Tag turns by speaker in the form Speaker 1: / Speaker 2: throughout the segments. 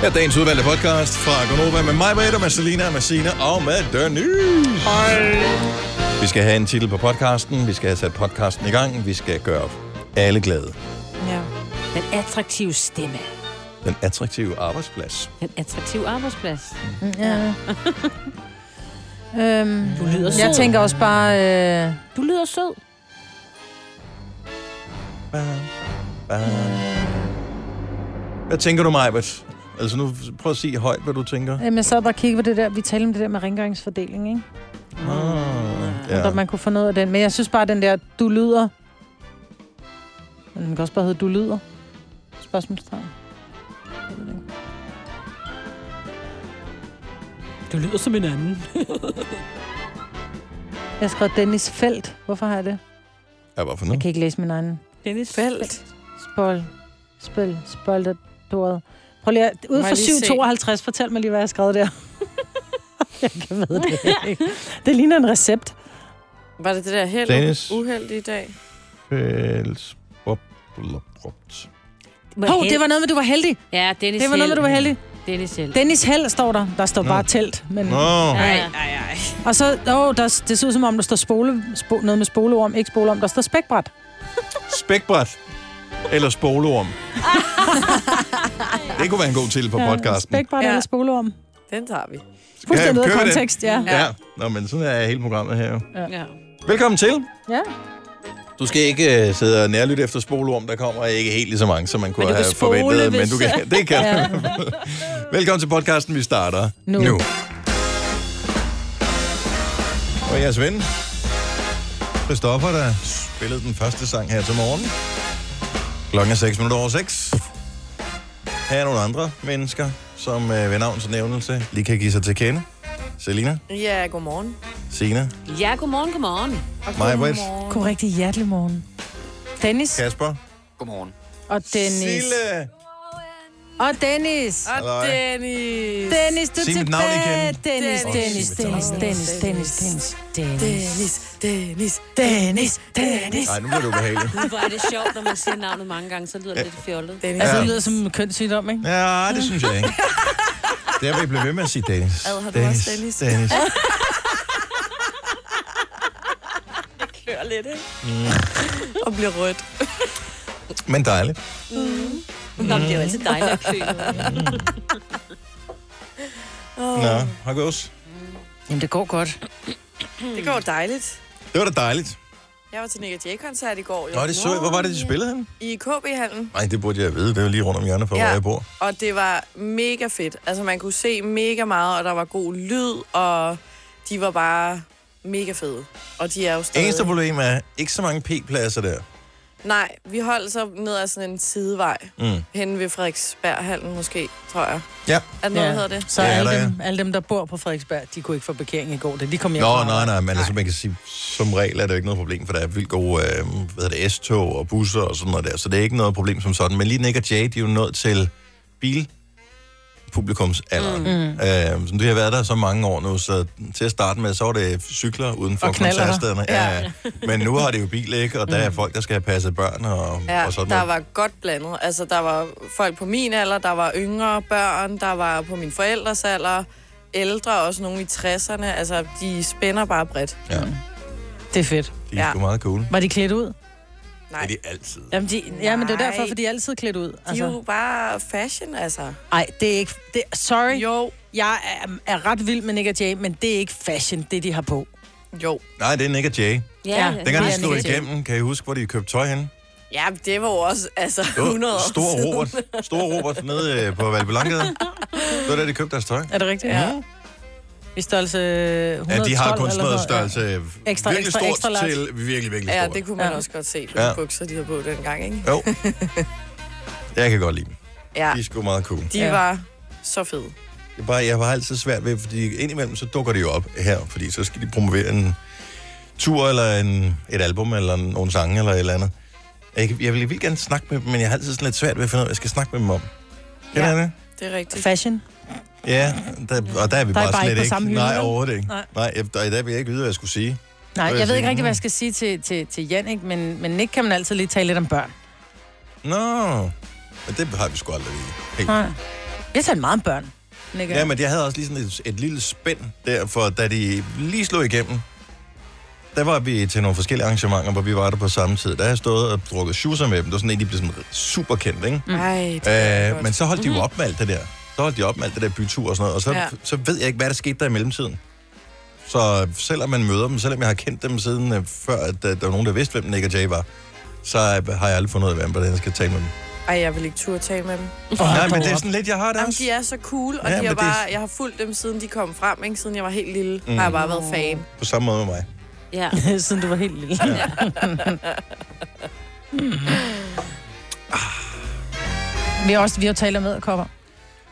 Speaker 1: Her er dagens udvalgte podcast fra Gonova med mig, Britt, og med Selina, med Sina og med Denise. Vi skal have en titel på podcasten, vi skal have sat podcasten i gang, vi skal gøre alle glade.
Speaker 2: Ja. Den attraktive stemme.
Speaker 1: Den attraktive arbejdsplads.
Speaker 2: Den attraktive arbejdsplads.
Speaker 3: Ja. øhm,
Speaker 2: Mm, Du lyder sød.
Speaker 3: jeg tænker også bare... Øh,
Speaker 2: Du lyder sød.
Speaker 1: Hvad tænker du, Majbert? Altså nu, prøv at sige højt, hvad du tænker.
Speaker 3: jamen, jeg sad bare og kiggede på det der. Vi talte om det der med rengøringsfordeling, ikke?
Speaker 1: Ah,
Speaker 3: Ja.
Speaker 1: ja.
Speaker 3: man kunne få noget af den. Men jeg synes bare, den der, du lyder... Men den kan også bare hedde, du lyder. Spørgsmålstegn. Jeg ved det ikke.
Speaker 2: Du lyder som en anden.
Speaker 3: Jeg har skrevet Dennis Felt. Hvorfor har jeg det?
Speaker 1: ja, hvorfor
Speaker 3: Jeg
Speaker 1: nu?
Speaker 3: kan ikke læse min egen
Speaker 2: Dennis
Speaker 4: Felt.
Speaker 3: Spol. Spil. Spolderdoret. Prøv lige at... Ude
Speaker 4: Må
Speaker 3: for
Speaker 4: jeg lige
Speaker 3: 752, fortæl mig lige, hvad jeg har skrevet der. jeg kan ved det ikke. Det ligner en recept.
Speaker 4: Var det det der held
Speaker 1: Dennis.
Speaker 4: uheld i dag?
Speaker 1: Fælles. Bop, blup, brupt.
Speaker 3: Hov, det var noget med, du var heldig.
Speaker 2: Ja, Dennis
Speaker 3: Det var noget med,
Speaker 2: Held.
Speaker 3: du var heldig.
Speaker 2: Dennis Held.
Speaker 3: Dennis Held står der. Der står
Speaker 1: Nå.
Speaker 3: bare telt. Men...
Speaker 1: Nå,
Speaker 2: Ja.
Speaker 4: nej, nej.
Speaker 3: Og så, åh, der, det ser ud som om, der står spole, spo, noget med spoleorm, ikke spoleorm, der står spækbræt.
Speaker 1: spækbræt. Eller spolorm. det kunne være en god titel på podcasten.
Speaker 3: Spækbræt ja.
Speaker 4: Ja.
Speaker 3: eller spoleorm.
Speaker 4: Den tager vi.
Speaker 3: Fuldstændig ud
Speaker 1: kører
Speaker 3: af
Speaker 1: vi den?
Speaker 3: kontekst, ja.
Speaker 1: Ja. ja. Nå, men sådan er hele programmet her jo.
Speaker 4: Ja.
Speaker 1: Velkommen til.
Speaker 3: ja.
Speaker 1: Du skal ikke øh, sidde og nærlytte efter spolorm, der kommer ikke helt lige så mange, som man kunne
Speaker 2: du
Speaker 1: have
Speaker 2: kan spole,
Speaker 1: forventet. Men
Speaker 2: hvis-
Speaker 1: du kan, det kan
Speaker 3: Ja.
Speaker 1: du. Velkommen til podcasten, vi starter nu.
Speaker 3: Nu.
Speaker 1: nu. Og jeres ven, Christoffer, der spillede den første sang her til morgen. Klokken er 6 minutter over 6. Her er nogle andre mennesker, som øh, ved navns nævnelse lige kan give sig til kende. Selina,
Speaker 4: Ja, godmorgen.
Speaker 1: Sina,
Speaker 2: Ja, godmorgen, godmorgen.
Speaker 4: Og
Speaker 1: Maja Britt.
Speaker 3: God rigtig hjertelig morgen. Dennis
Speaker 1: Kasper,
Speaker 5: Godmorgen.
Speaker 3: og Dennis.
Speaker 1: Sille.
Speaker 3: Og Dennis.
Speaker 4: Og Dennis.
Speaker 3: Dennis, du er
Speaker 1: Sig mit navn
Speaker 3: tilbage.
Speaker 1: igen.
Speaker 3: Dennis,
Speaker 1: Åh,
Speaker 3: Dennis,
Speaker 1: sig mit
Speaker 3: Dennis,
Speaker 1: navn.
Speaker 3: Dennis, Dennis, Dennis, Dennis.
Speaker 4: Dennis, Dennis, Dennis, Dennis.
Speaker 1: Nej, nu bliver det ubehageligt.
Speaker 2: Hvor er det sjovt, når man siger navnet mange gange, så lyder det lidt fjollet.
Speaker 4: Dennis.
Speaker 3: Altså,
Speaker 1: Ja.
Speaker 3: det lyder som en kønssygdom, ikke?
Speaker 1: Ja, det synes jeg ikke. Der vil jeg blive ved med at sige Dennis.
Speaker 4: Ad, har du også Dennis?
Speaker 1: Dennis.
Speaker 4: klør lidt, ikke? Og bliver rødt.
Speaker 1: Men dejligt.
Speaker 2: Nå, men det er jo altid dejligt at klø.
Speaker 1: Nå, har gås.
Speaker 3: Jamen, det går godt.
Speaker 4: Det går dejligt.
Speaker 1: Det var da dejligt.
Speaker 4: Jeg var til Nick J-koncert i går. Jo.
Speaker 1: Nå, det så jeg. Hvor var det, de spillede henne?
Speaker 4: I KB-hallen.
Speaker 1: Nej, det burde jeg vide. Det var lige rundt om hjørnet for, ja.
Speaker 4: Ja.
Speaker 1: hvor jeg bor.
Speaker 4: Og det var mega fedt. Altså, man kunne se mega meget, og der var god lyd, og de var bare mega fede. Og de er jo stadig...
Speaker 1: Eneste problem er, ikke så mange p-pladser der.
Speaker 4: Nej, vi holdt så ned ad sådan en sidevej.
Speaker 1: Mm.
Speaker 4: Hen ved Frederiksberghallen måske, tror jeg.
Speaker 1: Ja.
Speaker 4: Er det noget, ja. hedder det?
Speaker 3: Så
Speaker 1: Ja,
Speaker 3: alle,
Speaker 1: der er-
Speaker 3: dem, alle dem, der bor på Frederiksberg, de kunne ikke få parkering i går, da de kom hjem.
Speaker 1: Nå,
Speaker 3: fra-
Speaker 1: nej, nej, men altså, man kan sige, som regel er det jo ikke noget problem, for der er vildt gode øh, hvad hedder det, S-tog og busser og sådan noget der, så det er ikke noget problem som sådan. Men lige Nick og Jay, de er jo nået til bilpublikumsalderen. Mm. Øh, som du har været der så mange år nu, så til at starte med, så var det cykler uden for
Speaker 3: Og knallerter.
Speaker 1: koncertstederne.
Speaker 4: Ja.
Speaker 1: Ja. Men nu har det jo bil, ikke? Og der er folk, der skal have passet børn og,
Speaker 4: Ja,
Speaker 1: og sådan
Speaker 4: der
Speaker 1: noget.
Speaker 4: var godt blandet. Altså, der var folk på min alder, der var yngre børn, der var på mine forældres alder, ældre, også nogle i 60'erne. Altså, de spænder bare bredt.
Speaker 1: Ja,
Speaker 3: Det er fedt.
Speaker 1: de er sgu meget cool.
Speaker 3: Var de klædt ud?
Speaker 4: Nej,
Speaker 1: Det er de
Speaker 4: de
Speaker 1: altid.
Speaker 3: Jamen, de, ja, men det er jo
Speaker 4: Nej.
Speaker 3: derfor, for de er altid klædt ud.
Speaker 4: er jo bare fashion, altså.
Speaker 3: Nej, det er ikke... Det, sorry, jo.
Speaker 4: Jo,
Speaker 3: jeg er, er ret vild med Nick og Jay, men det er ikke fashion, det de har på.
Speaker 4: jo.
Speaker 1: Nej, det er Nick og Jay.
Speaker 2: Ja,
Speaker 3: Ja.
Speaker 1: Dengang de
Speaker 3: det er
Speaker 1: slog
Speaker 3: Nick og Jay.
Speaker 1: igennem, kan I huske, hvor de købte tøj henne?
Speaker 4: Ja, det var jo også, altså,
Speaker 1: Det var
Speaker 4: 100 år
Speaker 1: Stor
Speaker 4: siden.
Speaker 1: Robert. Stor Robert nede øh, på Valbelankede. Det var der, de købte deres tøj.
Speaker 3: Er det rigtigt?
Speaker 1: Mm-hmm.
Speaker 3: Ja. I størrelse 112
Speaker 1: Ja, de har kun sådan
Speaker 3: eller
Speaker 1: noget
Speaker 3: sådan noget.
Speaker 1: størrelse øh,
Speaker 3: Ekstra,
Speaker 1: virkelig
Speaker 3: ekstra,
Speaker 1: stort
Speaker 3: ekstra large.
Speaker 1: til virkelig, virkelig
Speaker 4: Ja,
Speaker 1: stort.
Speaker 4: det kunne man
Speaker 3: Ja.
Speaker 4: også godt se på
Speaker 1: Ja.
Speaker 4: de bukser, de havde på dengang, ikke?
Speaker 1: Jo. Jeg kan godt lide dem.
Speaker 4: Ja,
Speaker 1: De er sgu meget cool. Det
Speaker 4: de
Speaker 3: Ja.
Speaker 4: var så fede.
Speaker 1: er bare, jeg har altid svært ved, fordi indimellem så dukker de jo op her, fordi så skal de promovere en tur eller en, et album eller en- nogle sange eller et eller andet. Jeg, kan- jeg vil vildt gerne snakke med dem, men jeg har altid sådan lidt svært ved at finde ud af, hvad jeg skal snakke med dem om. Kender
Speaker 4: Ja.
Speaker 1: ja. det?
Speaker 4: Det er rigtigt.
Speaker 3: Fashion.
Speaker 1: Ja, der, og der er vi
Speaker 3: Der er
Speaker 1: bare,
Speaker 3: I bare
Speaker 1: slet
Speaker 3: ikke på
Speaker 1: ikke.
Speaker 3: samme hylde,
Speaker 1: Nej,
Speaker 3: vel?
Speaker 1: overhovedet ikke. Nej,
Speaker 3: Nej.
Speaker 1: Nej jeg, der, i dag vil jeg ikke vide, hvad jeg skulle sige.
Speaker 3: Nej,
Speaker 1: vil
Speaker 3: jeg
Speaker 1: jeg
Speaker 3: ved
Speaker 1: sige,
Speaker 3: ikke rigtig, hvad
Speaker 1: mm.
Speaker 3: jeg skal sige til, til, til Jan, ikke? Men, men Nick kan man altid lige tale lidt om børn.
Speaker 1: Nå, men det har vi sgu aldrig lige. Helt.
Speaker 3: Nej. Jeg talte meget om børn. Nikke.
Speaker 1: Ja, men jeg havde også lige sådan et, et lille spænd der, for da de lige slog igennem, der var vi til nogle forskellige arrangementer, hvor vi var der på samme tid. Der har jeg stået og drukket shoes med dem. Det var sådan en, de blev sådan super kendt, ikke?
Speaker 4: Nej, det er
Speaker 1: Øh,
Speaker 4: godt.
Speaker 1: men så holdt de jo op med alt det der. Så holdt de op med alt det der bytur og sådan noget. Og så,
Speaker 4: Ja.
Speaker 1: ja. så ved jeg ikke, hvad der skete der i mellemtiden. Så selvom man møder dem, selvom jeg har kendt dem siden øh, før, at der, der var nogen, der vidste, hvem Nick og Jay var, så øh, har jeg aldrig fundet ud af, hvem hvordan jeg skal tale med dem.
Speaker 4: Ej, jeg vil ikke turde tale med dem.
Speaker 1: Oh, Nej, men
Speaker 3: hold
Speaker 1: det er
Speaker 3: op.
Speaker 1: sådan lidt, jeg har det
Speaker 4: Jamen,
Speaker 1: også.
Speaker 4: de er så cool, og
Speaker 1: Ja,
Speaker 4: ja, de
Speaker 1: men
Speaker 4: er
Speaker 1: det-
Speaker 4: bare, jeg har fulgt dem, siden de kom frem, ikke? siden jeg var helt lille. Mm. Har jeg bare været fan.
Speaker 1: På samme måde med mig.
Speaker 2: Ja.
Speaker 3: Siden du var helt lille. Hmm. Vi har, også, vi har jo talt om æderkopper.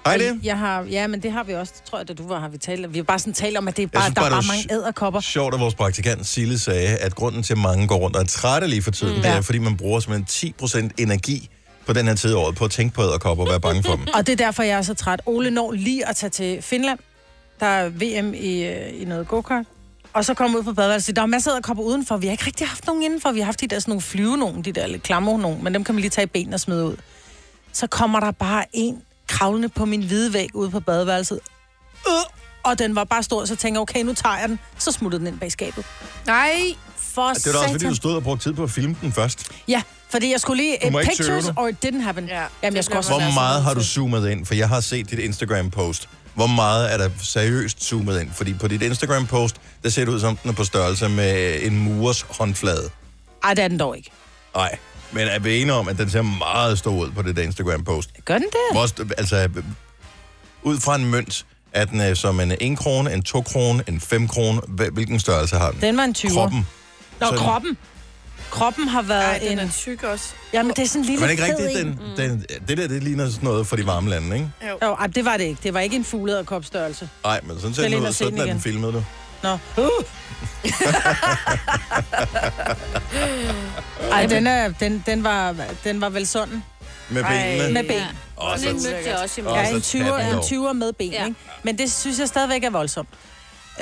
Speaker 1: Hej det.
Speaker 3: Jeg har, ja, men det har vi også, det tror jeg, da du var, har vi talt om. Vi har bare sådan talt om, at det er bare,
Speaker 1: synes
Speaker 3: der
Speaker 1: bare,
Speaker 3: er bare
Speaker 1: det var
Speaker 3: mange
Speaker 1: s-
Speaker 3: æderkopper.
Speaker 1: Sjovt, at vores praktikant Sille sagde, at grunden til, at mange går rundt og er trætte lige for tiden, mm. det er,
Speaker 3: Ja.
Speaker 1: fordi man bruger simpelthen 10% energi på den her tid af året på at tænke på æderkopper og være bange for dem.
Speaker 3: Og det er derfor, jeg er så træt. Ole når lige at tage til Finland. Der er VM i, øh, i noget go-kart. Og så kommer ud på badeværelset. og siger, Der er masser af kopper udenfor. Vi har ikke rigtig haft nogen indenfor. Vi har haft de der sådan nogle flyve nogen, de der lidt klamme nogen. Men dem kan man lige tage i benene og smide ud. Så kommer der bare en kravlende på min hvide væg ude på badeværelset. Øh! Og den var bare stor, så tænker jeg, okay, nu tager jeg den. Så smuttede den ind bag skabet.
Speaker 4: Nej!
Speaker 3: For
Speaker 1: Det var da også, fordi
Speaker 3: satan.
Speaker 1: du stod og brugte tid på at filme den først.
Speaker 3: Ja, fordi jeg skulle lige...
Speaker 1: Du må
Speaker 3: eh,
Speaker 1: ikke
Speaker 3: pictures
Speaker 1: tøve
Speaker 3: or it didn't happen.
Speaker 4: Ja,
Speaker 3: Ja, Jamen,
Speaker 4: det
Speaker 3: jeg skulle også...
Speaker 4: bliver man
Speaker 1: Hvor meget
Speaker 4: sådan
Speaker 1: har du
Speaker 4: til.
Speaker 1: zoomet ind? For jeg har set dit Instagram-post. Hvor meget er der seriøst zoomet ind? Fordi på dit Instagram-post, der ser det ud som, den er på størrelse med øh, en murers håndflade.
Speaker 3: Ej, det er den dog ikke.
Speaker 1: Nej, men er vi enige om, at den ser meget stor ud på det der Instagram-post?
Speaker 3: Gør den det?
Speaker 1: Hvor, st- altså, ud fra en mønt, er den øh, som en 1 krone, en 2 krone, en 5 krone? Hva- Hvilken størrelse har den?
Speaker 3: Den var en 20'er.
Speaker 1: Kroppen.
Speaker 3: Nå,
Speaker 1: Sådan.
Speaker 3: kroppen. Kroppen har
Speaker 4: Ej,
Speaker 3: været Ej,
Speaker 4: den
Speaker 3: en...
Speaker 4: er tyk også.
Speaker 3: Jamen, det er sådan en lille
Speaker 1: Men ikke
Speaker 3: fed
Speaker 1: rigtigt,
Speaker 3: en.
Speaker 1: den, den, det der, det ligner sådan noget for de varme lande, ikke?
Speaker 3: Jo, ej, det var det ikke. Det var ikke en fuglederkopstørrelse.
Speaker 1: Nej, men sådan ser
Speaker 3: Skal
Speaker 1: den
Speaker 3: ind
Speaker 1: ud,
Speaker 3: og se den
Speaker 1: sådan er den
Speaker 3: igen.
Speaker 1: filmet, du.
Speaker 3: Nå. Uh! Ej, den, er, den, den, var, den var vel sådan.
Speaker 1: Med
Speaker 4: Ej.
Speaker 1: benene.
Speaker 3: Med ben.
Speaker 2: Ja.
Speaker 1: Åh,
Speaker 2: Sådan en
Speaker 1: så-
Speaker 2: mødte jeg også i
Speaker 1: Åh,
Speaker 2: morgen.
Speaker 3: Ja,
Speaker 1: så
Speaker 3: en
Speaker 1: tag den
Speaker 3: 20'er, en
Speaker 1: dog.
Speaker 3: 20'er med ben,
Speaker 2: Ja.
Speaker 3: ja. ikke? Men det synes jeg stadigvæk er voldsomt.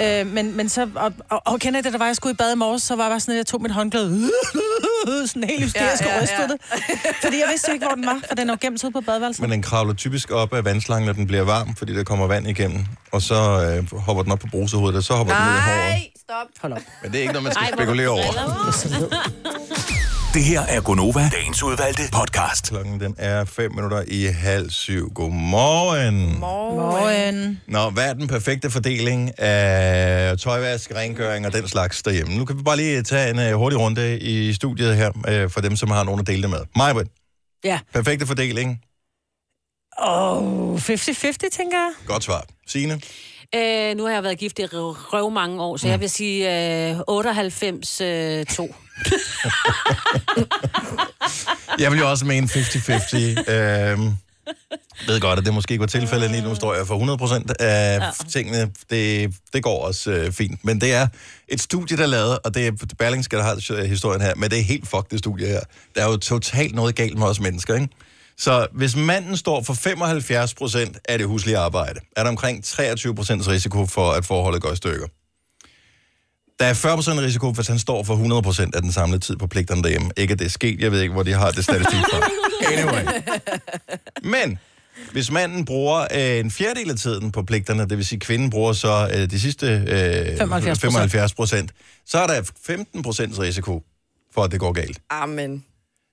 Speaker 3: Øh, men, men så, og, og, og kender I det, der var, jeg skulle i bad i morges, så var jeg bare sådan, at jeg tog mit håndklæde, sådan helt hysterisk ja,
Speaker 4: Ja, ja, ja.
Speaker 3: ja, ja. rystede det. Fordi jeg vidste jo ikke, hvor den var, for den er jo gemt ude på badeværelset.
Speaker 1: Men den kravler typisk op af vandslangen, når den bliver varm, fordi der kommer vand igennem. Og så øh, hopper den op på brusehovedet, og så hopper den ned i håret.
Speaker 4: Nej, stop.
Speaker 3: Hold op.
Speaker 1: Men det er ikke noget, man skal
Speaker 2: Ej, hvor
Speaker 1: spekulere over.
Speaker 2: driller.
Speaker 5: Det her er Gonova, dagens udvalgte podcast.
Speaker 1: Klokken den er 5 minutter i halv syv. Godmorgen.
Speaker 4: Morgen.
Speaker 3: Morgen.
Speaker 1: Nå, hvad er den perfekte fordeling af tøjvask, rengøring og den slags derhjemme? Nu kan vi bare lige tage en uh, hurtig runde i studiet her, uh, for dem, som har nogen at dele det med. Majbrit,
Speaker 3: Ja.
Speaker 1: perfekte fordeling.
Speaker 3: Åh, oh, 50-50, tænker jeg.
Speaker 1: Godt svar. Signe?
Speaker 2: Øh, nu har jeg været gift i røv, røv mange år, så jeg vil sige øh, 98 øh, 2.
Speaker 1: Jeg vil jo også mene 50-50. øhm, ved godt, at det måske ikke var tilfældet lige nu, står jeg for 100% af ja. tingene. Det, det går også øh, fint. Men det er et studie, der er lavet, og det er Berlingske, der har øh, historien her, men det er helt fucked, det studie her. Der er jo totalt noget galt med os mennesker, ikke? Så hvis manden står for 75 procent af det huslige arbejde, er der omkring 23 procents risiko for, at forholdet går i stykker. Der er 40 risiko, hvis han står for 100 af den samlede tid på pligterne derhjemme. Ikke at det er sket, jeg ved ikke, hvor de har det statistik fra. Anyway. Men hvis manden bruger øh, en fjerdedel af tiden på pligterne, det vil sige, kvinden bruger så øh, de sidste øh,
Speaker 3: 75%.
Speaker 1: 75 procent, så er der 15 risiko for, at det går galt.
Speaker 4: Amen.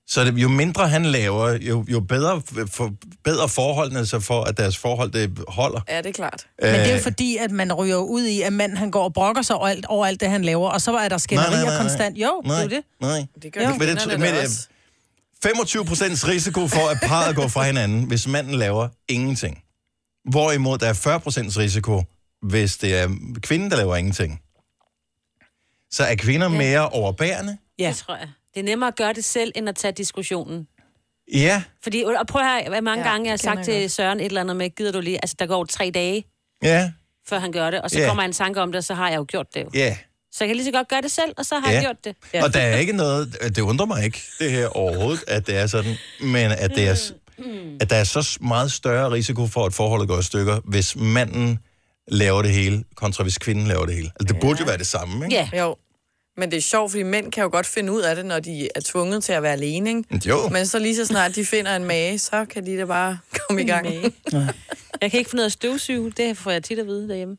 Speaker 1: Så det, jo mindre han laver, jo, jo bedre, for, bedre forholdene sig for, at deres forhold det holder.
Speaker 4: Ja, det er klart.
Speaker 3: Men det er jo fordi, at man ryger ud i, at manden han går og brokker sig over alt, over alt det, han laver, og så er der skænderier konstant. Jo, det er jo det.
Speaker 1: Nej.
Speaker 4: Det gør jo,
Speaker 1: Men det-
Speaker 4: kvinderne
Speaker 1: men,
Speaker 4: da
Speaker 1: øh,
Speaker 4: også.
Speaker 1: 25 risiko for, at parret går fra hinanden, hvis manden laver ingenting. Hvorimod der er 40 risiko, hvis det er kvinden, der laver ingenting. Så er kvinder mere overbærende?
Speaker 3: Ja.
Speaker 2: Det tror jeg. Det er nemmere at gøre det selv, end at tage diskussionen.
Speaker 1: Ja.
Speaker 2: Fordi, og prøv at høre, hvor mange ja,
Speaker 4: Ja,
Speaker 2: gange jeg har
Speaker 4: det kender
Speaker 2: sagt
Speaker 4: jeg
Speaker 2: til Søren et eller andet med, gider du lige, altså der går tre dage,
Speaker 1: Ja.
Speaker 2: før han gør det, og så
Speaker 1: Ja.
Speaker 2: yeah. kommer han i tanke om det, og så har jeg jo gjort det. Yeah.
Speaker 1: Ja.
Speaker 2: Så jeg kan lige så godt gøre det selv, og så har yeah. jeg
Speaker 1: Ja.
Speaker 2: gjort det.
Speaker 1: Ja. Og der er ikke noget, det undrer mig ikke, det her overhovedet, at det er sådan, men at, det er, s-
Speaker 2: Mm.
Speaker 1: at der er så s- meget større risiko for, at forholdet går i stykker, hvis manden laver det hele, kontra hvis kvinden laver det hele. Altså, det burde jo være det samme, ikke?
Speaker 2: Ja,
Speaker 4: Jo. Men det er sjovt, fordi mænd kan jo godt finde ud af det, når de er tvunget til at være alene, ikke?
Speaker 1: Jo.
Speaker 4: Men så lige så snart de finder en mage, så kan de da bare komme i gang.
Speaker 2: Jeg kan ikke finde ud af at støvsuge. Det får jeg tit at vide derhjemme.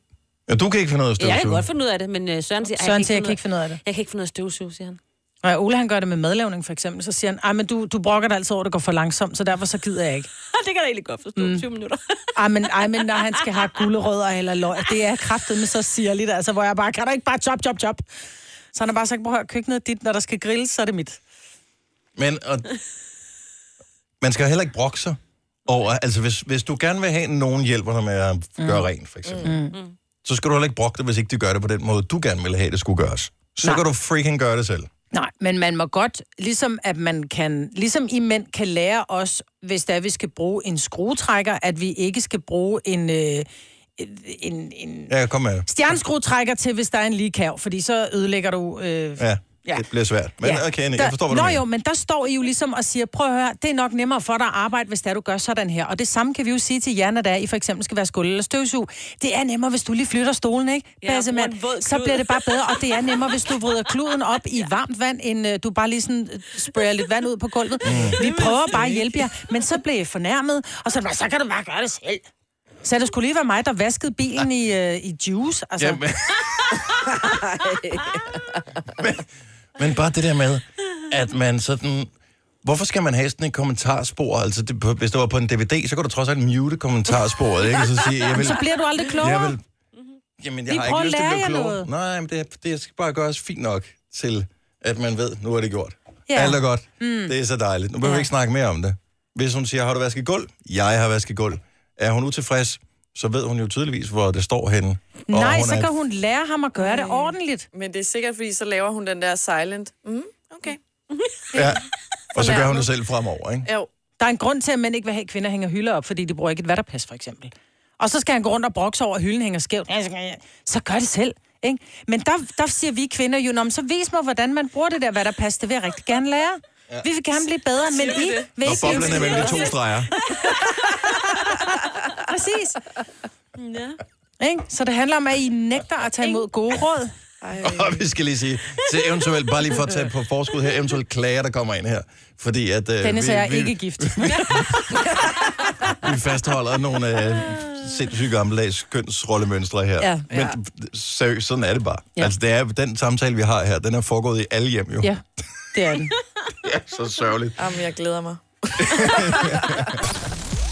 Speaker 1: Ja, du kan ikke finde noget at
Speaker 2: Ja,
Speaker 1: støvsuge.
Speaker 2: jeg kan godt finde ud af det, men øh, Søren siger... "Ej,
Speaker 3: Søren siger, jeg kan ikke finde ud af det.
Speaker 2: Jeg kan ikke finde noget at støvsuge, siger han.
Speaker 3: Og ja, Ole han gør det med madlavning for eksempel, så siger han, "Ej, men du, du brokker dig altid over, at det går for langsomt, så derfor så gider jeg ikke.
Speaker 2: det kan jeg egentlig godt forstå. Mm. 20 minutter.
Speaker 3: Ej, men, ej, men når han skal have gulerødder eller løg, det er kraftet med så sirligt, altså, hvor jeg bare, kan du ikke bare chop, chop, chop? Så han har bare sagt, prøv at høre, køkkenet er dit, når der skal grilles, så er det mit.
Speaker 1: Men og, man skal heller ikke brokke sig over, altså hvis, hvis du gerne vil have, at nogen hjælper dig med at
Speaker 3: Mm.
Speaker 1: gøre rent, for eksempel, mm. så skal du heller ikke brokke dig, hvis ikke de gør det på den måde, du gerne vil have, det skulle gøres. Så Nej.
Speaker 3: Nej.
Speaker 1: kan du freaking gøre det selv.
Speaker 3: Nej, men man må godt, ligesom at man kan, ligesom I mænd kan lære os, hvis der vi skal bruge en skruetrækker, at vi ikke skal bruge en, øh, en, en
Speaker 1: Ja, kom med.
Speaker 3: stjerneskruetrækker til, hvis der er en ligekav, fordi så ødelægger du... Øh,
Speaker 1: Ja, ja.
Speaker 3: Ja.
Speaker 1: det bliver svært. Men ja. okay, Anne, jeg forstår, hvad
Speaker 3: der,
Speaker 1: du
Speaker 3: Nå
Speaker 1: mener.
Speaker 3: jo, men der står I jo ligesom og siger, prøv at høre, det er nok nemmere for dig at arbejde, hvis det er, du gør sådan her. Og det samme kan vi jo sige til jer, når der I for eksempel skal være skuld eller støvsug. Det er nemmere, hvis du lige flytter stolen, ikke?
Speaker 2: Ja,
Speaker 3: Bassemand?
Speaker 2: bruger en våd
Speaker 3: så
Speaker 2: klud.
Speaker 3: bliver det bare bedre, og det er nemmere, hvis du vrider kluden op i varmt vand, end øh, du bare lige sådan øh, sprayer lidt vand ud på gulvet.
Speaker 1: Mm.
Speaker 3: Vi prøver bare at hjælpe jer, men så bliver I fornærmet, og så, er det bare, så kan du bare gøre det selv. Så det skulle lige være mig, der vaskede bilen i, øh, i juice. Altså,
Speaker 1: Ja, men... men, men bare det der med, at man sådan... Hvorfor skal man have sådan et kommentarspor? Altså, det, på- hvis det var på en DVD, så kunne du trods alt mute kommentarsporet, ikke? Og så sige, jeg vil...
Speaker 3: så bliver du aldrig klogere.
Speaker 1: Jeg vil... Jamen,
Speaker 3: Mhm.
Speaker 1: jeg
Speaker 3: Vi
Speaker 1: har
Speaker 3: prøver
Speaker 1: ikke
Speaker 3: at
Speaker 1: lyst til at
Speaker 3: lære
Speaker 1: blive
Speaker 3: jer
Speaker 1: klogere.
Speaker 3: noget.
Speaker 1: Nej, men det, det skal bare gøres fint nok til, at man ved, nu er det gjort.
Speaker 3: Ja.
Speaker 1: Alt er godt. Mm. Det er så dejligt. Nu behøver vi
Speaker 3: Ja.
Speaker 1: ikke snakke mere om det. Hvis hun siger, har du vasket gulv? Jeg har vasket gulv. Er hun utilfreds, så ved hun jo tydeligvis, hvor det står henne. Og
Speaker 3: Nej,
Speaker 1: hun
Speaker 3: så
Speaker 1: er-
Speaker 3: kan hun lære ham at gøre det ordentligt.
Speaker 4: Men det er sikkert, fordi så laver hun den der silent. Mm, okay.
Speaker 1: Ja. Og så gør hun
Speaker 4: Fornærmet.
Speaker 1: det selv fremover, ikke?
Speaker 4: Jo.
Speaker 3: Der er en grund til, at mænd ikke vil have, at kvinder hænger hylder op, fordi de bruger ikke et vatterpas, for eksempel. Og så skal han gå rundt og brokse over, at hylden hænger skævt. Ja, så kan jeg- Så gør det selv. Ikke? Men der, der siger vi kvinder jo, "Nå, men så vis mig, hvordan man bruger det der vatterpas. Det vil jeg rigtig gerne lære. Ja. Vi vil gerne blive bedre, men I vil
Speaker 1: Og
Speaker 3: ikke blive
Speaker 1: boblen er mellem de to streger.
Speaker 3: Præcis.
Speaker 2: Ja.
Speaker 3: Ikke? Så det handler om, at I nægter at tage imod gode råd.
Speaker 1: Og vi skal lige sige, til eventuelt, bare lige for at tage på forskud her, eventuelt klager, der kommer ind her. Fordi at... Øh,
Speaker 3: Dennis
Speaker 1: vi-
Speaker 3: og jeg er
Speaker 1: vi-
Speaker 3: ikke gift.
Speaker 1: vi fastholder nogle øh, sindssygt gammeldags kønsrollemønstre her.
Speaker 3: Ja.
Speaker 1: Men
Speaker 4: Ja.
Speaker 1: d- seriøst, sådan er det bare. Ja.
Speaker 3: Ja.
Speaker 1: Altså, det er, den samtale, vi har her, den er foregået i alle hjem jo.
Speaker 3: Ja, det er den.
Speaker 1: Så sørgeligt.
Speaker 4: Jamen, jeg glæder mig.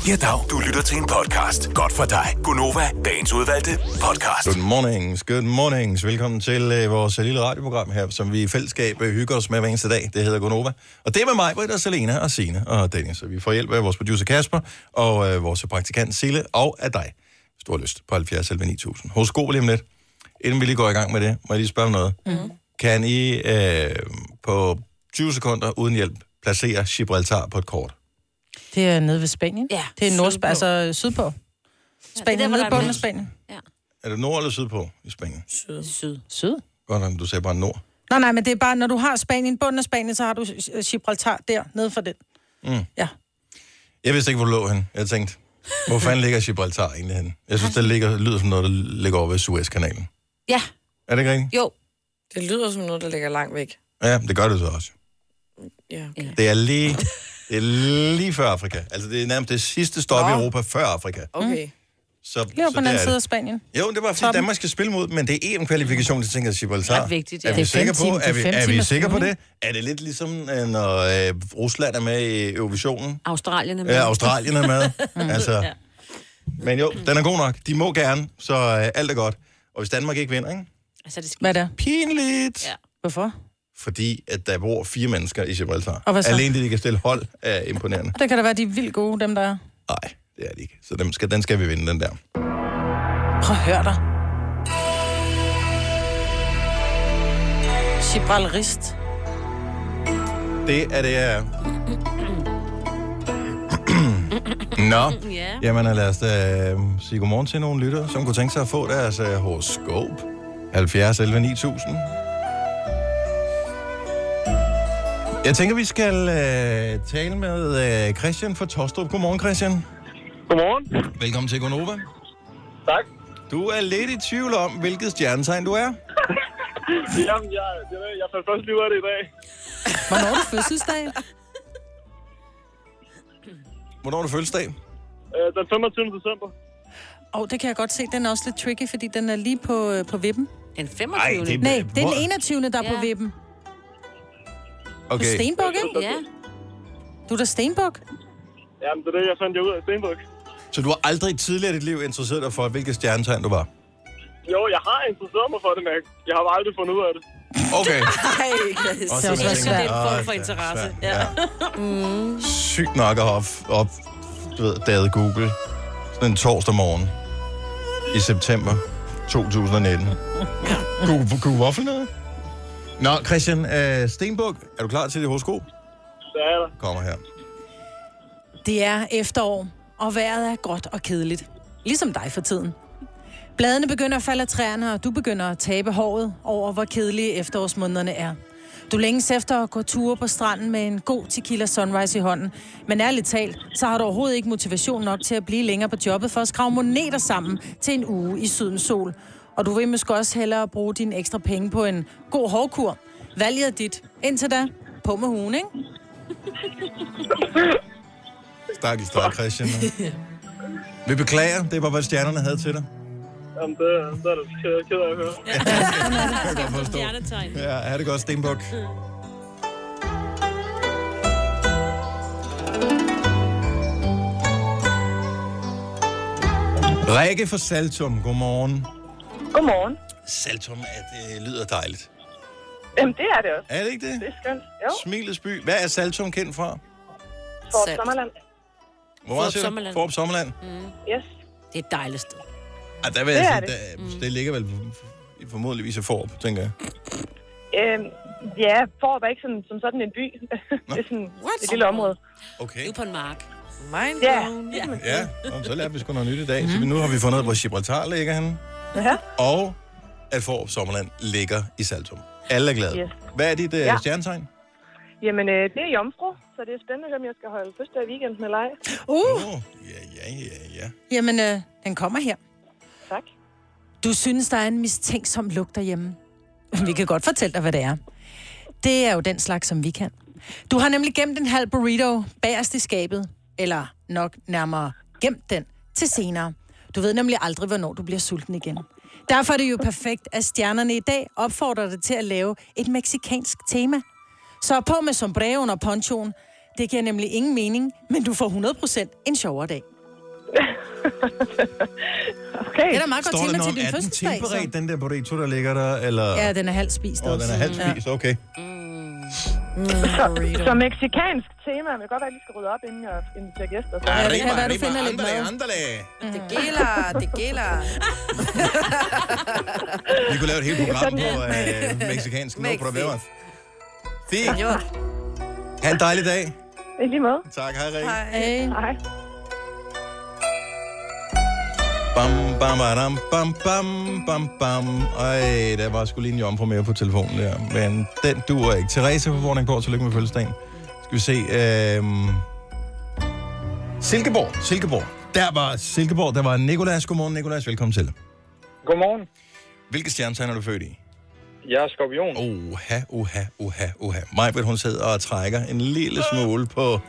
Speaker 5: Ja, dag. Du lytter til en podcast. Godt for dig. Gunova. Dagens udvalgte podcast.
Speaker 1: Good mornings, good mornings. Velkommen til øh, vores lille radioprogram her, som vi i fællesskab øh, hygger os med hver eneste dag. Det hedder Gonova. Og det er med mig, Britt og Selena og Sine og Dennis. Og vi får hjælp af vores producer Kasper og øh, vores praktikant Sille og af dig. Hvis du har lyst på 70 11 9000. Hos Go lige om lidt. Inden vi lige går i gang med det, må jeg lige spørge om noget. Mm. Kan I øh, på 20 sekunder uden hjælp placere Gibraltar på et kort?
Speaker 3: Det er nede ved Spanien.
Speaker 2: Ja,
Speaker 3: det er Nordsp-
Speaker 2: sydpå.
Speaker 3: altså sydpå. Spanien,
Speaker 2: der,
Speaker 3: ja,
Speaker 2: hvor der
Speaker 3: nede
Speaker 2: er
Speaker 3: i bunden af
Speaker 2: mest.
Speaker 3: Spanien.
Speaker 1: Er det nord eller sydpå i Spanien?
Speaker 2: Syd.
Speaker 3: Syd.
Speaker 1: Godt nok, du sagde bare nord.
Speaker 3: Nej, nej, men det er bare, når du har Spanien, bunden af Spanien, så har du øh, Gibraltar der, nede for den. Mm. Ja.
Speaker 1: Jeg vidste ikke, hvor det lå han. Jeg tænkte, hvor fanden ligger Gibraltar egentlig henne? Jeg synes, det ligger, lyder som noget, der ligger over ved Suezkanalen.
Speaker 2: Ja,
Speaker 1: Er det ikke rigtigt?
Speaker 2: jo.
Speaker 4: Det lyder som noget, der ligger langt væk.
Speaker 1: Ja, det gør det så også.
Speaker 4: Ja, okay.
Speaker 1: Det er lige, det er lige før Afrika. Altså, det er nærmest det sidste stop i
Speaker 4: Nå.
Speaker 1: Europa før Afrika.
Speaker 3: Mm.
Speaker 4: okay.
Speaker 1: Så,
Speaker 3: Lige
Speaker 1: så
Speaker 3: over på den
Speaker 1: det
Speaker 3: anden
Speaker 1: er
Speaker 3: side af
Speaker 1: det.
Speaker 3: Spanien.
Speaker 1: Jo, det var fordi
Speaker 3: Toppen.
Speaker 1: Danmark skal spille mod, men det er EM-kvalifikation, det tænker jeg, Gibraltar.
Speaker 2: Ret vigtigt, ja.
Speaker 1: Er vi
Speaker 2: Det er
Speaker 3: fem
Speaker 1: sikre
Speaker 3: timer-
Speaker 1: på, er
Speaker 3: det
Speaker 1: vi,
Speaker 3: er fem
Speaker 1: er vi
Speaker 3: timers
Speaker 1: sikre på det?
Speaker 3: flyvning.
Speaker 1: Er det lidt ligesom, øh, når øh, Rusland er med i Eurovisionen?
Speaker 2: Australien er med.
Speaker 1: Ja, Australien er med. altså, men jo, den er god nok. De må gerne, så øh, alt er godt. Og hvis Danmark ikke vinder, ikke?
Speaker 2: Altså, det skal...
Speaker 3: Hvad der?
Speaker 1: pinligt. Ja.
Speaker 2: Ja.
Speaker 3: Hvorfor?
Speaker 1: Fordi at der bor fire mennesker i Gibraltar.
Speaker 3: Og hvad så?
Speaker 1: Alene det, de kan stille hold, er imponerende.
Speaker 3: Og der kan da være, de er vildt gode, dem der er.
Speaker 1: Nej, det er det ikke. Så den skal, den skal vi vinde, den der.
Speaker 3: Prøv at høre dig. Gibraltarist.
Speaker 1: Det er det, jeg er. Nå,
Speaker 2: Ja.
Speaker 1: jamen lad os da øh, sige godmorgen til nogle lyttere, som kunne tænke sig at få deres øh, horoskop. 70 11 9000. Jeg tænker, vi skal øh, tale med øh, Christian fra Tostrup. Godmorgen, Christian.
Speaker 6: Godmorgen.
Speaker 1: Velkommen til Gonova.
Speaker 6: Tak.
Speaker 1: Du er lidt i tvivl om, hvilket stjernetegn du er.
Speaker 6: Jamen, jeg, jeg, ved- jeg fandt først lige ud af det i dag.
Speaker 3: Hvornår er det fødselsdag?
Speaker 1: Hvornår er du fødselsdag?
Speaker 6: Øh, den 25. december.
Speaker 3: Og det kan jeg godt se, den er også lidt tricky, fordi den er lige på, øh, på vippen.
Speaker 2: Den 25.
Speaker 1: Ej, det er-
Speaker 3: Nej, det er
Speaker 1: Hvor-
Speaker 3: den 21. der er på
Speaker 2: Ja.
Speaker 3: vippen. Du er
Speaker 1: Okay.
Speaker 3: Stenbuk, ikke?
Speaker 2: Ja,
Speaker 3: Du er da Stenbuk.
Speaker 6: Jamen, det er det, jeg fandt jeg ud af Stenbuk.
Speaker 1: Så du har aldrig tidligere i dit liv interesseret dig for, hvilket stjernetegn du var?
Speaker 6: Jo, jeg har interesseret mig for det, men jeg- jeg har bare aldrig fundet ud af det.
Speaker 1: Okay.
Speaker 4: Ej, Chris.
Speaker 1: Og
Speaker 3: Det er også lidt
Speaker 1: tænker jeg,
Speaker 2: Det
Speaker 3: svært.
Speaker 2: er en form for
Speaker 1: "Åh,
Speaker 2: interesse."
Speaker 1: svært, Sygt nok at have op, op du ved, daget Google sådan en torsdag morgen i september 2019. Kunne, kunne du waffle noget? Nå, Christian øh, Stenbuk, er du klar til det horoskop?
Speaker 6: Det er der.
Speaker 1: Kommer her.
Speaker 3: Det er efterår, og vejret er gråt og kedeligt. Ligesom dig for tiden. Bladene begynder at falde af træerne, og du begynder at tabe håret over, hvor kedelige efterårsmånederne er. Du længes efter at gå ture på stranden med en god tequila sunrise i hånden. Men ærligt talt, så har du overhovedet ikke motivation nok til at blive længere på jobbet for at skrave moneter sammen til en uge i sydens sol. Og du vil måske også hellere bruge dine ekstra penge på en god hårkur. Valget er dit. Indtil da, på med hugen, ikke?
Speaker 1: Stakkels dig, Christian. Vi beklager, det var, hvad stjernerne havde til dig.
Speaker 6: Jamen, det, det er det ked- ked af at høre.
Speaker 1: Jeg kan godt forstå.
Speaker 2: stjernetegn.
Speaker 1: Ja, er det godt, Stenbuk. Rikke fra Saltum, godmorgen.
Speaker 7: Godmorgen.
Speaker 1: Saltum, at det øh, lyder dejligt.
Speaker 7: Jamen, det er det også.
Speaker 1: Er det ikke det?
Speaker 7: Det er skønt. Jo,
Speaker 1: Smilets by. Hvad er Saltum kendt fra?
Speaker 7: for
Speaker 4: Salt.
Speaker 7: Sommerland.
Speaker 1: Hvor meget
Speaker 2: Fårup
Speaker 1: siger du?
Speaker 2: Sommerland.
Speaker 1: Fårup Sommerland.
Speaker 7: Yes.
Speaker 2: Det er et dejligt sted.
Speaker 1: Ah, der vil
Speaker 7: Det
Speaker 1: jeg
Speaker 7: er
Speaker 1: sige,
Speaker 2: Mm.
Speaker 1: der, det ligger vel i- formodentligvis i Forop, tænker jeg.
Speaker 7: Øhm, ja, Forop er ikke sådan, som sådan en by. det er sådan
Speaker 4: What?
Speaker 7: et lille område.
Speaker 1: Okay.
Speaker 2: Du er på en mark.
Speaker 4: Mind
Speaker 7: Ja.
Speaker 4: blown.
Speaker 1: Ja, Nå, så lærte vi sgu noget nyt i dag. Mm. Så
Speaker 3: Mhm.
Speaker 1: vi- nu har vi fundet ud af, hvor Gibraltar ligger henne.
Speaker 7: Ja.
Speaker 1: Og at Forop Sommerland ligger i Saltum. Alle er glade.
Speaker 7: Yes.
Speaker 1: Hvad er dit uh, ja.
Speaker 7: Ja.
Speaker 1: stjernetegn?
Speaker 7: Jamen, øh, det er jomfru, så det er spændende, om jeg skal holde første af weekend med leg.
Speaker 3: Uh!
Speaker 1: Åh, ja, ja, ja, ja.
Speaker 3: Jamen, øh, den kommer her.
Speaker 7: Tak.
Speaker 3: Du synes, der er en mistænksom lugt derhjemme. Vi kan godt fortælle dig, hvad det er. Det er jo den slags, som vi kan. Du har nemlig gemt en halv burrito bagerst i skabet, eller nok nærmere gemt den til senere. Du ved nemlig aldrig, hvornår du bliver sulten igen. Derfor er det jo perfekt, at stjernerne i dag opfordrer dig til at lave et meksikansk tema. Så på med sombreroen og ponchoen. Det giver nemlig ingen mening, men du får 100% en sjovere dag.
Speaker 7: Okay.
Speaker 3: Det er da meget godt
Speaker 1: Står
Speaker 3: tema
Speaker 1: der
Speaker 3: til
Speaker 1: noget,
Speaker 3: din
Speaker 1: er den
Speaker 3: fødselsdag.
Speaker 1: tilberedt,
Speaker 3: så.
Speaker 1: den der burrito, der ligger der? Eller...
Speaker 3: Ja, den er halvt spist
Speaker 1: Åh, den er halvt spist, okay.
Speaker 7: Så meksikansk tema. Jeg vil godt være, at jeg lige skal rydde op, inden jeg inviterer gæster. Så.
Speaker 3: det kan være, du finder lidt mad.
Speaker 1: mad.
Speaker 4: Det gælder, det gælder.
Speaker 1: Vi kunne lave et helt program på øh, mexicansk. Nå,
Speaker 4: Mexi.
Speaker 1: på det Fint.
Speaker 4: Jo,
Speaker 1: Ha' en dejlig dag.
Speaker 7: I lige måde.
Speaker 1: Tak, hej Rikke.
Speaker 4: hej.
Speaker 3: Hey.
Speaker 7: Hej.
Speaker 1: Bam, bam, badam, bam, bam, bam, bam. Ej, der var sgu lige en jomfru mere på telefonen der. Men den duer ikke. Therese på Vordingborg, tillykke med fødselsdagen. Skal vi se. Øhm... Silkeborg, Silkeborg. Der var Silkeborg, der var Nikolas. Godmorgen, Nikolas. Velkommen til.
Speaker 8: Godmorgen.
Speaker 1: Hvilke stjernetegn er du født i?
Speaker 8: Jeg er skorpion.
Speaker 1: Oha, oha, oha, oha. Majbrit, hun sidder og trækker en lille smule på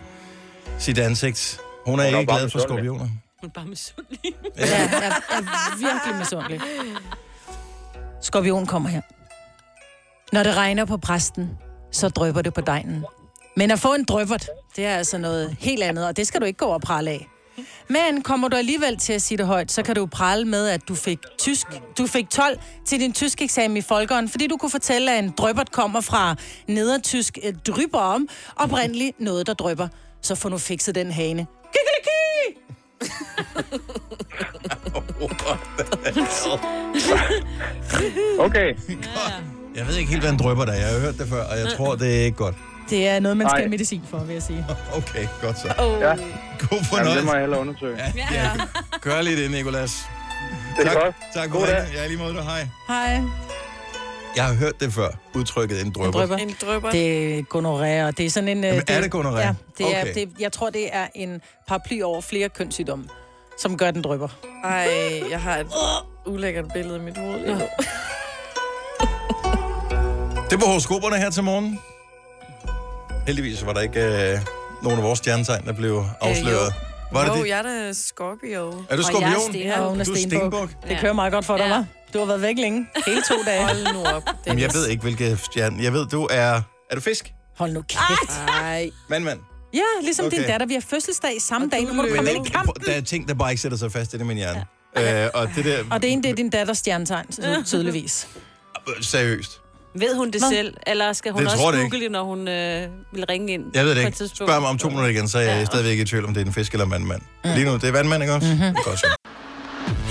Speaker 1: sit ansigt. Hun er
Speaker 8: Hun er
Speaker 1: ikke
Speaker 8: bare
Speaker 1: glad for
Speaker 8: misundelig.
Speaker 1: skorpioner.
Speaker 2: Hun er bare misundelig.
Speaker 3: Ja, jeg er, jeg er virkelig misundelig. Skorpion kommer her. Når det regner på præsten, så drøber det på dejen. Men at få en drøbert, det er altså noget helt andet, og det skal du ikke gå og prale af. Men kommer du alligevel til at sige det højt, så kan du prale med, at du fik, tysk, du fik 12 til din tysk eksamen i Folkeren, fordi du kunne fortælle, at en drøbert kommer fra nedertysk eh, dryber om, oprindeligt noget, der drøber. Så får nu fikset den hane. Kikilikik!
Speaker 8: Okay.
Speaker 1: Jeg ved ikke helt, hvad en drøber der er. Jeg har hørt det før, og jeg tror, det er ikke godt.
Speaker 3: Det er noget, man skal
Speaker 8: Nej.
Speaker 3: have medicin for, vil jeg sige.
Speaker 1: Okay, godt så.
Speaker 8: Ja,
Speaker 1: God
Speaker 8: jamen,
Speaker 1: fornøjelse.
Speaker 8: det må jeg hellere undersøge. Ja.
Speaker 1: Ja, ja. Gør lige det, Nicolas.
Speaker 8: Det er
Speaker 1: tak,
Speaker 8: godt.
Speaker 1: tak for
Speaker 8: God dag.
Speaker 1: det. Ja, i lige måde dig. Hej.
Speaker 3: Hej.
Speaker 1: Jeg har hørt det før, udtrykket en drøber.
Speaker 3: Drøber.
Speaker 4: En drøber.
Speaker 3: Det er gonorré, og det er sådan en... øh,
Speaker 1: Jamen, er det gonorré?
Speaker 3: Ja, det er,
Speaker 1: Okay.
Speaker 3: det, jeg tror, det er en paraply over flere kønssygdomme, som gør, den drøber.
Speaker 4: Ej, jeg har et ulækkert billede i mit hoved. lige nu.
Speaker 1: Det var horoskoperne her til morgen. Heldigvis var der ikke øh, nogen af vores stjernetegn, der blev afsløret. Var det
Speaker 4: jo,
Speaker 1: det?
Speaker 4: jeg er da Scorpio.
Speaker 1: Er du
Speaker 2: Og
Speaker 1: skorpion?
Speaker 2: jeg er stenbog.
Speaker 3: Ja, hun er
Speaker 1: Du er
Speaker 3: stenbuk.
Speaker 1: stenbuk.
Speaker 3: Det
Speaker 2: Ja.
Speaker 3: kører meget godt for dig,
Speaker 2: Ja.
Speaker 3: ja. hva'? Du har været væk længe. Hele to dage.
Speaker 4: Hold nu op,
Speaker 1: Jamen, jeg ved ikke, hvilke stjerne... Jeg ved, du er... Er du fisk?
Speaker 3: Hold nu kæft.
Speaker 4: Nej.
Speaker 1: Mand, mand.
Speaker 3: Ja, ligesom okay.
Speaker 1: Okay.
Speaker 3: din datter. Vi har fødselsdag samme dag. Nu må du
Speaker 1: Men
Speaker 3: komme ind i kamp.
Speaker 1: der er ting, der bare ikke sætter sig fast i det, min hjerne. Øh, og det der...
Speaker 3: Og det ene, det er din datters stjernetegn, så tydeligvis.
Speaker 1: Øh, Seriøst.
Speaker 2: Ved hun det
Speaker 3: Nå.
Speaker 2: selv, eller skal hun
Speaker 1: Det
Speaker 2: også
Speaker 1: tror jeg det ikke.
Speaker 2: google det, når hun øh, vil ringe ind
Speaker 1: Jeg ved
Speaker 2: på
Speaker 1: det
Speaker 2: et
Speaker 1: ikke.
Speaker 2: tidspunkt?
Speaker 1: Spørg mig om to minutter igen, så er jeg
Speaker 2: Ja. Mm.
Speaker 1: stadigvæk i tvivl, om det er en fisk eller en vandmand. Lige nu, det er vandmand, ikke også?
Speaker 2: Mhm.
Speaker 1: Mm-hmm. Godt så.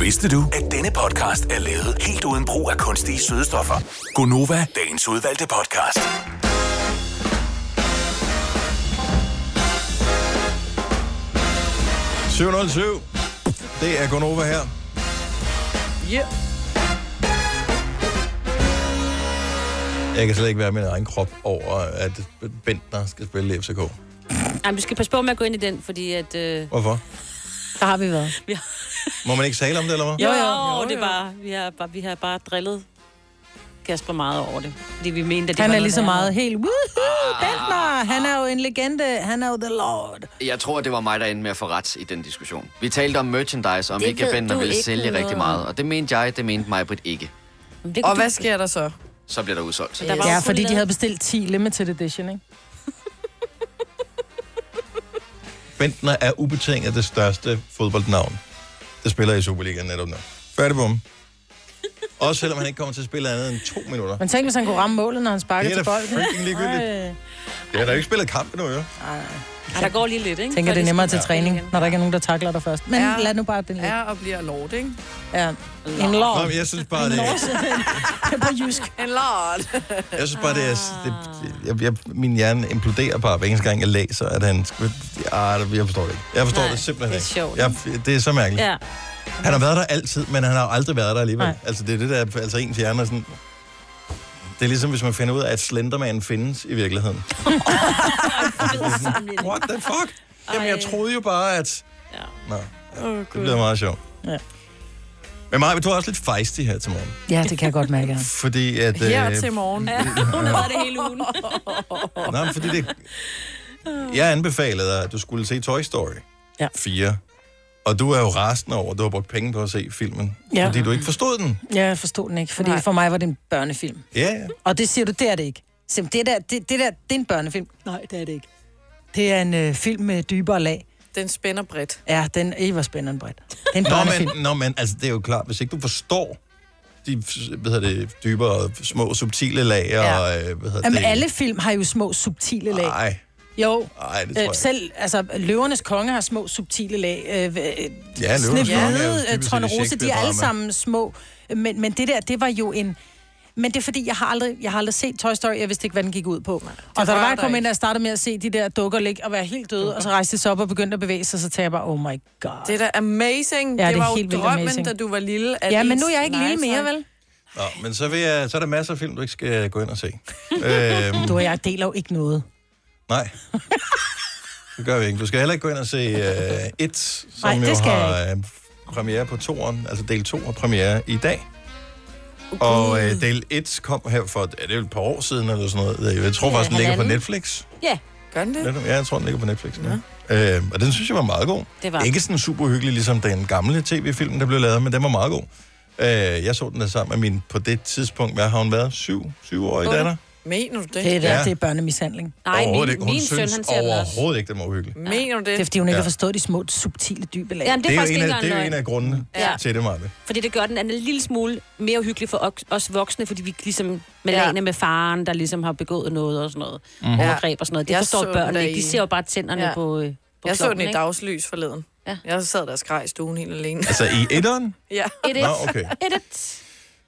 Speaker 5: Vidste du, at denne podcast er lavet helt uden brug af kunstige sødestoffer? Gonova, dagens udvalgte podcast.
Speaker 1: Godmorgen. 7.07. Det er Gonova her.
Speaker 4: Yeah.
Speaker 1: Jeg kan slet ikke være med min egen krop over, at Bentner skal spille i FCK.
Speaker 2: Ej, men du skal passe på med at gå ind i den, fordi at... Øh,
Speaker 1: Hvorfor?
Speaker 3: Der har vi været.
Speaker 2: vi har...
Speaker 1: Må man ikke tale om det, eller hvad?
Speaker 2: Jo, jo, jo, det er bare, vi, har bare, vi har bare drillet Kasper meget over det. Fordi vi mente, at det
Speaker 3: Han
Speaker 2: var
Speaker 3: er
Speaker 2: noget,
Speaker 3: lige så
Speaker 2: der
Speaker 3: meget helt... Woohoo, Bentner! Han er jo en legende. Han er jo the lord.
Speaker 9: Jeg tror, det var mig, der endte med at få ret i den diskussion. Vi talte om merchandise, om
Speaker 3: Det
Speaker 9: ikke
Speaker 3: ved
Speaker 9: Bender
Speaker 3: du
Speaker 9: ville
Speaker 3: ikke
Speaker 9: sælge
Speaker 3: noget
Speaker 9: rigtig meget. Og det mente jeg, det mente mig, Britt ikke.
Speaker 2: Det
Speaker 4: Og hvad sker der så?
Speaker 9: Så bliver der udsolgt.
Speaker 4: Der var jo
Speaker 3: ja,
Speaker 4: kun
Speaker 3: fordi de
Speaker 4: lavet-
Speaker 3: havde bestilt 10 limited edition, ikke?
Speaker 1: Bentner er ubetinget det største fodboldnavn, der spiller i Superligaen netop nu. Færdig bum. Også selvom han ikke kommer til at spille andet end to minutter.
Speaker 3: Men tænk, hvis han kunne ramme målet, når han sparkede
Speaker 1: Det er
Speaker 3: til
Speaker 1: da
Speaker 3: bolden.
Speaker 1: freaking ligegyldigt.
Speaker 3: Ej.
Speaker 1: Jeg har da ikke spillet kamp endnu, jo.
Speaker 2: Ja, der går lige lidt, ikke?
Speaker 3: Tænker,
Speaker 2: Før
Speaker 3: det er
Speaker 2: de
Speaker 3: nemmere til
Speaker 2: skal-
Speaker 3: træning, når der ikke er nogen, der takler dig først. Men
Speaker 4: Ja.
Speaker 3: lad nu bare den ligge.
Speaker 4: Er og bliver lort, ikke?
Speaker 3: Ja. En
Speaker 1: Nå,
Speaker 3: lord.
Speaker 1: men jeg synes bare, det er...
Speaker 3: Det er på jysk.
Speaker 4: En lort.
Speaker 1: Jeg synes bare, det er... Det, jeg, jeg, min hjerne imploderer bare hver eneste gang, jeg læser, at han... Ah, jeg forstår det ikke. Jeg forstår Nej,
Speaker 2: Nej,
Speaker 1: det simpelthen
Speaker 2: det er sjovt,
Speaker 1: ikke. Jeg, det er så mærkeligt.
Speaker 2: Ja.
Speaker 1: Han har været der altid, men han har jo aldrig været der alligevel.
Speaker 2: Nej.
Speaker 1: Altså, det er det, der er, altså ens hjerne er sådan... Det er ligesom, hvis man finder ud af, at Slenderman findes i virkeligheden. What the fuck? Jamen, jeg troede jo bare, at... Nå,
Speaker 4: oh,
Speaker 1: det bliver meget sjovt.
Speaker 3: Ja.
Speaker 1: Men Maja, du er også lidt fejstig her til morgen.
Speaker 3: Ja, det kan jeg godt mærke.
Speaker 1: Fordi at... øh,
Speaker 4: Her til morgen. Ja,
Speaker 2: hun har været det hele ugen.
Speaker 1: Nej, men fordi det... Jeg anbefalede dig, at du skulle se Toy Story
Speaker 3: ja.
Speaker 1: 4. Og du er jo rasende over, at du har brugt penge på at se filmen.
Speaker 3: Ja.
Speaker 1: Fordi du ikke forstod den.
Speaker 3: Ja, jeg forstod den ikke, fordi Nej. for mig var det en børnefilm.
Speaker 1: Ja, ja.
Speaker 3: Og det siger du, det er det ikke. Sim, det, der, det, det der, det er en børnefilm. Nej, det er det ikke. Det er en øh, film med dybere lag.
Speaker 4: Den spænder bredt.
Speaker 3: Ja, den I var spændende bredt. Det er en børnefilm.
Speaker 1: Nå, men, nå, men altså, det er jo klart, hvis ikke du forstår de hvad hedder det, dybere, små, subtile lag, ja. og øh, hvad hedder
Speaker 3: Jamen,
Speaker 1: det...
Speaker 3: alle film har jo små, subtile lag.
Speaker 1: Nej,
Speaker 3: Jo,
Speaker 1: nej, det tror
Speaker 3: øh,
Speaker 1: jeg ikke.
Speaker 3: selv, altså, løvernes konge har små, subtile lag. Øh, øh,
Speaker 1: Ja, Løvernes Konge er jo dybest set et
Speaker 3: Trond Rose, de er
Speaker 1: Shakespeare-drama.
Speaker 3: alle sammen små. Men, men det der, det var jo en... Men det er fordi, jeg har aldrig, jeg har aldrig set Toy Story, jeg vidste ikke, hvad den gik ud på. og da der
Speaker 4: rører
Speaker 3: var, jeg
Speaker 4: dig
Speaker 3: kom ind,
Speaker 4: ikke.
Speaker 3: og jeg startede med at se de der dukker ligge og være helt døde, og så rejste de sig op og begyndte at bevæge sig, så tænkte jeg bare, oh my god.
Speaker 4: Det er da amazing.
Speaker 3: Ja,
Speaker 4: det,
Speaker 3: det er
Speaker 4: var jo
Speaker 3: helt vildt
Speaker 4: drømmen,
Speaker 3: amazing.
Speaker 4: da du var lille. at
Speaker 3: Ja, men
Speaker 4: ens-
Speaker 3: nu er jeg ikke
Speaker 4: Nej,
Speaker 3: lille mere,
Speaker 4: tak.
Speaker 3: vel?
Speaker 1: Nå, men så, vil jeg, så er der masser af film, du ikke skal gå ind og se. øhm,
Speaker 3: Du og jeg deler jo ikke noget.
Speaker 1: nej. Det gør vi ikke. Du skal heller ikke gå ind og se øh, et, som
Speaker 3: Nej,
Speaker 1: jo
Speaker 3: det skal jeg
Speaker 1: har øh, premiere på toeren, altså del 2 har premiere i dag. Og øh, del 1 kom her for, er det jo et par år siden eller sådan noget? Jeg tror
Speaker 2: Ja,
Speaker 1: faktisk, den ligger på
Speaker 2: halvanden.
Speaker 1: Netflix.
Speaker 2: Ja. Gør den
Speaker 1: Netop. Ja, jeg tror, den ligger på Netflix. Ja. Øh, og den synes jeg var meget god.
Speaker 2: Det var
Speaker 1: Ikke sådan super hyggelig, ligesom den gamle tv-film, der blev lavet, men den var meget god. Øh, jeg så den der sammen med min, på det tidspunkt, hvad har hun været? Syv, syvårig
Speaker 3: Otte.
Speaker 1: datter?
Speaker 4: Mener du det?
Speaker 3: Det er,
Speaker 1: Ja.
Speaker 3: ja. det er børnemishandling.
Speaker 1: Overhovedet ikke. Hun synes overhovedet ikke, den var uhyggelig.
Speaker 4: Mener du det?
Speaker 3: Det er, fordi hun ikke
Speaker 1: Ja.
Speaker 3: har forstået de små, subtile, dybe lag.
Speaker 2: Jamen, det er, faktisk
Speaker 1: jo
Speaker 2: ikke
Speaker 1: en af,
Speaker 2: engang
Speaker 1: det er jo
Speaker 2: løgn.
Speaker 1: en af grundene ja.
Speaker 2: Ja.
Speaker 1: til det, Marve.
Speaker 2: Fordi det gør den en lille smule mere hyggelig for ok- os voksne, fordi vi ligesom med ja. med faren, der ligesom har begået noget og sådan noget.
Speaker 1: Mhm.
Speaker 2: Mm. Overgreb og sådan noget. Det
Speaker 4: Jeg
Speaker 2: jeg
Speaker 4: så den
Speaker 2: forstår børn
Speaker 4: der
Speaker 2: ikke.
Speaker 4: i-
Speaker 2: De ser jo bare tænderne
Speaker 4: Ja.
Speaker 2: ja. på, øh, på
Speaker 4: Jeg så den
Speaker 2: klovnen,
Speaker 4: i
Speaker 2: ikke?
Speaker 4: dagslys forleden. Ja. Jeg sad der og skreg i stuen helt alene.
Speaker 1: Altså i etteren?
Speaker 4: ja.
Speaker 2: Et,
Speaker 1: Nå, okay.
Speaker 2: Et, et.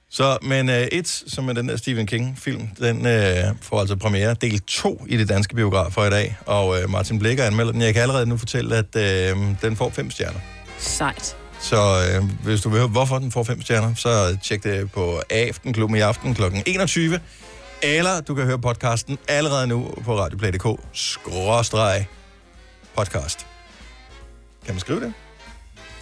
Speaker 1: Så, men uh, It, som er den der Stephen King-film, den uh, får altså premiere del 2 i det danske biografer i dag, og uh, Martin Blikker anmelder den. Jeg kan allerede nu fortælle, at uh, den får 5 stjerner.
Speaker 2: Sejt.
Speaker 1: Så øh, hvis du vil høre, hvorfor den får 5 stjerner, så tjek det på Aftenklubben i aften kl. 21. Eller du kan høre podcasten allerede nu på radioplay.dk. Skråstreg podcast. Kan man skrive det?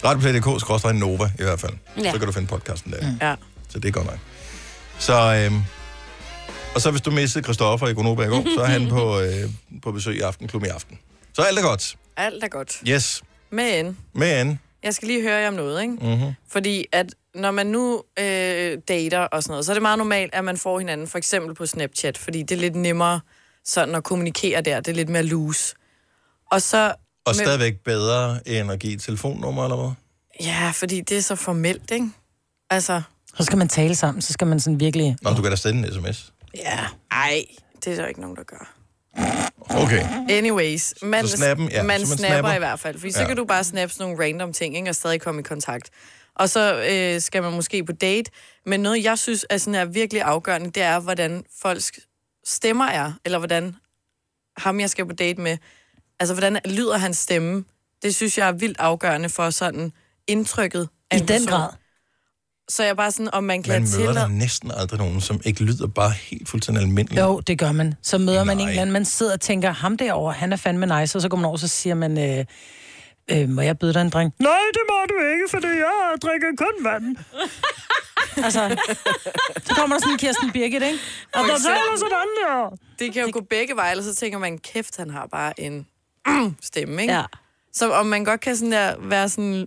Speaker 1: Radioplay.dk skråstreg Nova i hvert fald. Ja.
Speaker 4: Ja.
Speaker 1: Så kan du finde podcasten der. Mm.
Speaker 4: Ja.
Speaker 1: Så det er godt nok. Så, øh, og så hvis du missede Christoffer i Gonova i går, så er han på, øh, på besøg i Aftenklubben i aften. Så alt er godt.
Speaker 4: Alt er godt.
Speaker 1: Yes.
Speaker 4: Men
Speaker 1: Men,
Speaker 4: jeg skal lige høre jer om noget, ikke?
Speaker 1: mm-hmm.
Speaker 4: Fordi at når man nu øh, dater og sådan noget, så er det meget normalt, at man får hinanden for eksempel på Snapchat, fordi det er lidt nemmere sådan at kommunikere der. Det er lidt mere loose. Og så...
Speaker 1: og stadigvæk bedre end at give et telefonnummer eller hvad?
Speaker 4: Ja, fordi det er så formelt, ikke? Altså,
Speaker 3: Så skal man tale sammen, så skal man sådan virkelig...
Speaker 1: Nå, du kan da sende en sms.
Speaker 4: ja. Ej, det er der ikke nogen, der gør.
Speaker 1: Okay.
Speaker 4: Anyways, man,
Speaker 1: Så snappen, ja,
Speaker 4: man,
Speaker 1: så man
Speaker 4: snapper,
Speaker 1: snapper.
Speaker 4: i hvert fald, fordi ja. så
Speaker 1: Ja.
Speaker 4: kan du bare snappe sådan nogle random ting, ikke, og stadig komme i kontakt. Og så øh, skal man måske på date, men noget, jeg synes er, sådan, er virkelig afgørende, det er, hvordan folks stemmer er, eller hvordan ham, jeg skal på date med, altså hvordan lyder hans stemme, det synes jeg er vildt afgørende for sådan indtrykket af I den person. grad. Så jeg er bare sådan, om man kan
Speaker 1: Man møder
Speaker 4: tillade...
Speaker 1: der næsten aldrig nogen, som ikke lyder bare helt fuldstændig almindelig.
Speaker 3: Jo, det gør man. Så møder man en eller anden, man sidder og tænker, ham derovre, han er fandme nice, og så går man over, så siger man, øh, øh, må jeg byde dig en drink? Nej, det må du ikke, for jeg drikker kun vand. altså, så kommer der sådan en Kirsten Birgit, ikke? Og
Speaker 4: For
Speaker 3: der
Speaker 4: eksempel.
Speaker 3: taler sådan der.
Speaker 4: Det kan jo gå begge veje, eller så tænker man, kæft, han har bare en stemme, ikke?
Speaker 3: Ja.
Speaker 4: Så om man godt kan sådan der være sådan,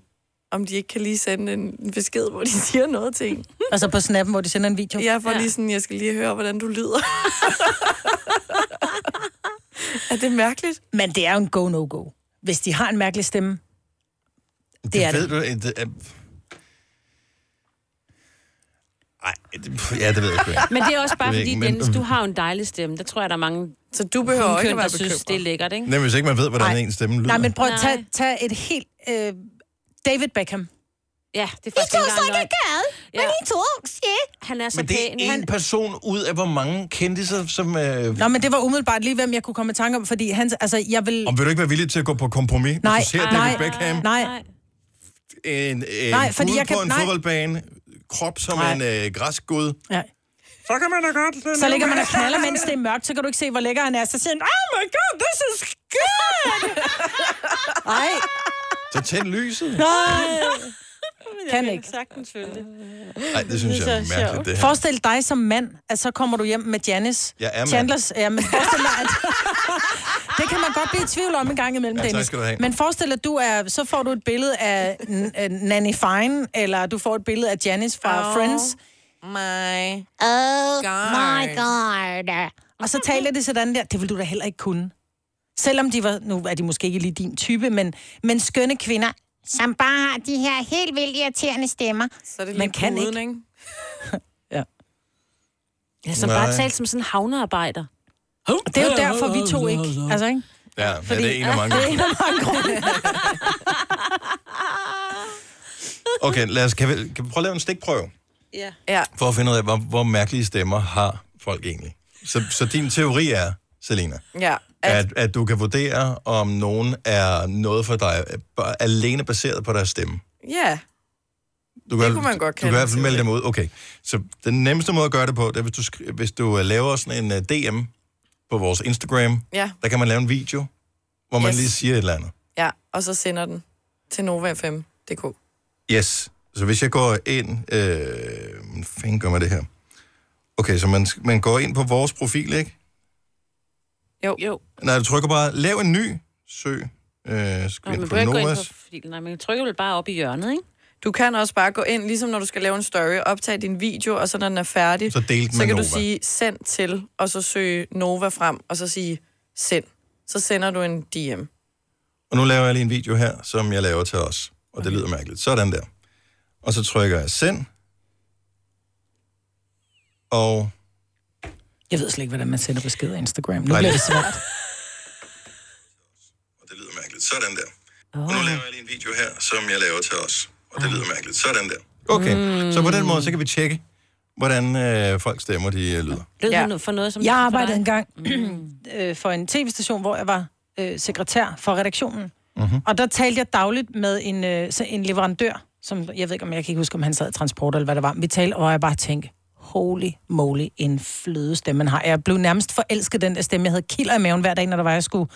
Speaker 4: om de ikke kan lige sende en en besked, hvor de siger noget til en.
Speaker 3: Altså på snappen, hvor de sender en video.
Speaker 4: Jeg får lige sådan, jeg skal lige høre, hvordan du lyder. er det mærkeligt?
Speaker 3: Men det er jo en go-no-go. Hvis de har en mærkelig stemme,
Speaker 1: det,
Speaker 3: det er
Speaker 1: ved
Speaker 3: det.
Speaker 1: du, øh, det er... Ej, det, ja, det ved jeg sgu ikke.
Speaker 2: Men det er også bare
Speaker 1: Det ved jeg
Speaker 2: fordi,
Speaker 1: ikke, men-
Speaker 2: Dennis, du har jo en dejlig stemme. Der tror jeg, der er mange
Speaker 4: Så du behøver ikke at være
Speaker 2: synes,
Speaker 4: bekymret.
Speaker 2: det er lækkert, ikke?
Speaker 1: Nemlig, hvis ikke man ved, hvordan ens stemme lyder.
Speaker 3: Nej, men prøv at tage, tage et helt... Øh, David Beckham.
Speaker 2: Ja, det er faktisk
Speaker 3: I to
Speaker 2: engang
Speaker 3: stykker
Speaker 2: løgn.
Speaker 3: gade, men I to, yeah.
Speaker 2: Han er så
Speaker 1: men det er
Speaker 2: pæn.
Speaker 1: én
Speaker 2: Han-
Speaker 1: person ud af hvor mange kendte sig, som... Øh...
Speaker 3: Nå, men det var umiddelbart lige, hvem jeg kunne komme i tanke om, fordi han, altså, jeg vil...
Speaker 1: Om vil du ikke være villig til at gå på kompromis, hvis
Speaker 3: Nej,
Speaker 1: du ser
Speaker 3: nej,
Speaker 1: David Beckham?
Speaker 3: nej.
Speaker 1: En, en
Speaker 3: Nej,
Speaker 1: nej,
Speaker 3: fordi
Speaker 1: fordi
Speaker 3: jeg kan-
Speaker 1: på en
Speaker 3: nej.
Speaker 1: fodboldbane, krop som
Speaker 3: Nej.
Speaker 1: en øh, græsk gud.
Speaker 3: Ja.
Speaker 1: Så kan man da godt...
Speaker 3: Så ligger man og knaller, mens det er mørkt, så kan du ikke se, hvor lækker han er. Så siger han, oh my god, this is good! Ej,
Speaker 1: Så tænd lyset.
Speaker 3: nej. Kan ikke.
Speaker 2: Sagtens følge det.
Speaker 1: Nej, det synes jeg er mærkeligt, det her.
Speaker 3: Forestil dig som mand, at så kommer du hjem med Janice.
Speaker 1: Jeg er mand.
Speaker 3: Chandlers, ja, men forestil dig, at... det kan man godt blive i tvivl om en gang imellem,
Speaker 1: Ja, tak
Speaker 3: Dennis.
Speaker 1: skal du have.
Speaker 3: Men forestil dig, at du er, så får du et billede af n- øh, Nanny Fine, eller du får et billede af Janice fra
Speaker 4: Åh.
Speaker 3: oh. Friends.
Speaker 4: My
Speaker 3: Oh
Speaker 4: God. my
Speaker 3: god. Og så taler det sådan der, det vil du da heller ikke kunne. Selvom de var, nu er de måske ikke lige din type, men, men skønne kvinder, som bare har de her helt vildt irriterende stemmer.
Speaker 4: Så er det lige
Speaker 3: Man kan
Speaker 4: puden,
Speaker 3: ikke.
Speaker 4: ikke?
Speaker 2: Ja, som bare
Speaker 1: Nej.
Speaker 2: talt som sådan en havnearbejder.
Speaker 3: Det er jo derfor, vi to ikke. Altså, ikke?
Speaker 1: Ja, Fordi... ja, det er en af mange.
Speaker 3: Det er en af mange grunde.
Speaker 1: Okay, lad os, kan, vi, kan vi prøve at lave en stikprøve?
Speaker 2: Ja.
Speaker 4: ja.
Speaker 1: for at finde ud af, hvor, hvor mærkelige stemmer har folk egentlig. Så, så din teori er, Selina,
Speaker 4: Ja.
Speaker 1: at, at du kan vurdere, om nogen er noget for dig, øh, bare alene baseret på deres stemme.
Speaker 4: Ja.
Speaker 1: Du kan,
Speaker 4: kunne man godt
Speaker 1: du
Speaker 4: kalde
Speaker 1: kan i hvert
Speaker 4: en
Speaker 1: fald melde dem ud. Okay, så den nemmeste måde at gøre det på, det er, hvis du, skri- hvis du øh, laver sådan en øh, DM på vores Instagram,
Speaker 4: Ja.
Speaker 1: der kan man lave en video, hvor man
Speaker 4: Yes.
Speaker 1: yes. lige siger et eller andet.
Speaker 4: Ja, og så sender den til NovaFM.dk.
Speaker 1: Yes. Så hvis jeg går ind... Øh, hvordan fanden gør man det her? Okay, så man, man går ind på vores profil, ikke?
Speaker 4: Jo. jo.
Speaker 1: Nej, du trykker bare, lav en ny søg. Øh,
Speaker 2: Nå,
Speaker 1: skal
Speaker 2: man
Speaker 1: ind på
Speaker 2: behøver ikke gå ind
Speaker 1: Novas.
Speaker 2: på filen. Nej, man trykker vel bare op i hjørnet, ikke?
Speaker 4: Du kan også bare gå ind, ligesom når du skal lave en story, optage din video, og så når den er færdig,
Speaker 1: Så del den
Speaker 4: så
Speaker 1: med
Speaker 4: kan du
Speaker 1: Nova.
Speaker 4: sige send til, og så søge Nova frem, og så sige send. Så sender du en DM.
Speaker 1: Og nu laver jeg lige en video her, som jeg laver til os. Og det lyder mærkeligt. Sådan der. Og så trykker jeg send. Og...
Speaker 3: Jeg ved slet ikke, hvordan man sender beskeder Instagram. Nu
Speaker 1: Nej,
Speaker 3: bliver
Speaker 1: det-
Speaker 3: det svært.
Speaker 1: mærkeligt. Sådan der. Oh. Og nu laver jeg lige en video her, som jeg laver til os. Og det lyder mærkeligt. Sådan der. Okay, mm. så på den måde, så kan vi tjekke, hvordan øh, folk stemmer, de øh, lyder.
Speaker 2: Lød ja. for noget, som
Speaker 3: Jeg
Speaker 2: det for
Speaker 3: arbejdede
Speaker 2: dig? Mm.
Speaker 3: engang øh, for en tv-station, hvor jeg var øh, sekretær for redaktionen.
Speaker 1: Mm-hmm.
Speaker 3: Og der talte jeg dagligt med en, øh, så en leverandør, som jeg ved ikke, om jeg kan ikke huske, om han sad i transport eller hvad det var. Men vi talte, og jeg bare tænkte, holy moly, en fløde stemme man har. Jeg blev nærmest forelsket i den der stemme. Jeg havde kilder i maven hver dag, når der var, jeg skulle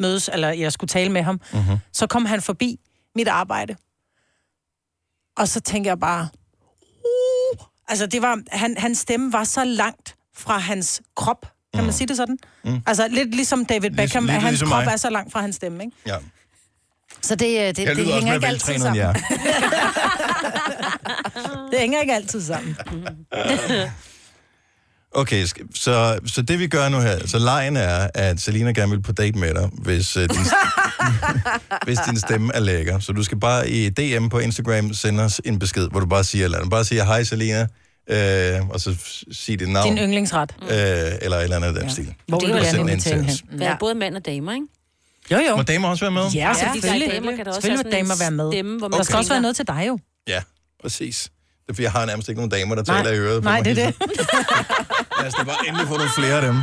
Speaker 3: mødes, eller jeg skulle tale med ham.
Speaker 1: Mm-hmm.
Speaker 3: Så kom han forbi mit arbejde. Og så tænker jeg bare... Uh, altså, det var, han, hans stemme var så langt fra hans krop. Kan man sige det sådan?
Speaker 1: Mm.
Speaker 3: Altså, lidt ligesom David Beckham,
Speaker 1: lidt
Speaker 3: at hans
Speaker 1: ligesom
Speaker 3: krop
Speaker 1: mig.
Speaker 3: er så langt fra hans stemme, ikke?
Speaker 1: Ja.
Speaker 3: Så det, øh, det,
Speaker 1: jeg
Speaker 3: det
Speaker 1: lyder også
Speaker 3: hænger
Speaker 1: mere
Speaker 3: ikke altid
Speaker 1: veltrænet end
Speaker 3: sammen.
Speaker 1: jer.
Speaker 3: Det hænger ikke altid sammen.
Speaker 1: Okay, sk- så, så det vi gør nu her, så lejen er, at Selina gerne vil på date med dig, hvis, øh, din, hvis din stemme er lækker. Så du skal bare i DM på Instagram sende os en besked, hvor du bare siger, eller andet. bare siger, hej Selina, øh, og så f- sig dit navn.
Speaker 3: Din yndlingsret.
Speaker 1: øh, eller et eller andet af den ja. stil.
Speaker 3: Hvor vil du
Speaker 1: Og
Speaker 3: gerne
Speaker 1: send den ind
Speaker 3: invitere
Speaker 1: til
Speaker 3: hende
Speaker 1: os.
Speaker 2: Der er både mænd og damer, ikke?
Speaker 3: Jo, jo.
Speaker 1: Må damer også være med?
Speaker 3: Ja, selvfølgelig.
Speaker 2: Damer kan der også
Speaker 3: Selvfølgelig
Speaker 2: have
Speaker 3: vil
Speaker 2: sådan en
Speaker 3: damer være med.
Speaker 2: Stemme, hvor man
Speaker 3: Der skal også være
Speaker 2: tænker-
Speaker 3: noget til dig, jo.
Speaker 1: Ja, præcis. Det er, fordi jeg har nærmest ikke nogen damer, der
Speaker 3: Nej.
Speaker 1: taler i øret på
Speaker 3: Nej,
Speaker 1: mig
Speaker 3: det er
Speaker 1: hele
Speaker 3: det.
Speaker 1: Lad os da bare endelig få nogle flere af dem.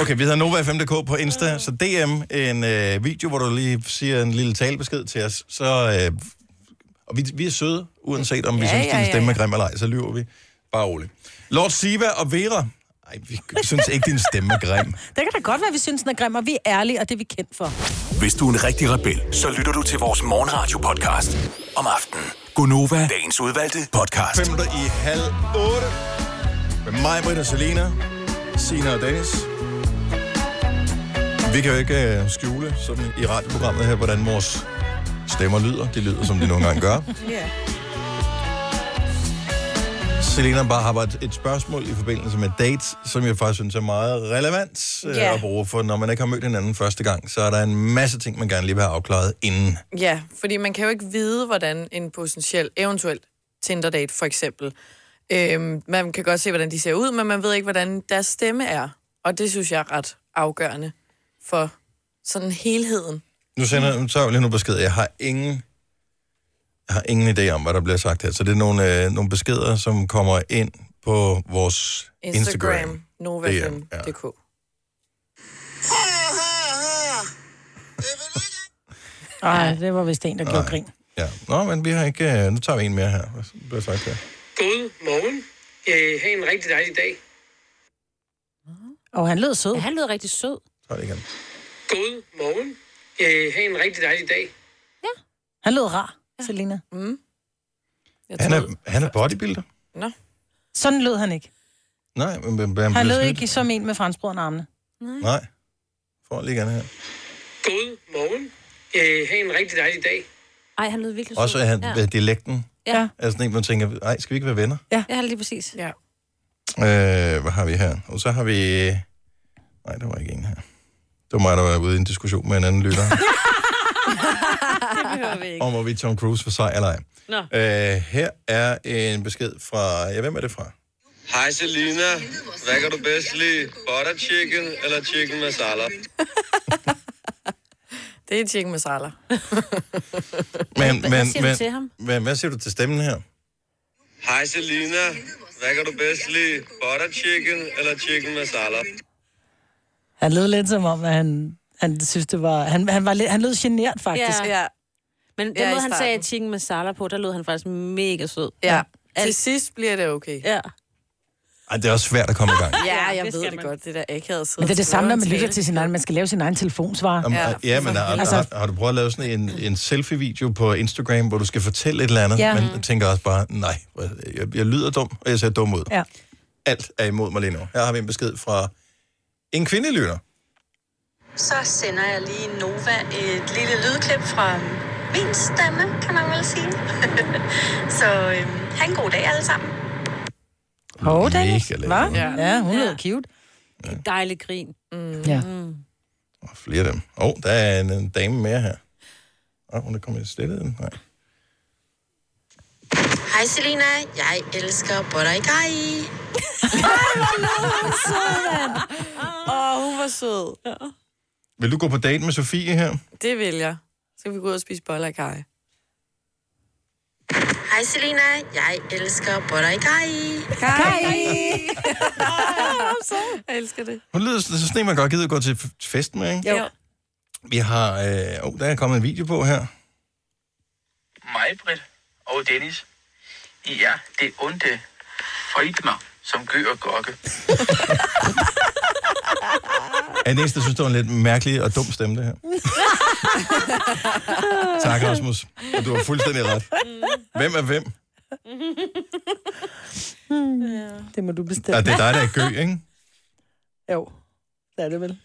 Speaker 1: Okay, vi hedder Nova5.dk på Insta, så DM en øh, video, hvor du lige siger en lille talebesked til os. Så, øh, og vi, vi er søde, uanset om vi
Speaker 10: Ja,
Speaker 1: synes,
Speaker 10: ja,
Speaker 1: din
Speaker 10: ja,
Speaker 1: stemme er
Speaker 10: ja.
Speaker 1: grim eller ej, så lyver vi. Bare roligt. Lord Siva og Vera. Ej, vi synes ikke, din stemme er grim.
Speaker 3: Det kan da godt være, at vi synes, den er grim, og vi er ærlige, og det er vi kendt for.
Speaker 5: Hvis du er en rigtig rebel, så lytter du til vores morgenradio-podcast om aftenen. Gunova, dagens udvalgte podcast.
Speaker 1: 5 i halv 8. Med mig, Britt og Selina, Sina og Dennis. Vi kan jo ikke øh, skjule sådan i radioprogrammet her, hvordan vores stemmer lyder. De lyder, som de nogle gange gør.
Speaker 11: Ja.
Speaker 1: Selena bare har bare et- et spørgsmål i forbindelse med dates, som jeg faktisk synes er meget relevant øh,
Speaker 4: Ja.
Speaker 1: at bruge, for når man ikke har mødt hinanden første gang, så er der en masse ting, man gerne lige vil have afklaret inden.
Speaker 4: Ja, fordi man kan jo ikke vide, hvordan en potentiel, eventuel Tinder-date for eksempel, øhm, man kan godt se, hvordan de ser ud, men man ved ikke, hvordan deres stemme er. Og det synes jeg er ret afgørende for sådan helheden.
Speaker 1: Nu sender nu tager jeg lige nogle beskeder. Jeg har ingen, jeg har ingen idé om, hvad der bliver sagt her. Så det er nogle, øh, nogle beskeder, som kommer ind på vores Instagram.
Speaker 4: Instagram,
Speaker 1: Instagram.
Speaker 4: novafm.dk.
Speaker 3: Nej, det var vist en, der gjorde
Speaker 1: Nej.
Speaker 3: grin.
Speaker 1: Ja. Nå, men vi har ikke... øh, Nu tager vi en mere her. Hvad bliver sagt her?
Speaker 12: God morgen. Øh, ha' en rigtig dejlig dag.
Speaker 3: Og han lød sød.
Speaker 2: Ja, han lød rigtig sød.
Speaker 1: Tager det igen.
Speaker 12: God morgen. Øh, ha' en rigtig dejlig dag.
Speaker 3: Han lød rar, Selina.
Speaker 4: Mm.
Speaker 1: Han er, han er bodybuilder.
Speaker 4: Nå.
Speaker 3: Sådan lød han ikke.
Speaker 1: Nej, men, men, men
Speaker 3: Han lød ikke som en med fransbrød armene.
Speaker 1: Nej. Får lige gerne her.
Speaker 12: God morgen. Øh, ha' en rigtig dejlig dag.
Speaker 2: Ej, han lød virkelig sød.
Speaker 1: Også er han, ja. dialekten.
Speaker 2: Ja.
Speaker 1: Er sådan en, man tænker, nej, skal vi ikke være venner?
Speaker 2: Ja. ja, lige præcis.
Speaker 4: Ja.
Speaker 1: Øh, hvad har vi her? Og så har vi... Nej, der var ikke en her. Det var mig, der var ude i en diskussion med en anden lytter.
Speaker 2: det behøver vi ikke.
Speaker 1: om hvorvidt Tom Cruise for sej eller ej.
Speaker 2: Nå.
Speaker 1: Øh, her er en besked fra... Ja, hvem er det fra?
Speaker 13: Hej Selina, hvad kan du bedst lide? Butter chicken eller chicken masala?
Speaker 4: Det er chicken masala.
Speaker 1: Men,
Speaker 4: Hvad- hvad siger du til ham?
Speaker 1: Men, hvad siger du til stemmen her?
Speaker 13: Hej Selina, hvad kan du bedst lide? Butter chicken eller chicken masala?
Speaker 3: Han lød lidt som om, at han, han synes, det var... Han, han, var lidt, han lød genert, faktisk.
Speaker 2: Ja. ja. Men den
Speaker 4: Ja,
Speaker 2: ja,
Speaker 4: i
Speaker 2: måde, han
Speaker 4: starten.
Speaker 2: sagde chicken masala på, der lød han faktisk mega sød.
Speaker 4: Ja. Til sidst bliver det okay.
Speaker 2: Ja.
Speaker 1: Ej, det er også svært at komme i gang.
Speaker 4: Ja, jeg det ved det godt, det der akavet sidde
Speaker 3: Men det er det
Speaker 4: til
Speaker 3: samme, når man
Speaker 4: noget
Speaker 3: lytter
Speaker 4: tale.
Speaker 3: til sin egen. Man skal lave sin egen telefonsvar.
Speaker 1: Om, ja, ja, men har, altså, har, har du prøvet at lave sådan en, en selfie-video på Instagram, hvor du skal fortælle et eller andet,
Speaker 3: Ja.
Speaker 1: ja. men tænker også bare, nej, hvor- jeg, jeg lyder dum, og jeg ser dum ud.
Speaker 3: Ja.
Speaker 1: Alt er imod mig lige nu. Her har vi en besked fra en kvindelytter.
Speaker 10: Så sender jeg lige Nova et lille lydklip fra min stemme, kan man vel sige. så øh, have en god dag alle sammen.
Speaker 3: Åh, oh, Dennis.
Speaker 1: Mega
Speaker 3: Hva?
Speaker 1: lækker.
Speaker 3: Ja. ja, hun lyder cute.
Speaker 2: Dejlig grin. Mm.
Speaker 3: Ja.
Speaker 1: Og flere af dem. Åh, oh, der er en, en dame mere her. Åh, oh, hun er kommet i slettet. Nej.
Speaker 10: Hej Selina, jeg elsker Boraikai.
Speaker 4: Åh, hun var sød.
Speaker 1: Vil du gå på date med Sofie her?
Speaker 4: Det vil jeg. Så kan vi gå ud og spise boller i kaj.
Speaker 10: Hej Selina, jeg elsker Boraikai.
Speaker 4: Jeg elsker det.
Speaker 1: Hun lyder så sådan en, man godt gider at gå til f- fest med, ikke?
Speaker 4: Jo.
Speaker 1: Vi har... Åh, øh, oh, der er kommet en video på her.
Speaker 11: Mig, Britt og Dennis. I er det onde Friedmer, som gør og gokke.
Speaker 1: Er den eneste, der synes, det var en lidt mærkelig og dum stemme, det her? Tak, Rasmus. Og du har fuldstændig ret. Hvem er hvem?
Speaker 3: Det må du bestemme.
Speaker 1: Ja, det er dig, der er gø, ikke?
Speaker 3: Jo, det er det vel.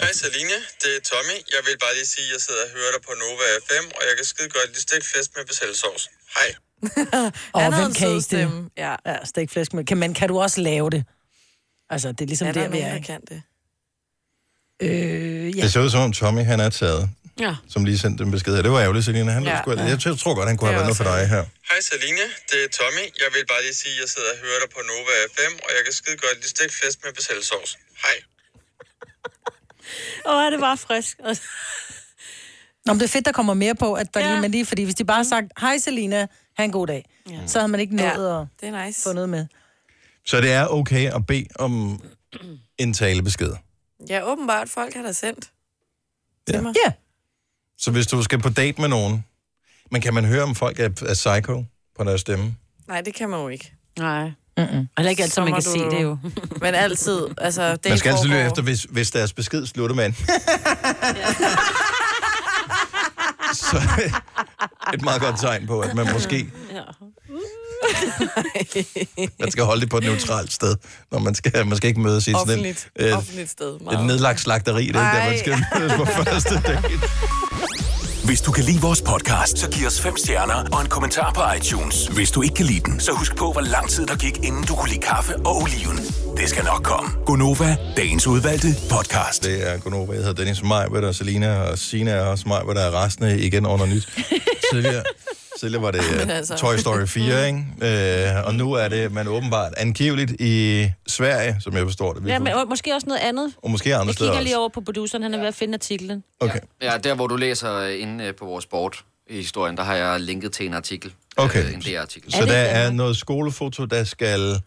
Speaker 14: Hej Selina, det er Tommy. Jeg vil bare lige sige, at jeg sidder og hører dig på Nova FM, og jeg kan skide godt lide stikflæsk med basilisauce. Hej.
Speaker 3: Og
Speaker 14: Han havde
Speaker 3: oh, hvem
Speaker 14: en
Speaker 3: kan
Speaker 14: sød
Speaker 3: ikke det? Ja. ja stikflæsk med. Kan, men kan du også lave det? Altså, det er ligesom
Speaker 4: er der
Speaker 3: der, vi
Speaker 4: nogen,
Speaker 3: er. Øh,
Speaker 4: der
Speaker 3: ikke?
Speaker 4: kan det?
Speaker 3: Øh,
Speaker 1: Ja. Det ser ud som om Tommy, han er taget,
Speaker 4: Ja.
Speaker 1: som lige sendte en besked. her. Det var ærgerligt, Selina. Han
Speaker 14: Ja.
Speaker 1: ja. sgu,
Speaker 14: Ja.
Speaker 1: jeg, jeg tror godt, han kunne have været noget for dig her.
Speaker 14: Hej Selina, det er Tommy. Jeg vil bare lige sige, at jeg sidder og hører dig på Nova FM, og jeg kan skide godt lide stikflæsk med basilisauce. Hej.
Speaker 2: Åh, det var frisk.
Speaker 3: Nå, men det er fedt, der kommer mere på, at der ja. lige, men lige, fordi hvis de bare har sagt, hej Selina, have en god dag, ja. så havde man ikke nået ja. at
Speaker 4: det er nice.
Speaker 3: få noget med.
Speaker 1: Så det er okay at bede om en talebesked.
Speaker 4: Ja, åbenbart. Folk har da sendt.
Speaker 1: Ja.
Speaker 3: ja.
Speaker 1: Så hvis du skal på date med nogen, men kan man høre, om folk er, er psycho på deres stemme?
Speaker 4: Nej, det kan man jo ikke.
Speaker 2: Nej.
Speaker 3: Mm-mm.
Speaker 2: Heller ikke altid,
Speaker 4: Så
Speaker 2: man
Speaker 4: må
Speaker 2: kan
Speaker 4: du-
Speaker 2: se det jo.
Speaker 4: Men altid. Altså, det
Speaker 1: Man skal altid lytte efter, hvis, hvis deres besked slutter med en. Så et meget godt tegn på, at man måske man skal holde det på et neutralt sted, når man skal, man skal ikke mødes i sådan en,
Speaker 4: Offentligt.
Speaker 1: øh,
Speaker 4: Offentligt sted.
Speaker 1: et nedlagt slagteri, det er ikke der, man skal mødes på første date.
Speaker 5: Hvis du kan lide vores podcast, så giv os fem stjerner og en kommentar på iTunes. Hvis du ikke kan lide den, så husk på, hvor lang tid der gik, inden du kunne lide kaffe og oliven. Det skal nok komme.
Speaker 1: Gonova, dagens udvalgte podcast. Det er Gonova, jeg hedder Dennis Majbert, og Selina og Sina er også Majbert, der er resten af igen under nyt. Tidligere, tidligere var det
Speaker 15: Men
Speaker 1: altså.
Speaker 15: altså.
Speaker 1: Toy Story 4, ikke? Øh, og nu er det, man åbenbart angiveligt i Sverige, som jeg forstår det.
Speaker 2: Ja, men og måske også noget andet.
Speaker 1: Og måske andre
Speaker 2: Jeg
Speaker 1: steder
Speaker 2: kigger lige
Speaker 1: også.
Speaker 2: over på produceren, han er ved at finde artiklen.
Speaker 1: Okay.
Speaker 9: Ja, der hvor du læser øh, inde øh, på vores board i historien, der har jeg linket til en artikel.
Speaker 1: Okay.
Speaker 9: Øh, en DR-artikel.
Speaker 1: Så der er noget skolefoto, der skal,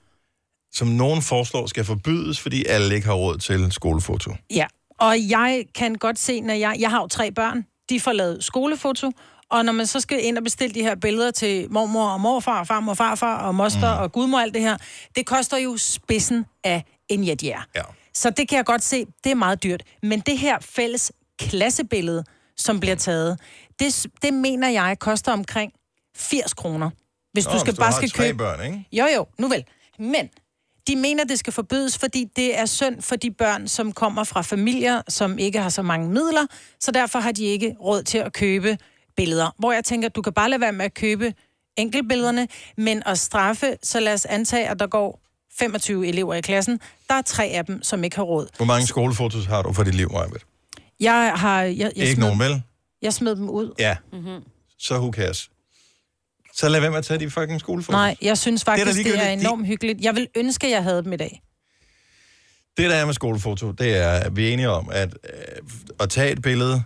Speaker 1: som nogen foreslår, skal forbydes, fordi alle ikke har råd til skolefoto.
Speaker 3: Ja, og jeg kan godt se, når jeg... Jeg har jo tre børn. De får lavet skolefoto. Og når man så skal ind og bestille de her billeder til mormor og morfar, og farmor og farfar og moster
Speaker 1: Mhm.
Speaker 3: mm. og gudmor og alt det her, det koster jo spidsen af en jetjær.
Speaker 1: Ja.
Speaker 3: Så det kan jeg godt se, det er meget dyrt. Men det her fælles klassebillede, som bliver taget, det, det mener jeg koster omkring 80 kroner. Hvis
Speaker 1: Nå,
Speaker 3: du skal
Speaker 1: hvis du
Speaker 3: bare
Speaker 1: har
Speaker 3: skal
Speaker 1: tre
Speaker 3: købe...
Speaker 1: børn, ikke?
Speaker 3: Jo, jo, nu vel. Men de mener, det skal forbydes, fordi det er synd for de børn, som kommer fra familier, som ikke har så mange midler, så derfor har de ikke råd til at købe billeder. Hvor jeg tænker, du kan bare lade være med at købe enkeltbillederne, men at straffe, så lad os antage, at der går 25 elever i klassen. Der er tre af dem, som ikke har råd.
Speaker 1: Hvor mange skolefotos har du for dit liv, Majbert?
Speaker 3: Jeg har... Jeg, jeg
Speaker 1: Ikke
Speaker 3: smed,
Speaker 1: nogen, vel?
Speaker 3: Jeg smed dem ud.
Speaker 1: Ja.
Speaker 3: Mm-hmm.
Speaker 1: så who cares? Så lad være med at tage de fucking skolefotos.
Speaker 3: Nej, jeg synes
Speaker 1: da
Speaker 3: faktisk, det er, det er
Speaker 1: ligegyldigt. De-
Speaker 3: enormt hyggeligt. Jeg vil ønske, at jeg havde dem i dag.
Speaker 1: Det, der er med skolefoto, det er, at vi er enige om, at øh, at tage et billede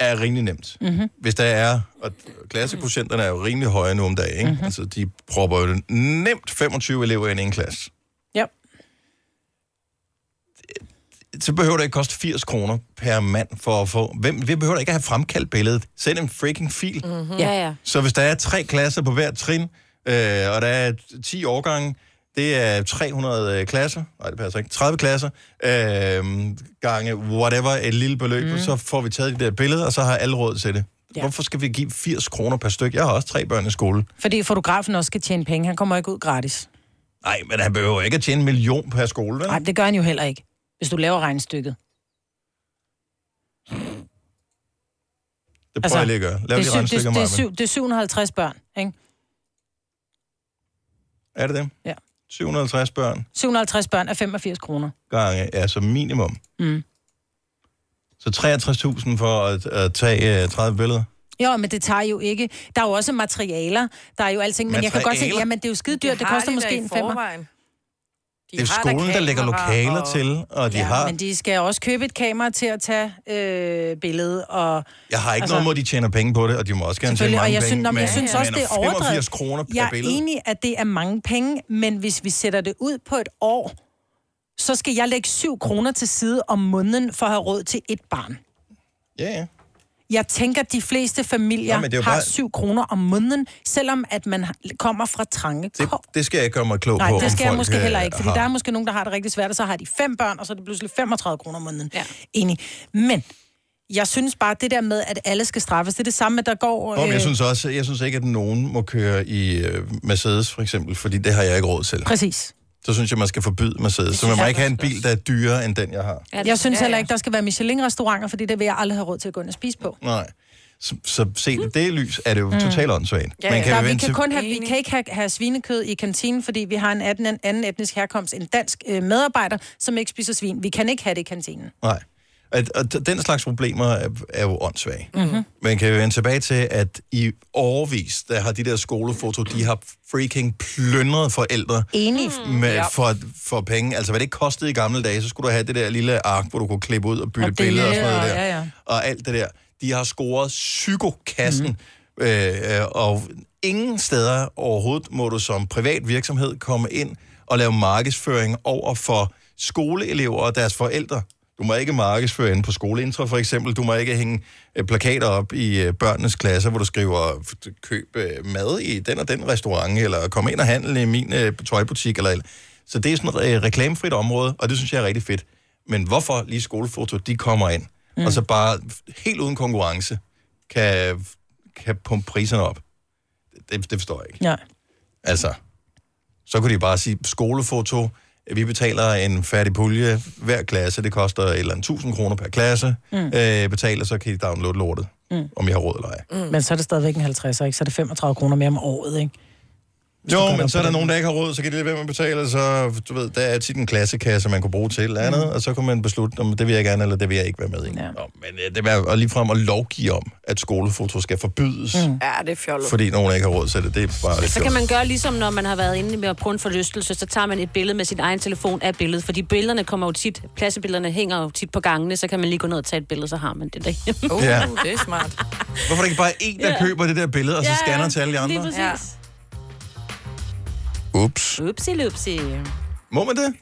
Speaker 1: er rimelig nemt.
Speaker 3: Mm-hmm.
Speaker 1: Hvis der er, og klassekocienterne er jo rimelig høje nu om dagen, ikke?
Speaker 3: Mhm.
Speaker 1: Mm-hmm. Altså, de propper jo nemt 25 elever ind i en klasse.
Speaker 3: Ja.
Speaker 1: Så behøver det ikke koste 80 kroner per mand for at få... Hvem, vi behøver da ikke at have fremkaldt billedet. Send en freaking
Speaker 3: Mm.
Speaker 1: fil. Mm-hmm.
Speaker 2: Ja, ja.
Speaker 1: Så hvis der er tre klasser på hver trin, øh, og der er 10 årgange, Det er 300 øh, klasser, nej det passer ikke, 30 klasser, øh, gange whatever, et lille beløb, mm. så får vi taget det der billede, og så har alle råd til det. Ja. Hvorfor skal vi give 80 kroner per styk? Jeg har også tre børn i skole.
Speaker 3: Fordi fotografen også skal tjene penge. Han kommer ikke ud gratis.
Speaker 1: Nej, men han behøver ikke at tjene en million per skole, vel?
Speaker 3: Nej, det gør han jo heller ikke, hvis du laver regnstykket.
Speaker 1: Det prøver altså, jeg lige at gøre. Lav
Speaker 3: det,
Speaker 1: det
Speaker 3: er
Speaker 1: de
Speaker 3: syv- det,
Speaker 1: regnstykker,
Speaker 3: det, er
Speaker 1: Maja.
Speaker 3: syv, det er 750 børn, ikke?
Speaker 1: Er det det?
Speaker 3: Ja.
Speaker 1: 750 børn
Speaker 3: 750 børn er 85 kroner.
Speaker 1: gange, ja, som minimum.
Speaker 3: Mm.
Speaker 1: Så 63.000 for at, at tage øh, 30 billeder.
Speaker 3: Jo, men det tager jo ikke. Der er jo også materialer. Der er jo alting. Men jeg kan godt se,
Speaker 1: Materialer?
Speaker 3: jamen det er jo skide dyrt.
Speaker 4: Det
Speaker 3: Det,
Speaker 4: har
Speaker 3: koster
Speaker 4: de da
Speaker 3: måske
Speaker 4: i
Speaker 3: en femmer.
Speaker 4: forvejen.
Speaker 1: De det er skolen, der lægger lokaler og... til, og de ja, har...
Speaker 3: Men de skal også købe et kamera til at tage øh, billede. Og,
Speaker 1: Jeg har ikke altså... noget mod, de tjener penge på det, og de må også gerne tjene
Speaker 3: Selvfølgelig,
Speaker 1: mange
Speaker 3: og jeg,
Speaker 1: penge.
Speaker 3: synes, nå, men jeg
Speaker 1: men-
Speaker 3: synes også,
Speaker 1: men
Speaker 3: det er
Speaker 1: at
Speaker 3: overdrevet.
Speaker 1: 85 kroner per
Speaker 3: jeg er
Speaker 1: billede.
Speaker 3: enig, at det er mange penge, men hvis vi sætter det ud på et år, så skal jeg lægge 7 kroner til side om måneden for at have råd til et barn.
Speaker 1: Ja, ja.
Speaker 3: Jeg tænker, at de fleste familier
Speaker 1: Nå,
Speaker 3: Nå,
Speaker 1: men det er jo
Speaker 3: har bare...
Speaker 1: bare-
Speaker 3: 7 kroner om måneden, selvom at man har- kommer fra trange
Speaker 1: Det, det skal jeg ikke gøre mig klog
Speaker 3: Nej,
Speaker 1: på,
Speaker 3: det
Speaker 1: om
Speaker 3: skal jeg
Speaker 1: folk,
Speaker 3: måske
Speaker 1: øh,
Speaker 3: heller ikke, fordi
Speaker 1: har.
Speaker 3: der er måske nogen, der har det rigtig svært, og så har de fem børn, og så er det pludselig 35 kroner om måneden. Ja. Enig. Men jeg synes bare, det der med, at alle skal straffes, det er det samme, at der går...
Speaker 1: Nå, men jeg
Speaker 3: øh,
Speaker 1: synes også, jeg synes ikke, at nogen må køre i øh, Mercedes, for eksempel, fordi det har jeg ikke råd til.
Speaker 3: Præcis.
Speaker 1: Så synes jeg, man skal forbyde Mercedes. Så man må ikke have en bil, der er dyrere end den, jeg har.
Speaker 3: Jeg synes heller ikke, der skal være Michelin-restauranter, fordi det vil jeg aldrig have råd til at gå ind og spise på.
Speaker 1: Nej. Så, så set i det lys er det jo
Speaker 3: Mm.
Speaker 1: totalt åndssvagt.
Speaker 3: Ja, ja. Der, vi,
Speaker 1: vente
Speaker 3: kan kun have, vi kan ikke have, have svinekød i kantinen, fordi vi har en anden, en anden etnisk herkomst, en dansk øh, medarbejder, som ikke spiser svin. Vi kan ikke have det i kantinen.
Speaker 1: Nej. At, at den slags problemer er, er jo åndssvage.
Speaker 3: Mm-hmm.
Speaker 1: Man kan jo vende tilbage til, at i årvis, der har de der skolefoto, de har freaking plyndret forældre
Speaker 3: Enig.
Speaker 1: med,
Speaker 3: Ja.
Speaker 1: for, for penge. Altså, hvad det ikke kostede i gamle dage, så skulle du have det der lille ark, hvor du kunne klippe ud og bytte
Speaker 3: Og dele,
Speaker 1: billeder og sådan noget
Speaker 3: og-
Speaker 1: der.
Speaker 3: ja, ja.
Speaker 1: Og alt det der. De har scoret psykokassen,
Speaker 3: Mhm.
Speaker 1: mm. øh, øh, og ingen steder overhovedet må du som privat virksomhed komme ind og lave markedsføring over for skoleelever og deres forældre. Du må ikke markedsføre inde på skoleintra, for eksempel. Du må ikke hænge øh, plakater op i øh, børnenes klasser, hvor du skriver, f- køb øh, mad i den og den restaurant, eller kom ind og handle i min øh, tøjbutik. Eller, eller. Så det er sådan et øh, reklamefrit område, og det synes jeg er rigtig fedt. Men hvorfor lige skolefoto, de kommer ind, mm. og så bare helt uden konkurrence kan, kan pumpe priserne op. Det, det forstår jeg ikke.
Speaker 3: Nej.
Speaker 1: Altså, så kunne de bare sige, skolefoto, vi betaler en færdig pulje hver klasse, det koster et eller andet 1000 kroner per klasse, mm.
Speaker 3: Mm.
Speaker 1: øh, betaler, så kan I downloade lortet, mm. om jeg har råd eller ej.
Speaker 3: Mm. Men så er det stadigvæk en 50, ikke? så er det 35 kroner mere om året. Ikke?
Speaker 1: Jo, men så er der nogen, der ikke har råd, så kan de lade være med at betale, så du ved, der er tit en klassekasse, man kunne bruge til et eller andet, mm. og så kunne man beslutte, om det vil jeg gerne, eller det vil jeg ikke være med i. Ja. Nå, men øh, det er ligefrem at lovgive om, at skolefoto skal forbydes, mm.
Speaker 4: Ja, det er fjollet.
Speaker 1: fordi nogen ikke har råd til det. Det er bare lidt
Speaker 2: Så kan
Speaker 1: fjollet.
Speaker 2: man gøre ligesom, når man har været inde med at prøve en forlystelse, så tager man et billede med sin egen telefon af billedet, fordi billederne kommer jo tit, pladsebillederne hænger jo tit på gangene, så kan man lige gå ned og tage et billede, så har man det der.
Speaker 1: Oh, Ja.
Speaker 4: Uh, det er smart.
Speaker 1: Hvorfor er det ikke bare en, der
Speaker 2: Ja.
Speaker 1: køber det der billede, og så
Speaker 2: Ja,
Speaker 1: scanner til alle de
Speaker 2: Lige
Speaker 1: andre?
Speaker 2: præcis.
Speaker 1: Ups.
Speaker 2: Ja. Upsi, lupsi.
Speaker 1: Må man det?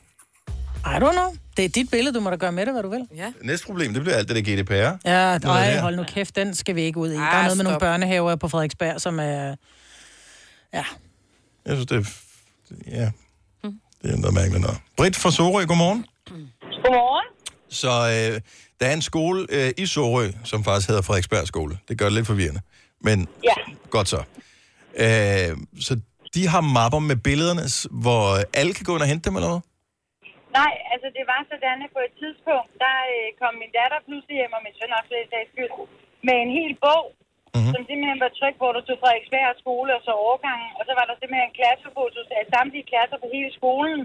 Speaker 3: I don't know. Det er dit billede, du må da gøre med det, hvad du vil. Ja,
Speaker 1: Næste problem, det bliver alt det der GDPR.
Speaker 3: ja
Speaker 1: Noget
Speaker 3: nej,
Speaker 1: der.
Speaker 3: hold nu kæft, den skal vi ikke ud i. Der
Speaker 4: Ah,
Speaker 3: er noget med nogle
Speaker 4: stop.
Speaker 3: børnehaver på Frederiksberg, som er...
Speaker 1: Jeg synes, det er... Ja.
Speaker 3: Mm.
Speaker 1: Det er noget mærkeligt noget. Britt fra Sorø, godmorgen.
Speaker 7: Godmorgen.
Speaker 1: Så øh, der er en skole øh, i Sorø, som faktisk hedder Frederiksberg Skole. Det gør det lidt forvirrende. Men
Speaker 7: Ja.
Speaker 1: godt så. Øh, så de har mapper med billederne, s- hvor alle kan gå ind og hente dem, eller hvad?
Speaker 7: Nej, altså det var sådan, at på et tidspunkt, der øh, kom min datter pludselig hjem, og min søn også lidt af skyld, med en hel bog, mm-hmm. som simpelthen var trykt, hvor der stod Frederiksberg skole og så overgangen, og så var der simpelthen klassefotos af samtlige klasser på hele skolen,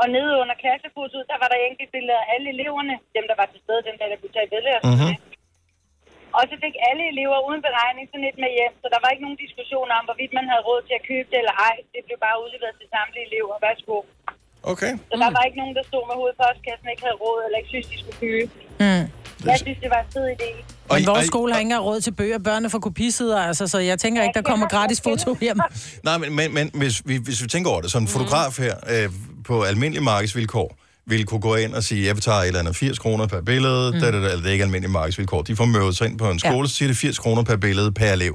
Speaker 7: og nede under klassefotoet, der var der enkelt billeder af alle eleverne, dem der var til stede, dem der, der kunne tage billeder. Mm-hmm. Og så fik alle elever uden beregning sådan et med hjem, så der var ikke nogen diskussion om, hvorvidt man havde råd til at købe det eller ej. Det blev bare udleveret til samtlige elever. Værsgo.
Speaker 1: Okay.
Speaker 7: Så der var ikke nogen, der stod med hovedet på postkassen, ikke havde råd, eller ikke synes, de skulle købe.
Speaker 3: Mm.
Speaker 7: Jeg synes, det var en fed idé.
Speaker 1: Og
Speaker 3: Men
Speaker 1: I- og
Speaker 3: vores
Speaker 1: I-
Speaker 3: skole har ikke engang råd til bøger. Børnene får kopisider, altså, så jeg tænker ikke, der kommer gratis foto hjem.
Speaker 1: Nej, men, men, men hvis, vi, hvis vi tænker over det, så en fotograf her øh, på almindelige markedsvilkår ville kunne gå ind og sige, jeg betaler et eller andet 80 kroner per billede, mm. da, da, da, eller det er ikke almindelige markedsvilkår. De får møvet sig ind på en skole, ja. så siger det 80 kroner per billede per elev.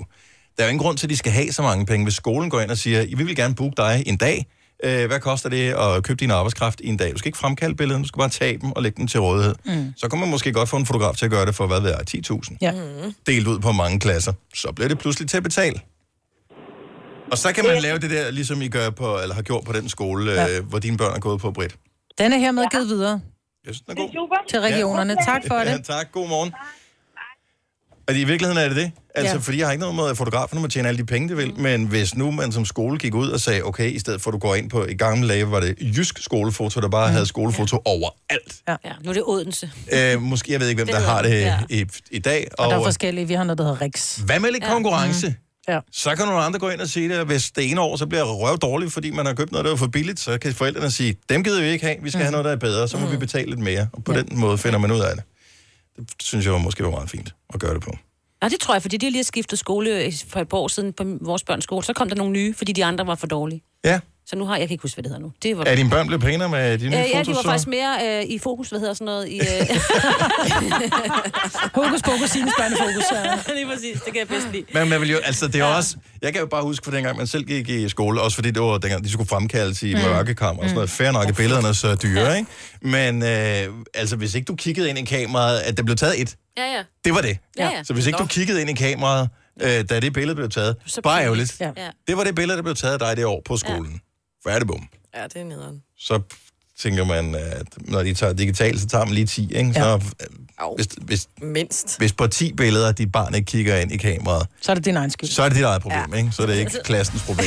Speaker 1: Der er jo ingen grund til, at de skal have så mange penge, hvis skolen går ind og siger, vi vil gerne booke dig en dag, Øh, hvad koster det at købe din arbejdskraft i en dag? Du skal ikke fremkalde billederne, du skal bare tage dem og lægge dem til rådighed.
Speaker 3: Mm.
Speaker 1: Så kan man måske godt få en fotograf til at gøre det for, hvad ved jeg, 10.000.
Speaker 3: Ja.
Speaker 1: Delt ud på mange klasser. Så bliver det pludselig til at betale. Og så kan man lave det der, ligesom I gør på, eller har gjort på den skole, ja.
Speaker 3: Ja.
Speaker 1: øh, hvor dine børn er gået på, Britt.
Speaker 3: Den er hermed givet videre
Speaker 1: Jeg synes, den er
Speaker 3: det
Speaker 1: god.
Speaker 3: er super. til regionerne. Ja. Tak for
Speaker 1: Ja,
Speaker 3: det.
Speaker 1: tak. God morgen. Og i virkeligheden er det det. Altså,
Speaker 3: Ja. Mm.
Speaker 1: ja. fordi jeg har ikke noget mod, at fotograferne må tjene alle de penge, de vil. Men hvis nu man som skole gik ud og sagde, okay, i stedet for at du går ind på, i gamle dage var det jysk skolefoto, der
Speaker 3: Mm.
Speaker 1: bare havde skolefoto overalt.
Speaker 3: Ja.
Speaker 2: ja. Nu er det Odense.
Speaker 1: Øh, måske, jeg ved ikke, hvem
Speaker 2: Det
Speaker 1: der
Speaker 2: ved
Speaker 1: har
Speaker 2: jeg. Ja.
Speaker 1: det i, i dag.
Speaker 3: Og, der er forskellige. Vi har noget, der hedder Riks.
Speaker 1: Hvad med lidt
Speaker 3: Ja.
Speaker 1: konkurrence?
Speaker 3: Mhm. Ja.
Speaker 1: Så kan nogle andre gå ind og sige det, at hvis det ene år, så bliver røv dårligt, fordi man har købt noget, der er for billigt, så kan forældrene sige, dem gider vi ikke have, vi skal have noget, der er bedre, så må vi betale lidt mere. Og på den måde finder man ud af det. Det synes jeg var måske var meget fint at gøre det på.
Speaker 2: Ja, det tror jeg, fordi de lige har skiftet skole øh, for et par år siden på vores børns skole. Så kom der nogle nye, fordi de andre var for dårlige.
Speaker 1: Ja.
Speaker 2: Så nu har jeg kan ikke huske, hvad det hedder nu. Det var...
Speaker 1: Er dine børn blevet pænere med de nye
Speaker 2: Øh, ja,
Speaker 1: fotos?
Speaker 2: de var
Speaker 1: så?
Speaker 2: faktisk mere øh, i fokus, hvad hedder sådan noget, i... Øh...
Speaker 3: Hokus pokus, sines børnefokus.
Speaker 2: Ja. Lige præcis, det kan jeg bedst lide.
Speaker 1: Men man vil jo, altså det er jo også, jeg kan jo bare huske fra dengang, man selv gik i skole, også fordi det var dengang, de skulle fremkaldes i
Speaker 5: Mm.
Speaker 1: mm. mørkekammer og sådan noget. Fair nok, at billederne er så dyre, ikke? Men øh, altså, hvis ikke du kiggede ind i kameraet, at der blev taget et,
Speaker 2: Ja, ja.
Speaker 1: det var det.
Speaker 2: Ja, ja.
Speaker 1: Så hvis ikke du
Speaker 2: Nå.
Speaker 1: kiggede ind i kameraet, øh, da det billede blev taget,
Speaker 2: Så
Speaker 1: bare
Speaker 2: pinligt.
Speaker 1: ærgerligt.
Speaker 2: Ja. Ja.
Speaker 1: Det var det billede, der blev taget af dig det år på skolen. Ja. Færdigbom.
Speaker 4: Ja, det er nederen.
Speaker 1: Så tænker man, at når de tager digitalt, så tager man lige 10, ikke? Så,
Speaker 4: Ja.
Speaker 1: øh, hvis, hvis,
Speaker 4: Mindst.
Speaker 1: hvis på 10 billeder, dit barn ikke kigger ind i kameraet,
Speaker 3: Så er det din egen skyld.
Speaker 1: så er det dit eget problem, ja. ikke? Så er det ikke klassens problem.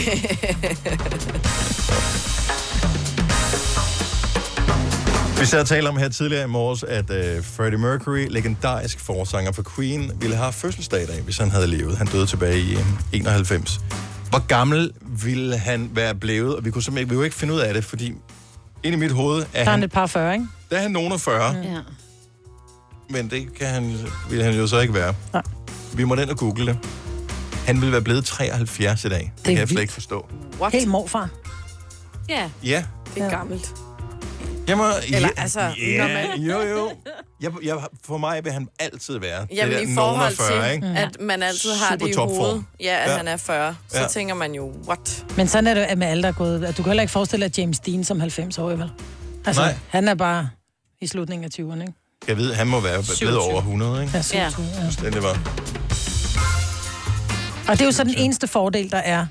Speaker 1: Vi sad og talte om her tidligere i morges, at øh, Freddie Mercury, legendarisk forsanger for Queen, ville have haft fødselsdag i dag, hvis han havde levet. Han døde tilbage i øh, 91. Hvor gammel ville han være blevet? Og vi kunne simpelthen vi kunne ikke finde ud af det, fordi ind i mit hoved er
Speaker 3: Der er han
Speaker 1: han,
Speaker 3: et par 40, ikke?
Speaker 1: der er han nogen af 40,
Speaker 3: Ja.
Speaker 1: men det kan han, vil han jo så ikke være. Nej. Vi må den og google det. Han ville være blevet 73 i dag. Det,
Speaker 3: er
Speaker 1: det kan jeg slet
Speaker 3: vildt.
Speaker 1: ikke forstå.
Speaker 4: What?
Speaker 3: Helt morfar.
Speaker 2: Ja.
Speaker 1: Ja,
Speaker 4: Det er gammelt.
Speaker 1: Jeg må,
Speaker 4: Eller
Speaker 1: ja,
Speaker 4: altså, når
Speaker 1: ja,
Speaker 4: man-
Speaker 1: jo, jo. Jeg, jeg, for mig vil han altid være
Speaker 4: Jamen
Speaker 1: det der
Speaker 4: i
Speaker 1: nogen af
Speaker 4: forhold
Speaker 1: 40,
Speaker 4: til,
Speaker 1: ikke?
Speaker 4: at man altid har
Speaker 1: Super
Speaker 4: det i
Speaker 1: topform.
Speaker 4: hovedet. Ja, at
Speaker 1: Ja.
Speaker 4: ja. han er 40. Så
Speaker 1: Ja.
Speaker 4: ja. tænker man jo, what?
Speaker 3: Men sådan er det med alle, der er gået. Du kan heller ikke forestille dig at James Dean som 90 år, vel? Altså,
Speaker 1: Nej.
Speaker 3: Nej. han er bare i slutningen af 20'erne, ikke?
Speaker 1: Jeg ved, han må være blevet
Speaker 3: 27.
Speaker 1: over 100, ikke?
Speaker 3: Ja, 27, ja.
Speaker 1: Det var.
Speaker 3: Og det er jo så den eneste fordel, der er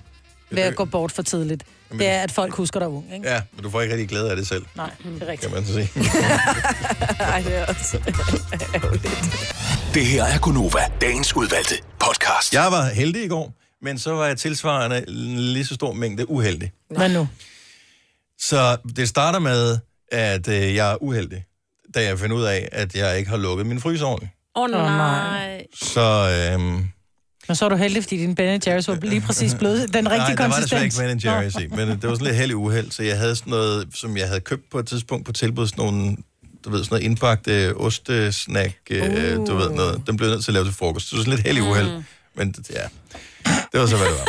Speaker 3: ved at
Speaker 1: det-
Speaker 3: gå bort for tidligt. Det er, at folk husker dig ung, ikke?
Speaker 1: Ja, men du får ikke rigtig glæde af det selv,
Speaker 3: Nej, det er rigtigt.
Speaker 1: kan man så sige.
Speaker 4: Ej, det er også
Speaker 1: Det her er Gunova, dagens udvalgte podcast. Jeg var heldig i går, men så var jeg tilsvarende en lige så stor mængde uheldig.
Speaker 3: Hvad nu?
Speaker 1: Så det starter med, at øh, jeg er uheldig, da jeg finder ud af, at jeg ikke har lukket min fryser ordentligt.
Speaker 2: Åh oh, nej.
Speaker 1: Så øhm,
Speaker 3: Men så er du heldig, fordi din Ben Jerry's var lige præcis blevet den rigtige
Speaker 1: Nej, der var
Speaker 3: konsistens.
Speaker 1: desværre ikke Ben Jerry's i, men øh, det var sådan lidt heldig uheld, så jeg havde sådan noget, som jeg havde købt på et tidspunkt på tilbud, sådan nogle, du ved, sådan noget indbagt øh, ostesnack, øh, uh. du ved noget, den blev jeg nødt til at lave til frokost. Så det var sådan lidt heldig uheld, mm. men det- ja, det var så, hvad det var.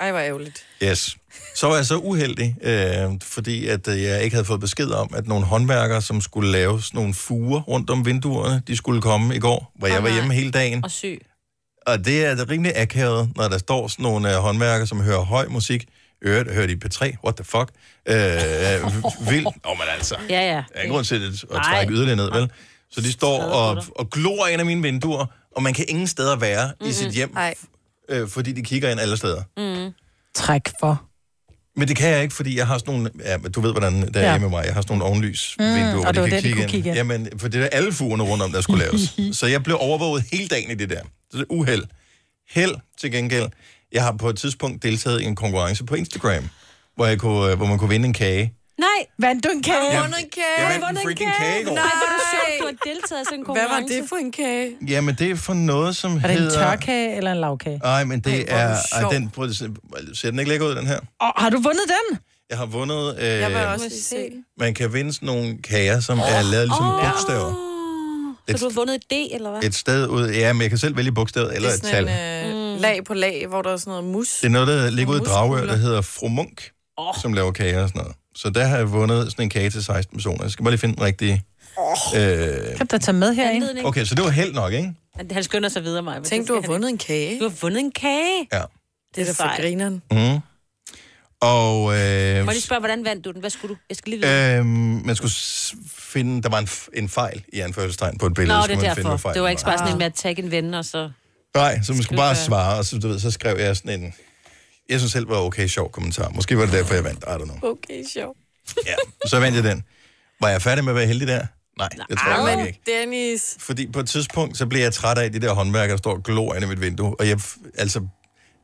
Speaker 4: Ej, hvor ærgerligt.
Speaker 1: Yes. Så var jeg så uheldig, øh, fordi at øh, jeg ikke havde fået besked om, at nogle håndværkere, som skulle lave sådan nogle fuger rundt om vinduerne, de skulle komme i går, hvor jeg var hjemme hele dagen.
Speaker 2: Og syg.
Speaker 1: Og det er det rimelig akavet, når der står sådan nogle øh, håndværkere, som hører høj musik. Øret, hører de P3? What the fuck? Øh, vildt. Åh, oh, men altså.
Speaker 2: Ja, ja.
Speaker 1: Der er ingen grund til at, at
Speaker 2: Nej.
Speaker 1: trække yderligere ned, vel? Så de står og, og glor ind af mine vinduer, og man kan ingen steder være mm-hmm. i sit hjem, øh, fordi de kigger ind alle steder.
Speaker 2: Mm.
Speaker 3: Træk for.
Speaker 1: Men det kan jeg ikke, fordi jeg har sådan nogle... Ja, men du ved, hvordan det er
Speaker 3: Ja.
Speaker 1: ja. med mig. Jeg har sådan nogle ovenlys
Speaker 3: Mm,
Speaker 1: vinduer,
Speaker 3: og
Speaker 1: hvor
Speaker 3: det var
Speaker 1: de kan
Speaker 3: det, de
Speaker 1: kigge
Speaker 3: kunne
Speaker 1: ind.
Speaker 3: kigge ind.
Speaker 1: Jamen, for det er alle fugerne rundt om, der skulle laves. så jeg blev overvåget hele dagen i det der. Så det er uheld. Held til gengæld. Jeg har på et tidspunkt deltaget i en konkurrence på Instagram, hvor, jeg kunne, øh, hvor man kunne vinde en kage.
Speaker 2: Nej,
Speaker 3: vandt du en kage?
Speaker 1: Jeg vundet en kage. Jeg vandt en freaking kage i går.
Speaker 2: Nej, hvor er det sjovt, du har deltaget i sådan en
Speaker 4: Hvad
Speaker 2: konkurrence.
Speaker 4: var det for en kage?
Speaker 1: Jamen, det er for noget, som
Speaker 3: Er det
Speaker 1: hedder...
Speaker 3: en tørkage eller en lavkage?
Speaker 1: Nej, men det
Speaker 3: Ej, hvor er
Speaker 1: er...
Speaker 3: den sjov.
Speaker 1: Ej, den, prøv, at se- ser den ikke lækker ud, den her?
Speaker 3: Og har du vundet den?
Speaker 1: Jeg har vundet... Øh,
Speaker 4: Jeg vil også lige se.
Speaker 1: Man kan vinde sådan nogle kager, som oh. er lavet ligesom oh. bogstaver.
Speaker 2: Så du har vundet et D, eller hvad?
Speaker 1: et sted ud. Ja, men jeg kan selv vælge bogstavet eller
Speaker 4: det er
Speaker 1: et tal.
Speaker 4: sådan
Speaker 3: Mm.
Speaker 4: en, øh, lag på lag, hvor der er sådan noget mus.
Speaker 1: Det er noget, der ligger ude i
Speaker 4: Nogle
Speaker 1: Dragør,
Speaker 4: muskugler.
Speaker 1: der hedder Fru Munk,
Speaker 4: Åh.
Speaker 1: oh. som laver kager og sådan noget. Så der har jeg vundet sådan en kage til 16 personer. Jeg skal bare lige finde den rigtige. Oh. Øh...
Speaker 3: Kan du da tage med herind?
Speaker 1: Okay, så det var held nok, ikke?
Speaker 2: Han- Han skynder sig videre mig.
Speaker 4: Tænk, du har vundet en kage.
Speaker 2: Du har vundet en kage.
Speaker 1: Ja.
Speaker 2: Det er da for
Speaker 4: grineren.
Speaker 1: Mm. Og øh,
Speaker 2: Må jeg lige spørge, hvordan vandt du den? Hvad skulle du? Jeg skal lige vide.
Speaker 1: øh, man skulle s- finde, der var en, f- en fejl i anførselstegn på et billede.
Speaker 2: Nå,
Speaker 1: så
Speaker 2: det er
Speaker 1: skulle man
Speaker 2: derfor.
Speaker 1: finde, hvad fejlen
Speaker 2: Det var ikke bare sådan en
Speaker 3: Ah.
Speaker 2: med at tagge en ven, og så...
Speaker 1: Nej, så man skulle bare
Speaker 2: Skal vi
Speaker 1: svare, og så, du ved, så skrev jeg sådan en... Jeg synes selv, det var okay sjov kommentar. Måske var det derfor, jeg vandt. I don't know.
Speaker 4: Okay, sjov.
Speaker 1: Så vandt jeg den. Var jeg færdig med at være heldig der? Nej, det tror jeg nok
Speaker 4: men
Speaker 1: ikke.
Speaker 4: Dennis,
Speaker 1: Fordi på et tidspunkt, så blev jeg træt af de der håndværkere, der står og glor ind i mit vindue. Og jeg, f- altså,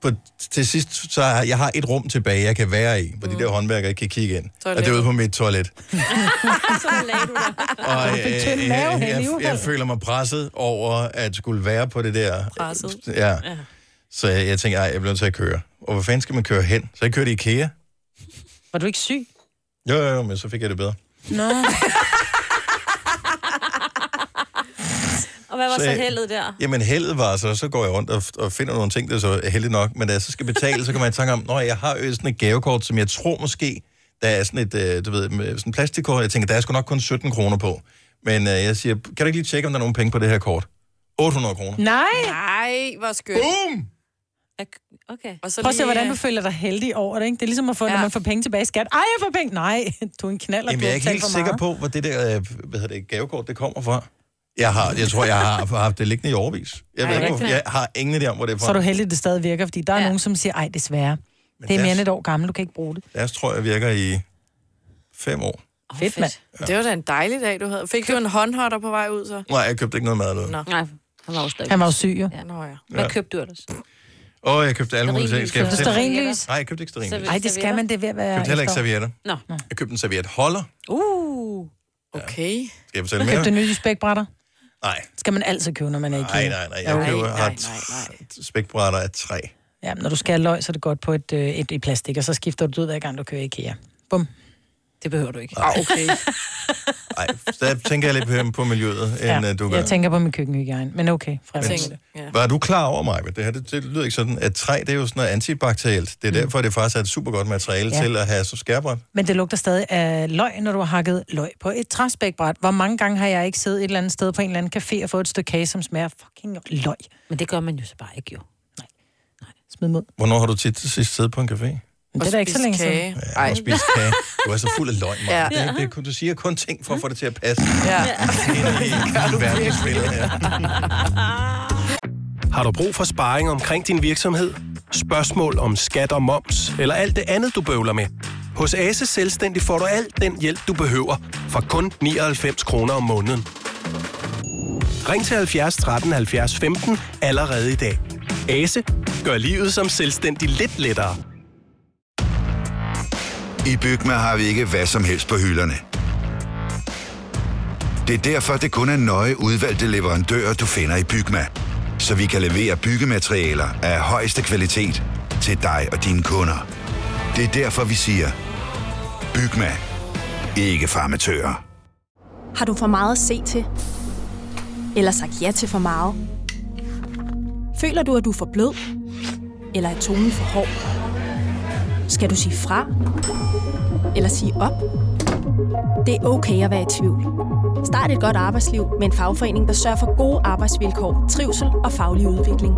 Speaker 1: på, til sidst, så har, jeg har et rum tilbage, jeg kan være i, hvor de der håndværkere ikke kan kigge ind. Og det er ude på mit toilet.
Speaker 2: Sådan lagde du det.
Speaker 1: Og
Speaker 2: Du fik
Speaker 1: øh,
Speaker 2: tynd
Speaker 1: øh,
Speaker 2: mave,
Speaker 1: jeg, jeg,
Speaker 2: Henning.
Speaker 1: jeg føler mig presset over at skulle være på det der.
Speaker 4: Presset.
Speaker 1: Ja. Så jeg, jeg tænkte, ej, jeg bliver nødt til at køre. Og hvor fanden skal man køre hen? Så jeg kørte i IKEA.
Speaker 3: Var du ikke syg?
Speaker 1: Jo, jo, jo, men så fik jeg det bedre.
Speaker 3: Nå.
Speaker 2: Og hvad var så
Speaker 1: Så-
Speaker 2: heldet der?
Speaker 1: Jamen, heldet var så, så går jeg rundt og, og finder nogle ting, der er så heldigt nok. Men da jeg så skal betale, så kommer jeg i tanke om, at jeg har jo sådan et gavekort, som jeg tror måske, der er sådan et, øh, du ved, med sådan en plastikkort. Jeg tænker, der er sgu nok kun 17 kroner på. Men øh, jeg siger, kan du ikke lige tjekke, om der er nogen penge på det her kort? 800 kroner.
Speaker 3: Nej.
Speaker 4: Nej, hvor skønt.
Speaker 1: Boom!
Speaker 2: Okay.
Speaker 4: Og så
Speaker 3: Prøv at se,
Speaker 4: lige,
Speaker 3: hvordan
Speaker 4: øh,
Speaker 3: du føler dig heldig over det, ikke? Det er ligesom at få, ja. når man får penge tilbage i skat. Ej, jeg får penge. Nej, du er en knaller,
Speaker 1: Jamen,
Speaker 3: du
Speaker 1: jeg er
Speaker 3: har
Speaker 1: ikke
Speaker 3: betalt
Speaker 1: helt
Speaker 3: for
Speaker 1: sikker
Speaker 3: meget.
Speaker 1: på, hvor det der øh, hvad hedder det, gavekort, det kommer fra. Jeg, har, jeg tror, jeg har haft det liggende i overvis. Jeg,
Speaker 3: Ej,
Speaker 1: ved ikke,
Speaker 3: rigtigt.
Speaker 1: hvor, jeg har ingen idé om, hvor det er fra.
Speaker 3: Så er du heldig, at det stadig virker, fordi der er ja. nogen, som siger, ej, desværre. Men det er mere
Speaker 1: deres-
Speaker 3: end et år gammel, du kan ikke bruge det.
Speaker 1: Deres tror jeg virker i fem år.
Speaker 3: Oh, fedt, mand.
Speaker 4: Det var da en dejlig dag, du havde. Fik du en håndhotter på vej ud, så?
Speaker 1: Nej, jeg købte ikke noget mad eller
Speaker 4: Nå.
Speaker 1: noget.
Speaker 2: Nej, han var jo stadig.
Speaker 3: Han var jo syg, jo.
Speaker 4: Ja, nå ja.
Speaker 1: Hvad Ja.
Speaker 2: købte du ellers?
Speaker 1: Åh, jeg købte alle mulige ting. Skal jeg
Speaker 3: Stearinlys.
Speaker 1: fortælle-
Speaker 3: Stearinlys.
Speaker 1: Nej, jeg købte ikke sterinlys.
Speaker 3: Ej, det skal man, det er ved at være...
Speaker 1: Jeg købte heller ikke
Speaker 3: efterår.
Speaker 1: servietter.
Speaker 2: Nå.
Speaker 1: Jeg købte en servietholder.
Speaker 2: Uh,
Speaker 4: okay.
Speaker 1: Skal jeg
Speaker 3: Du
Speaker 1: fortælle mere?
Speaker 3: købte nye spækbrætter.
Speaker 1: Nej.
Speaker 3: Skal man altid købe, når man er i
Speaker 1: Nej, nej, nej. Jeg køber, har t- spækbrætter af træ.
Speaker 3: Ja, men når du skal have løg, så er det godt på et, øh, et, et plastik, og så skifter du det ud, hver gang du kører i IKEA. Bum. Det behøver du ikke.
Speaker 1: Ah, okay. Nej, der tænker jeg lidt mere på miljøet, end ja, øh, du gør.
Speaker 3: Jeg tænker på min køkkenhygiejne, men okay. Fred
Speaker 1: Men-
Speaker 3: være med det.
Speaker 1: Var du klar over mig? Det her det, det lyder ikke sådan, at træ det er jo sådan noget antibakterielt. Det er mm. derfor, det faktisk er et super godt materiale
Speaker 3: Ja.
Speaker 1: ja. til at have som skærbræt.
Speaker 3: Men det lugter stadig af løg, når du har hakket løg på et træspækbræt. Hvor mange gange har jeg ikke siddet et eller andet sted på en eller anden café og fået et stykke kage, som smager af fucking løg?
Speaker 2: Men det gør man jo så bare ikke, jo.
Speaker 3: Smid mod.
Speaker 1: Hvornår har du tit sidst siddet på en café?
Speaker 3: Men det er da ikke så længe siden.
Speaker 1: Ja, og spist kage. Du er så fuld af løgn,
Speaker 3: Ja.
Speaker 1: ja. det, er ikke- det, er- Du siger kun ting for at få det til at passe.
Speaker 4: Ja.
Speaker 15: Har du brug for sparring omkring din virksomhed? Spørgsmål om skat og moms, eller alt det andet, du bøvler med? Hos Ase Selvstændig får du alt den hjælp, du behøver, for kun 99 kroner om måneden. Ring til 70 13 70 15 allerede i dag. Ase gør livet som selvstændig lidt lettere.
Speaker 16: I Bygma har vi ikke hvad som helst på hylderne. Det er derfor, det kun er nøje udvalgte leverandører, du finder i Bygma. Så vi kan levere byggematerialer af højeste kvalitet til dig og dine kunder. Det er derfor, vi siger, Bygma. Ikke farmatører.
Speaker 17: Har du for meget at se til? Eller sagt ja til for meget? Føler du, at du er for blød? Eller er tonen for hård? Skal du sige fra? Eller sige op? Det er okay at være i tvivl. Start et godt arbejdsliv med en fagforening, der sørger for gode arbejdsvilkår, trivsel og faglig udvikling.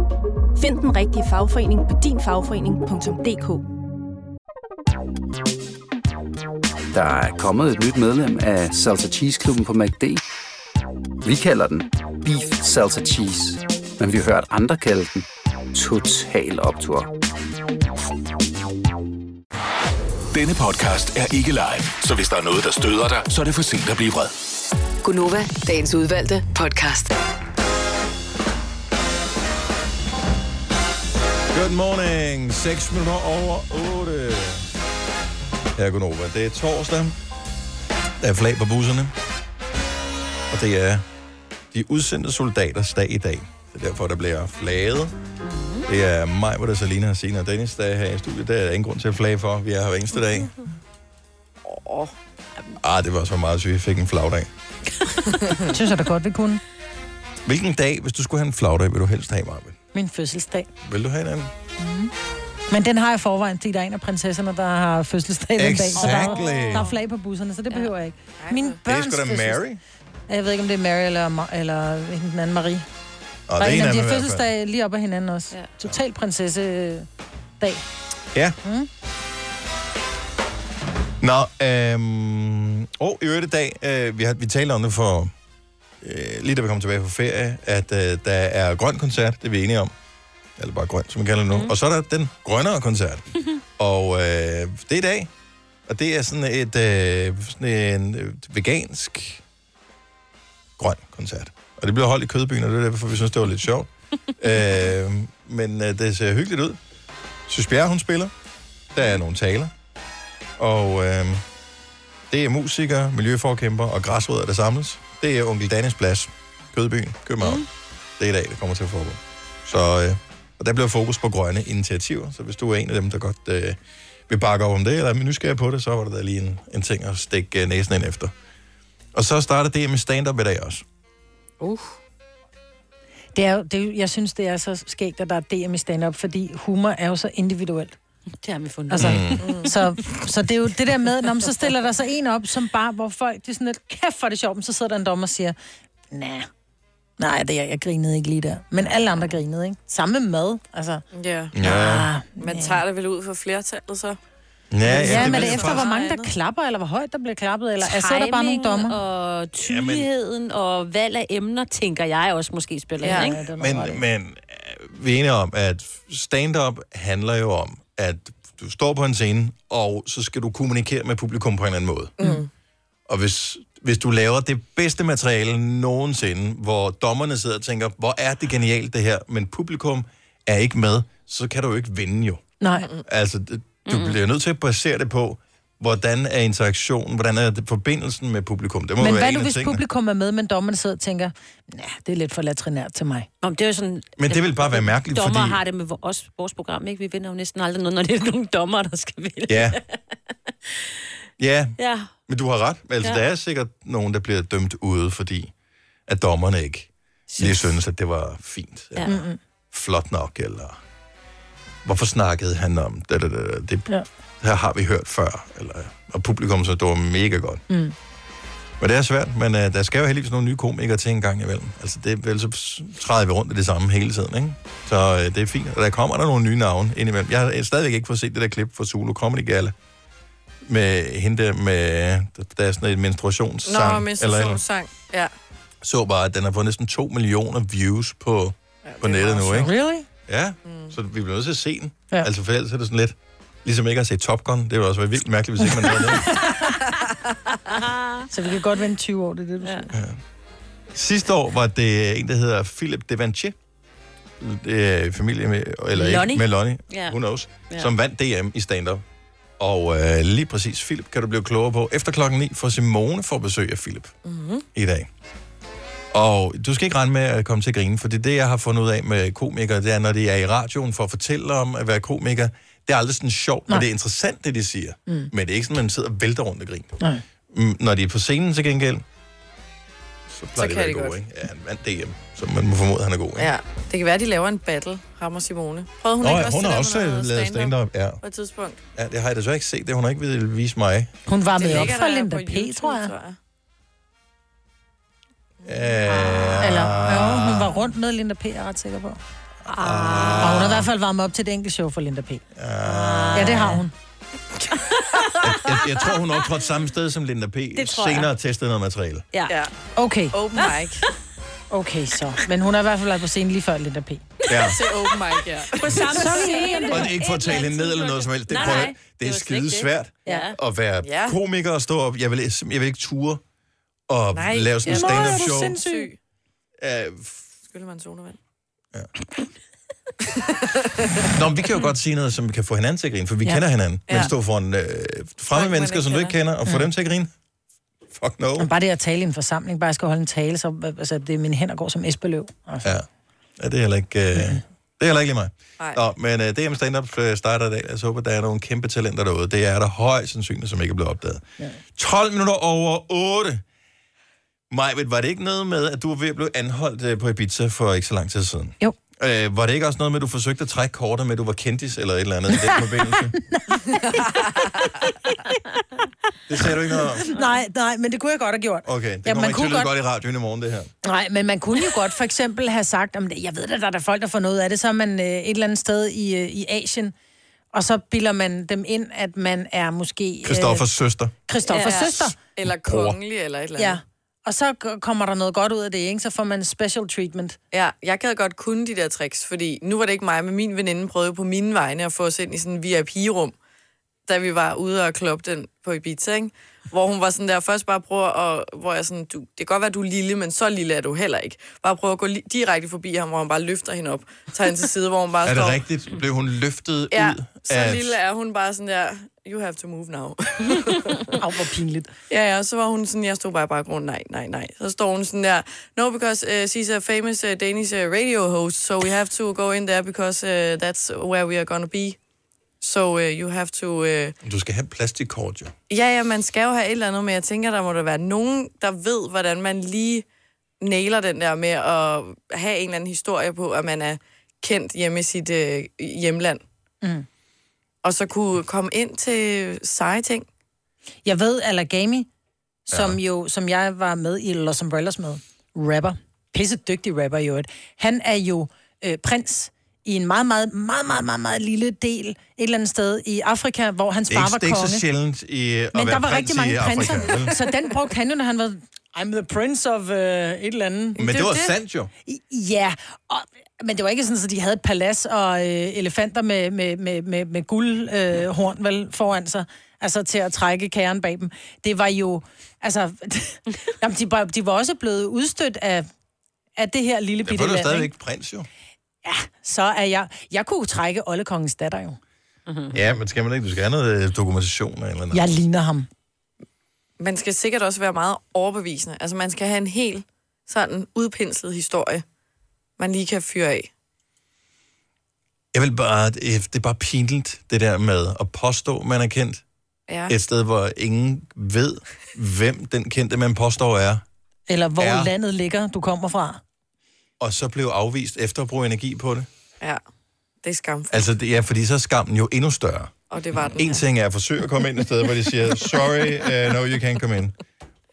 Speaker 17: Find den rigtige fagforening på dinfagforening.dk.
Speaker 18: Der er kommet et nyt medlem af Salsa Cheese Klubben på MACD. Vi kalder den Beef Salsa Cheese, men vi har hørt andre kalde den Total Optor.
Speaker 5: Denne podcast er ikke live, så hvis der er noget, der støder dig, så er det for sent at blive vred.
Speaker 19: Gunova, dagens udvalgte podcast.
Speaker 1: Good morning. 6 minutter over 8. Her er over. Det er torsdag. Der er flag på busserne. Og det er de udsendte soldaters dag i dag. Det er derfor, der bliver flaget. Det er mig, hvor der er Salina, Sina og Dennis, der er her i studiet. Der er der ingen grund til at flage for. Vi er her hver eneste dag. Åh, ah, det var så meget, så vi fik en flagdag.
Speaker 3: Jeg synes, at det godt, vi kunne.
Speaker 1: Hvilken dag, hvis du skulle have en flagdag, vil du helst have, Marvin?
Speaker 3: Min fødselsdag.
Speaker 1: Vil du have en anden?
Speaker 3: Men den har jeg i forvejen, fordi der er en af prinsesserne, der har fødselsdag den dag. Så der, er-
Speaker 1: Exactly.
Speaker 3: der er flag på busserne, så det behøver jeg ikke. Min
Speaker 1: Det er
Speaker 3: børns
Speaker 1: sgu da
Speaker 3: fødselsdag-
Speaker 1: Mary.
Speaker 3: Jeg ved ikke, om det er Mary eller, Ma- eller hende den anden Marie.
Speaker 1: Nå, det
Speaker 3: der
Speaker 1: er
Speaker 3: er en
Speaker 1: en af
Speaker 3: af de
Speaker 1: dem i
Speaker 3: har
Speaker 1: hvert fald.
Speaker 3: fødselsdag lige op ad hinanden også. Ja. Total prinsesse øh, dag.
Speaker 1: Ja.
Speaker 3: Mm.
Speaker 1: Nå, øhm, og i øvrigt i dag, øh, vi, har, vi talte om det for, øh, lige da vi kom tilbage fra ferie, at øh, der er grøn koncert, det er vi enige om. Eller bare grøn, som vi kalder det nu. Mm. Og så er der den grønnere koncert. og øh, det er i dag, og det er sådan et øh, sådan en øh, vegansk grøn koncert. Og det bliver holdt i Kødbyen, og det er derfor, vi synes, det var lidt sjovt. øh, men øh, det ser hyggeligt ud. Søs Bjerre, hun spiller. Der er nogle taler. Og øh, det er musikere, miljøforkæmper og græsrødder, der samles. Det er Onkel Dannes Plads, Kødbyen, København. Mm. Det er i dag, det kommer til at foregå. Så øh, og der bliver fokus på grønne initiativer. Så hvis du er en af dem, der godt øh, vil bakke op om det, eller er nysgerrig på det, så var der da lige en, en ting at stikke øh, næsen ind efter. Og så starter det med stand-up i dag også.
Speaker 3: Uh. Det er jo, det er, jo- jeg synes, det er så skægt, at der er DM i stand-up, fordi humor er jo så individuelt.
Speaker 2: Det har vi fundet.
Speaker 3: Altså,
Speaker 2: Mm.
Speaker 3: mm. så, så det er jo det der med, når så stiller der så en op, som bare, hvor folk, de er sådan lidt, kæft for det er sjovt, men så sidder der en dommer og siger, nej, nej, det er, jeg grinede ikke lige der. Men alle andre grinede, ikke? Samme med mad, altså.
Speaker 4: Ja.
Speaker 1: Ja. Ah,
Speaker 4: Man tager det vel ud for flertallet, så?
Speaker 1: Ja, ja,
Speaker 3: Ja, men
Speaker 1: ved
Speaker 3: det
Speaker 1: jeg
Speaker 3: er efter,
Speaker 1: faktisk.
Speaker 3: hvor mange der klapper, eller hvor højt der bliver klappet, eller altså, er der bare nogle
Speaker 2: Timing
Speaker 3: dommer?
Speaker 2: og tydeligheden Jamen. og valg af emner, tænker jeg også måske spiller
Speaker 3: Ja,
Speaker 2: ja, ind,
Speaker 3: ja,
Speaker 2: ikke?
Speaker 1: Men, men øh, vi er enige om, at stand-up handler jo om, at du står på en scene, og så skal du kommunikere med publikum på en eller anden måde.
Speaker 6: Mm.
Speaker 1: Og hvis, hvis du laver det bedste materiale nogensinde, hvor dommerne sidder og tænker, hvor er det genialt det her, men publikum er ikke med, så kan du jo ikke vinde jo.
Speaker 3: Nej.
Speaker 1: Altså, det-
Speaker 3: Mm.
Speaker 1: du bliver nødt til at basere det på, hvordan er interaktionen, hvordan er det, forbindelsen med publikum. Det må
Speaker 3: Men
Speaker 1: være
Speaker 3: hvad
Speaker 1: en
Speaker 3: nu,
Speaker 1: af
Speaker 3: hvis
Speaker 1: tingene.
Speaker 3: publikum er med, men dommerne sidder og tænker, nej, det er lidt for latrinært til mig.
Speaker 2: Om det er jo sådan,
Speaker 1: Men det vil bare være mærkeligt,
Speaker 2: dommer
Speaker 1: fordi...
Speaker 2: har det med vo- os, vores program, ikke? Vi vinder jo næsten aldrig noget, når det er nogle dommer, der skal vælge.
Speaker 1: Ja. Ja,
Speaker 2: ja.
Speaker 1: Men du har ret. Altså,
Speaker 2: Ja.
Speaker 1: ja. der er sikkert nogen, der bliver dømt ude, fordi at dommerne ikke lige synes, at det var fint.
Speaker 2: Ja.
Speaker 1: Eller Flot nok, eller... Hvorfor snakkede han om det? Det, det, det
Speaker 3: Ja.
Speaker 1: her har vi hørt før. Eller, og publikum så, det var mega godt.
Speaker 3: Mm.
Speaker 1: Men det er svært, men uh, der skal jo heldigvis nogle nye komikere til en gang imellem. Altså, det, vel, så træder vi rundt i det samme hele tiden, ikke? Så uh, det er fint. Og der kommer der nogle nye navne indimellem. Jeg har stadigvæk ikke fået set det der klip fra Zulu Comedy Gala med hende der med, der er sådan et menstruationssang.
Speaker 4: Nå,
Speaker 1: eller,
Speaker 4: menstruationssang. Ja.
Speaker 1: så bare, at den har fået næsten 2 millioner views på, ja, på nettet nu, ikke?
Speaker 3: Really?
Speaker 1: Ja, mm. så vi bliver nødt til at se den.
Speaker 3: Ja.
Speaker 1: Ja. Altså for ellers er det sådan lidt, ligesom jeg ikke har set Top Gun, det ville også være vildt mærkeligt, hvis ikke man havde det.
Speaker 3: Så vi kan godt vente 20 år, det er det, du siger. Ja.
Speaker 1: Sidste år var det en, der hedder Philip Devanché, det er familie med, eller
Speaker 5: Lonnie.
Speaker 1: ikke, med Lonnie,
Speaker 5: Ja.
Speaker 1: yeah. who knows,
Speaker 5: Ja.
Speaker 1: yeah. som vandt DM i stand-up. Og øh, lige præcis Philip kan du blive klogere på efter klokken 9, for Simone får besøg af Philip.
Speaker 5: Mm-hmm.
Speaker 1: i dag. Og du skal ikke regne med at komme til at grine, for det er det, jeg har fundet ud af med komikere, det er, når de er i radioen for at fortælle om at være komiker, det er aldrig sådan sjovt, men
Speaker 5: Nej.
Speaker 1: det er interessant, det de siger. Mm.
Speaker 5: Mm.
Speaker 1: Men det er ikke sådan, at man sidder og vælter rundt og griner.
Speaker 3: Nej.
Speaker 1: Mm, Når de er på scenen til gengæld, så
Speaker 4: Så
Speaker 1: plejer så
Speaker 4: kan
Speaker 1: de at
Speaker 4: de
Speaker 1: være
Speaker 4: godt.
Speaker 1: gode, ikke? Ja, han vandt DM, så man må formode, at han er god, ikke?
Speaker 4: ja. Det kan være, de laver en battle, ham og Simone. Prøvede hun
Speaker 1: Nå,
Speaker 4: ikke
Speaker 1: ja,
Speaker 4: også
Speaker 1: hun
Speaker 4: det
Speaker 1: har
Speaker 4: der,
Speaker 1: også øh,
Speaker 4: hun havde
Speaker 1: lavet stand-up, ja.
Speaker 4: På et tidspunkt.
Speaker 1: Ja, det har jeg desværre ikke set, det hun har ikke ville vise mig.
Speaker 3: Hun var
Speaker 4: Det
Speaker 3: med op
Speaker 4: ligger
Speaker 3: for
Speaker 4: der
Speaker 3: Linda
Speaker 4: på
Speaker 3: P, tror jeg.
Speaker 1: Æh,
Speaker 3: Eller, jo, hun var rundt med Linda P, er jeg ret sikker på. Ah. Og hun har i hvert fald varmet op til et enkelt show for Linda P. Ah. Ja, det har hun.
Speaker 4: Ah.
Speaker 1: Jeg, jeg tror, hun optrådte samme sted som Linda P.
Speaker 3: Det tror jeg.
Speaker 1: Senere testede noget materiale.
Speaker 2: Ja.
Speaker 3: ja. Okay.
Speaker 4: Open mic.
Speaker 3: Okay, så. Men hun har i hvert fald været på scenen lige før Linda P.
Speaker 1: Ja.
Speaker 4: Til open mic, ja.
Speaker 2: På samme
Speaker 3: Så er vi
Speaker 2: scene.
Speaker 3: enige om
Speaker 1: Og det er ikke for at tale hende ned eller noget som helst. Det,
Speaker 2: Nej,
Speaker 1: prøv,
Speaker 2: nej.
Speaker 1: at- det er
Speaker 2: slet ikke
Speaker 1: skide svært
Speaker 2: Ja.
Speaker 1: at være
Speaker 2: Ja.
Speaker 1: komiker og stå op. Jeg vil, sim- jeg vil ikke ture og lave sådan en stand-up show. Øh,
Speaker 4: Skylder man sodavand.
Speaker 1: Nå, men vi kan jo godt sige noget, som kan få hinanden til at grine, for vi
Speaker 4: Ja.
Speaker 1: ja. kender hinanden. Men
Speaker 4: Ja.
Speaker 1: stå foran øh, fremmede mennesker, som du ikke kender, og få
Speaker 3: Mm.
Speaker 1: dem til at grine? Fuck no.
Speaker 3: Men bare det at tale i en forsamling, bare jeg skal holde en tale, så altså, det er mine hænder går som Esbeløv. Altså.
Speaker 1: Ja. ja, det er heller ikke... Øh, det er heller ikke lige mig.
Speaker 3: Nej.
Speaker 1: Nå, men øh, DM Stand-Up øh, starter i dag. Jeg håber, der er nogle kæmpe talenter derude. Det er der højst sandsynligt, som ikke er blevet opdaget. Ja. 12 minutter over 8. Majved, var det ikke noget med, at du var ved at blive anholdt øh, på Ibiza for ikke så lang tid siden?
Speaker 3: Jo.
Speaker 1: Øh, var det ikke også noget med, at du forsøgte at trække kortet med, at du var kendis eller et eller andet i den forbindelse? det sagde du ikke noget om.
Speaker 3: nej, nej, men det kunne jeg godt have gjort.
Speaker 1: Okay, det
Speaker 3: Ja, man
Speaker 1: ja, kommer ikke til
Speaker 3: kunne
Speaker 1: at lyde
Speaker 3: godt- Øh,
Speaker 1: godt i radioen i morgen, det her.
Speaker 3: Nej, men man kunne jo godt for eksempel have sagt, om det, jeg ved da, der er der folk, der får noget af det, så er man øh, et eller andet sted i, øh, i Asien, Og så bilder man dem ind, at man er måske... øh,
Speaker 1: Christoffers søster.
Speaker 3: Christoffers
Speaker 4: Ja.
Speaker 3: ja. søster.
Speaker 4: Eller
Speaker 1: Bror.
Speaker 4: kongelig, eller et eller andet.
Speaker 3: Ja. Og så g- kommer der noget godt ud af det, ikke? Så får man special treatment.
Speaker 4: Ja, jeg gad godt kunne de der tricks, fordi nu var det ikke mig, men min veninde prøvede på mine vegne at få os ind i sådan en VIP-rum, da vi var ude og kloppe den på Ibiza, ikke? Hvor hun var sådan der, først bare prøver at, hvor jeg sådan, du, det kan godt være, du er lille, men så lille er du heller ikke. Bare prøv at gå li- direkte forbi ham, hvor han bare løfter hende op, tager hende til side, hvor hun bare
Speaker 1: Er det
Speaker 4: står.
Speaker 1: rigtigt? Blev hun løftet
Speaker 4: Ja,
Speaker 1: ud
Speaker 4: så
Speaker 1: af...
Speaker 4: lille er hun bare sådan der, you have to move now.
Speaker 3: Au, hvor pinligt.
Speaker 4: Ja, ja, så var hun sådan, jeg stod bare i baggrunden, nej, nej, nej. Så står hun sådan der, no, because uh, she's a famous uh, Danish uh, radio host, so we have to go in there, because uh, that's where we are gonna be. So uh, you have to... Uh...
Speaker 1: Du skal have plastikkort, jo.
Speaker 4: Ja, ja, man skal jo have et eller andet, men jeg tænker, der må der være nogen, der ved, hvordan man lige nailer den der med at have en eller anden historie på, at man er kendt hjemme i sit øh, hjemland.
Speaker 3: Mm.
Speaker 4: Og så kunne komme ind til seje ting.
Speaker 3: Jeg ved Alagami, som ja. jo, som jeg var med i Los Umbrellas med, rapper, pisse dygtig rapper i øvrigt, han er jo øh, prins i en meget, meget, meget, meget, meget, meget lille del, et eller andet sted i Afrika, hvor hans
Speaker 1: Det
Speaker 3: far
Speaker 1: er
Speaker 3: var
Speaker 1: ikke,
Speaker 3: konge.
Speaker 1: det er ikke så sjældent i at
Speaker 3: Men
Speaker 1: være
Speaker 3: der var
Speaker 1: prins
Speaker 3: rigtig
Speaker 1: i
Speaker 3: mange
Speaker 1: Afrika,
Speaker 3: prinser,
Speaker 1: vel?
Speaker 3: så den brugte han jo, når han var, I'm the prince of uh, et eller andet.
Speaker 1: Men det var sandt jo.
Speaker 3: Ja, og, men det var ikke sådan, at de havde et palads og øh, elefanter med, med, med, med, med guldhorn øh, horn, vel, foran sig, altså til at trække kæren bag dem. Det var jo, altså, jamen, de, var, de var også blevet udstødt af, af det her lille
Speaker 1: Jeg
Speaker 3: bitte
Speaker 1: var jo
Speaker 3: land.
Speaker 1: stadigvæk
Speaker 3: ikke?
Speaker 1: prins, jo.
Speaker 3: Så er jeg, jeg kunne jo trække oldekongens datter jo.
Speaker 1: Ja, men skal man ikke? Du skal have noget øh, dokumentation eller et eller andet.
Speaker 3: Jeg ligner ham.
Speaker 4: man skal sikkert også være meget overbevisende. Altså, man skal have en helt sådan udpenslet historie, man lige kan fyre af.
Speaker 1: Jeg vil bare, det er- det er bare pinligt, det der med at påstå, man er kendt.
Speaker 4: Ja.
Speaker 1: Et sted, hvor ingen ved, hvem den kendte, man påstår er.
Speaker 3: Eller hvor
Speaker 1: Ja.
Speaker 3: ja. landet ligger, du kommer fra.
Speaker 1: Og så blev afvist efter at bruge energi på det.
Speaker 4: Ja, det er skamfuldt.
Speaker 1: Altså, det, ja, fordi så er skammen jo endnu større.
Speaker 4: Og det var den.
Speaker 1: Altså, En ting er at forsøge at komme ind et sted, hvor de siger, sorry, uh, no, you can't come in.